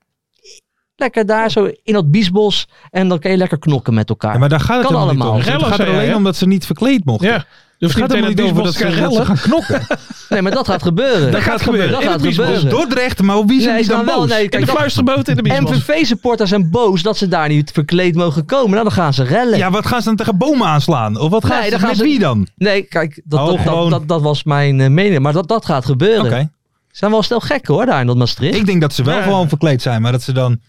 [SPEAKER 5] Lekker daar zo in dat biesbos. En dan kan je lekker knokken met elkaar.
[SPEAKER 3] Ja, maar daar gaat het
[SPEAKER 5] Kan
[SPEAKER 3] helemaal niet
[SPEAKER 5] allemaal.
[SPEAKER 3] om. Het
[SPEAKER 4] Rellen,
[SPEAKER 3] gaat er
[SPEAKER 4] zei jij,
[SPEAKER 3] alleen
[SPEAKER 4] hè?
[SPEAKER 3] om dat ze niet verkleed mochten.
[SPEAKER 4] ja, je
[SPEAKER 3] Het
[SPEAKER 4] hoeft niet
[SPEAKER 3] gaat
[SPEAKER 4] meteen
[SPEAKER 3] er
[SPEAKER 4] naar
[SPEAKER 3] niet over dat
[SPEAKER 4] Biesbos
[SPEAKER 3] ze,
[SPEAKER 4] te gaan
[SPEAKER 3] dat ze
[SPEAKER 4] rellen.
[SPEAKER 3] gaan knokken.
[SPEAKER 5] Nee, maar dat gaat
[SPEAKER 3] [laughs]
[SPEAKER 5] gebeuren.
[SPEAKER 3] dat gaat gebeuren.
[SPEAKER 5] Dat
[SPEAKER 3] In
[SPEAKER 5] gaat
[SPEAKER 3] het Biesbos.
[SPEAKER 5] gebeuren.
[SPEAKER 3] Dordrecht, maar wie zijn
[SPEAKER 5] Nee,
[SPEAKER 3] die
[SPEAKER 5] ze
[SPEAKER 3] dan
[SPEAKER 5] gaan wel-
[SPEAKER 3] boos?
[SPEAKER 5] nee,
[SPEAKER 4] In
[SPEAKER 5] kijk,
[SPEAKER 4] de
[SPEAKER 5] dat-
[SPEAKER 4] fluisterboot in de Biesbos.
[SPEAKER 5] MVV-supporters zijn boos dat ze daar niet verkleed mogen komen. Nou, dan gaan ze rellen.
[SPEAKER 3] Ja, wat gaan ze dan tegen bomen aanslaan? Of wat gaan
[SPEAKER 5] Nee,
[SPEAKER 3] ze,
[SPEAKER 5] dan gaan
[SPEAKER 3] met
[SPEAKER 5] ze-
[SPEAKER 3] wie dan?
[SPEAKER 5] Nee, kijk, dat,
[SPEAKER 3] Oh,
[SPEAKER 5] dat, dat,
[SPEAKER 3] gewoon-
[SPEAKER 5] dat, dat was mijn eh, mening. Maar dat, dat gaat gebeuren.
[SPEAKER 3] Oké.
[SPEAKER 5] Ze zijn wel snel gek hoor, daar in dat Maastricht.
[SPEAKER 3] Ik denk dat ze wel
[SPEAKER 4] Ja.
[SPEAKER 3] gewoon verkleed zijn, maar dat ze dan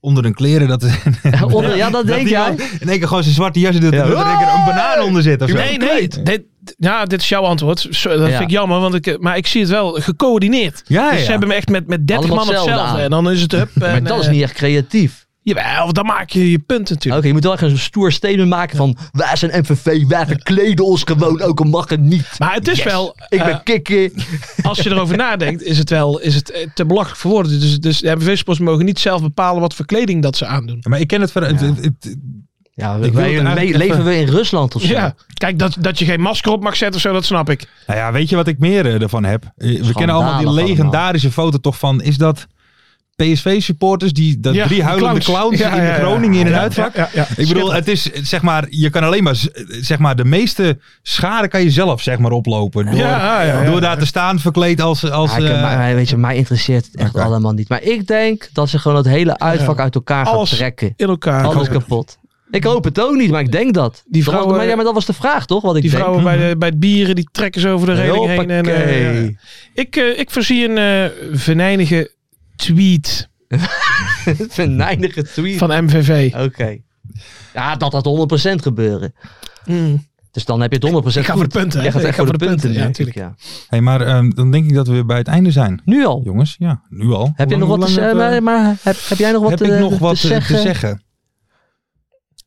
[SPEAKER 3] onder hun kleren... Dat,
[SPEAKER 5] Ja, [laughs] onder- ja, dat denk
[SPEAKER 3] die
[SPEAKER 5] jij.
[SPEAKER 3] man In één keer gewoon zijn zwarte jas en dat er in één keer een banaan onder zit of zo.
[SPEAKER 4] Nee, nee. Dit, ja, dit is jouw antwoord. Zo, dat
[SPEAKER 5] Ja.
[SPEAKER 4] vind ik jammer, want ik, eh, maar ik zie het wel gecoördineerd.
[SPEAKER 3] Ja,
[SPEAKER 4] dus
[SPEAKER 3] ja.
[SPEAKER 4] ze hebben me echt met, met 30
[SPEAKER 5] Allemaal
[SPEAKER 4] man op
[SPEAKER 5] hetzelfde
[SPEAKER 4] hetzelfde.
[SPEAKER 5] aan.
[SPEAKER 4] En dan is het up.
[SPEAKER 5] Maar dat is niet echt creatief.
[SPEAKER 4] Jawel, dan maak je je punt
[SPEAKER 5] Oké,
[SPEAKER 4] natuurlijk.
[SPEAKER 5] je moet wel echt een stoer statement maken van... Wij zijn MVV, wij verkleden ons gewoon, ook al mag het niet.
[SPEAKER 4] Maar het is wel,
[SPEAKER 5] Ik
[SPEAKER 4] eh,
[SPEAKER 5] ben [laughs] kikker.
[SPEAKER 4] als je erover nadenkt, is het wel is het eh, te belachelijk voor woorden. Dus, dus de MVV-sports mogen niet zelf bepalen wat voor kleding dat ze aandoen.
[SPEAKER 3] Maar ik ken het... van- het- het- het-
[SPEAKER 5] Ja,
[SPEAKER 3] wil
[SPEAKER 5] wij-
[SPEAKER 3] het eigenlijk
[SPEAKER 5] le- leven
[SPEAKER 3] even-
[SPEAKER 5] we in Rusland of zo?
[SPEAKER 4] Ja, kijk, dat, dat je geen masker op mag zetten of zo, dat snap ik.
[SPEAKER 3] Nou ja, weet je wat ik meer eh, ervan heb? Eh, We kennen allemaal die
[SPEAKER 5] allemaal.
[SPEAKER 3] legendarische foto toch van... Is dat PSV-supporters, die dat
[SPEAKER 4] Ja,
[SPEAKER 3] drie huilende
[SPEAKER 4] clowns.
[SPEAKER 3] clowns,
[SPEAKER 4] Ja,
[SPEAKER 3] in
[SPEAKER 4] ja,
[SPEAKER 3] de
[SPEAKER 4] ja.
[SPEAKER 3] Groningen in
[SPEAKER 4] Ja,
[SPEAKER 3] een uitvak?
[SPEAKER 4] ja, ja, ja.
[SPEAKER 3] Ik bedoel, het is eh, zeg maar, je kan alleen maar, z- eh, zeg maar, de meeste schade kan je zelf zeg maar oplopen. Door,
[SPEAKER 4] Ja, ja, ja.
[SPEAKER 3] door daar te staan verkleed als, als
[SPEAKER 5] Ja, ik-
[SPEAKER 3] eh,
[SPEAKER 5] maar, maar weet je, mij interesseert het echt
[SPEAKER 3] Oké.
[SPEAKER 5] allemaal niet. Maar ik denk dat ze gewoon dat hele uitvak uit elkaar gaan
[SPEAKER 4] Alles
[SPEAKER 5] trekken.
[SPEAKER 4] In elkaar.
[SPEAKER 5] Alles kapot. Ik hoop het ook niet, maar ik denk dat.
[SPEAKER 4] Die
[SPEAKER 5] Dat
[SPEAKER 4] vrouwen-
[SPEAKER 5] was, maar, ja, maar dat was de vraag toch, wat ik
[SPEAKER 4] Die
[SPEAKER 5] denk. [laughs]
[SPEAKER 4] vrouwen bij,
[SPEAKER 3] Mhm.
[SPEAKER 4] de, bij het bieren, die trekken ze over de reling heen. En, eh,
[SPEAKER 5] Hoppakee.
[SPEAKER 4] ja. ik, eh, ik voorzie een eh, venijnige tweet
[SPEAKER 5] Venijnige tweet.
[SPEAKER 4] van MVV.
[SPEAKER 5] Oké. Ja, dat had 100% gebeuren. Dus dan heb je het 100% goed.
[SPEAKER 4] Ik ga voor de punten, hè?
[SPEAKER 5] Jij gaat
[SPEAKER 4] Ik
[SPEAKER 5] echt
[SPEAKER 4] ga
[SPEAKER 5] voor de punten, ja, natuurlijk. Ja.
[SPEAKER 3] hey, maar ehm, dan denk ik dat we bij het einde zijn.
[SPEAKER 5] Nu al.
[SPEAKER 3] Jongens, ja, nu al.
[SPEAKER 5] Heb je
[SPEAKER 3] Hoe
[SPEAKER 5] nog
[SPEAKER 3] lang-
[SPEAKER 5] wat te eh,
[SPEAKER 3] hoe lang
[SPEAKER 5] zeggen?
[SPEAKER 4] eh,
[SPEAKER 5] Maar,
[SPEAKER 3] hebben
[SPEAKER 5] maar heb, heb jij nog
[SPEAKER 3] we-
[SPEAKER 5] wat,
[SPEAKER 3] Heb
[SPEAKER 5] te,
[SPEAKER 3] ik nog
[SPEAKER 5] te
[SPEAKER 3] wat eh,
[SPEAKER 5] zeggen?
[SPEAKER 3] te zeggen?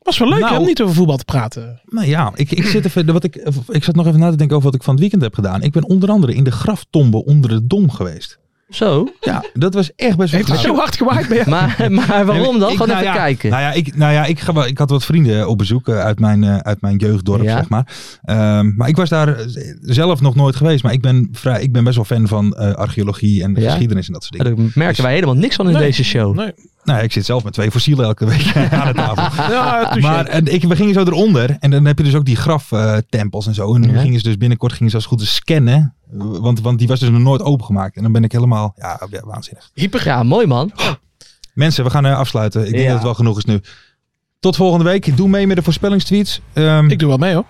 [SPEAKER 4] Was wel leuk hè,
[SPEAKER 3] Nou.
[SPEAKER 4] om niet over voetbal te praten.
[SPEAKER 3] Nou ja, ik,
[SPEAKER 5] [clears throat]
[SPEAKER 3] ik, zit even, wat ik, eh, ik zat nog even na te denken over wat ik van het weekend heb gedaan. Ik ben onder andere in de graftombe onder de Dom geweest.
[SPEAKER 5] Zo.
[SPEAKER 3] Ja, dat was echt best wel
[SPEAKER 4] Heeft het
[SPEAKER 3] gaaf.
[SPEAKER 4] zo hard gewaaid bij jou?
[SPEAKER 5] Maar, maar waarom dan?
[SPEAKER 3] Ik-
[SPEAKER 5] Gewoon
[SPEAKER 3] nou
[SPEAKER 5] even
[SPEAKER 3] ja,
[SPEAKER 5] kijken.
[SPEAKER 3] Nou ja, ik, nou ja ik, ga, wel- ik had wat vrienden op bezoek eh, uit mijn, eh, uit mijn jeugddorp,
[SPEAKER 5] Ja.
[SPEAKER 3] zeg maar. Ehm, maar ik was daar eh, zelf nog nooit geweest. Maar ik ben, vrij, ik ben best wel fan van eh, archeologie en
[SPEAKER 5] Ja?
[SPEAKER 3] geschiedenis en dat soort
[SPEAKER 5] Ja,
[SPEAKER 3] dingen.
[SPEAKER 5] Daar merken wij helemaal niks van in
[SPEAKER 4] Nee.
[SPEAKER 5] deze show.
[SPEAKER 4] Nee.
[SPEAKER 3] Nou ja, ik zit zelf met twee fossielen elke week [laughs] aan de tafel.
[SPEAKER 4] Ja, touché.
[SPEAKER 3] Maar eh, ik, we gingen zo eronder en dan heb je dus ook die graftempels en zo. En nu
[SPEAKER 5] Ja.
[SPEAKER 3] gingen ze dus binnenkort gingen ze als het goed is scannen. Want, want die was dus nog nooit opengemaakt. En dan ben ik helemaal, ja, ja, waanzinnig.
[SPEAKER 4] hyper.
[SPEAKER 5] Ja, mooi man.
[SPEAKER 3] Mensen, we gaan eh, afsluiten. Ik denk
[SPEAKER 5] Ja.
[SPEAKER 3] dat het wel genoeg is nu. Tot volgende week. Doe mee met de voorspellingstweets. Ehm,
[SPEAKER 4] Ik doe wel mee hoor.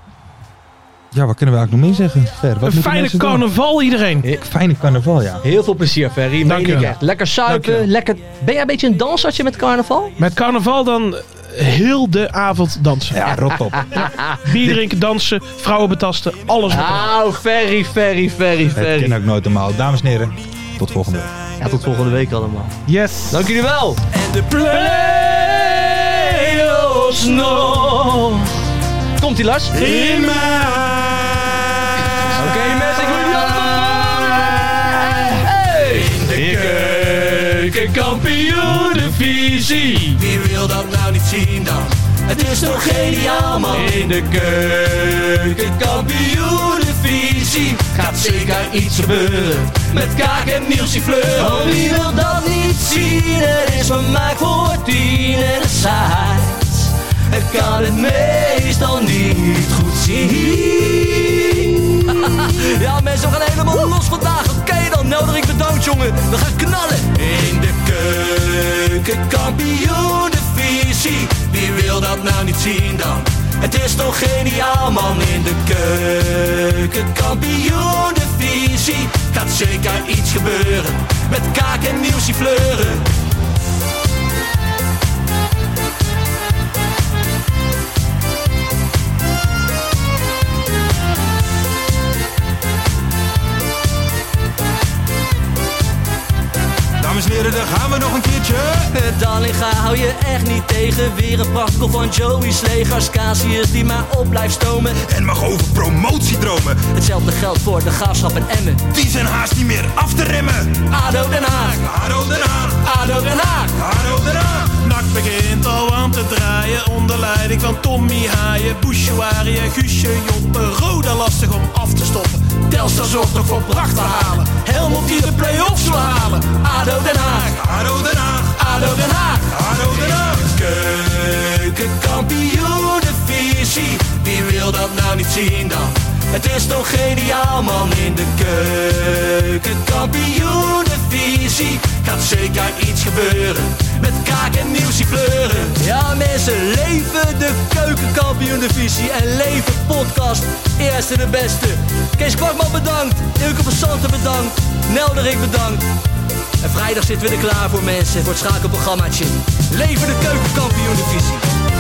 [SPEAKER 3] Ja, wat kunnen we eigenlijk nog meer zeggen? Ver, wat
[SPEAKER 4] Een
[SPEAKER 3] moeten
[SPEAKER 4] fijne
[SPEAKER 3] mensen doen?
[SPEAKER 4] carnaval iedereen.
[SPEAKER 3] Fijne carnaval, ja.
[SPEAKER 5] Heel veel plezier, Ferry.
[SPEAKER 4] Dank
[SPEAKER 5] Meen
[SPEAKER 4] je
[SPEAKER 5] ik
[SPEAKER 4] wel.
[SPEAKER 5] echt. Lekker
[SPEAKER 4] Dank je
[SPEAKER 5] suiken. Lekker... Ben jij een beetje een dansertje met carnaval?
[SPEAKER 4] Met carnaval dan heel de avond dansen.
[SPEAKER 3] Ja, rot
[SPEAKER 4] [laughs]
[SPEAKER 3] op.
[SPEAKER 4] Bier drinken, dansen, vrouwen betasten, alles.
[SPEAKER 5] Nou, Ferry, Ferry, Ferry,
[SPEAKER 3] Dat
[SPEAKER 5] Ferry.
[SPEAKER 3] ken ik nooit normaal. Dames en heren, tot volgende week.
[SPEAKER 5] Ja, tot volgende week allemaal.
[SPEAKER 4] Yes.
[SPEAKER 5] Dank jullie wel.
[SPEAKER 8] de play-offs nog
[SPEAKER 5] Komt-ie, Lars.
[SPEAKER 8] in mij.
[SPEAKER 5] Oké, mensen, ik wil jullie allemaal. dikke kampioenenvisie. Wie wil dat nou niet zien dan? Het is toch geniaal man. In de keuken kampioenenvisie gaat zeker iets gebeuren. Met Kaak en Nielsie Fleur. Oh, wie wil dat niet zien? Er is vermaakt voor tien en de site. Het kan het meestal niet goed zien. [laughs] ja, mensen, we gaan helemaal los vandaag. Oké dan, Nelderik bedankt, jongen. We gaan knallen. In de keuken, kampioenenvisie. Wie wil dat nou niet zien dan? Het is toch geniaal, man. In de keuken, kampioenenvisie. Gaat zeker iets gebeuren. Met kaak en nieuwsie fleuren.
[SPEAKER 3] Dames en heren, daar gaan we nog een keertje.
[SPEAKER 5] Dallinga Eh, hou je echt niet tegen. Weer een prachtkel van Joey Slegers. Casius die maar op blijft stomen. Eh,
[SPEAKER 3] En mag over promotiedromen.
[SPEAKER 5] Hetzelfde geldt voor de graafschap en Emmen.
[SPEAKER 3] Die zijn haast niet meer af te remmen.
[SPEAKER 5] ADO Den Haag,
[SPEAKER 3] Haro eraan,
[SPEAKER 5] ADO Den Haag.
[SPEAKER 3] haro eraan.
[SPEAKER 9] Nak begint al aan te draaien onder leiding van Tommy Haaien, Bouchouari en Guusje Joppen. Roda lastig om af te stoppen. Telstar zorgt nog voor pracht te halen. Helmond die de play-offs wil halen.
[SPEAKER 5] ADO Den Haag,
[SPEAKER 3] Haro Den Haag,
[SPEAKER 5] ADO Den Haag.
[SPEAKER 3] Haro Den Haag.
[SPEAKER 5] Keukenkampioenenvisie, wie wil dat nou niet zien dan? Het is toch geniaal man in de keukenkampioenenvisie Gaat zeker iets gebeuren, met kaak en nieuwsie kleuren
[SPEAKER 9] Ja mensen, leven de keukenkampioen-divisie en leven podcast. Eerste de beste. Kees Kwakman bedankt, Ilke van Santen bedankt, Nelderik bedankt. En vrijdag zitten we er klaar voor mensen, voor het schakelprogrammaatje. Leven de keukenkampioen-divisie.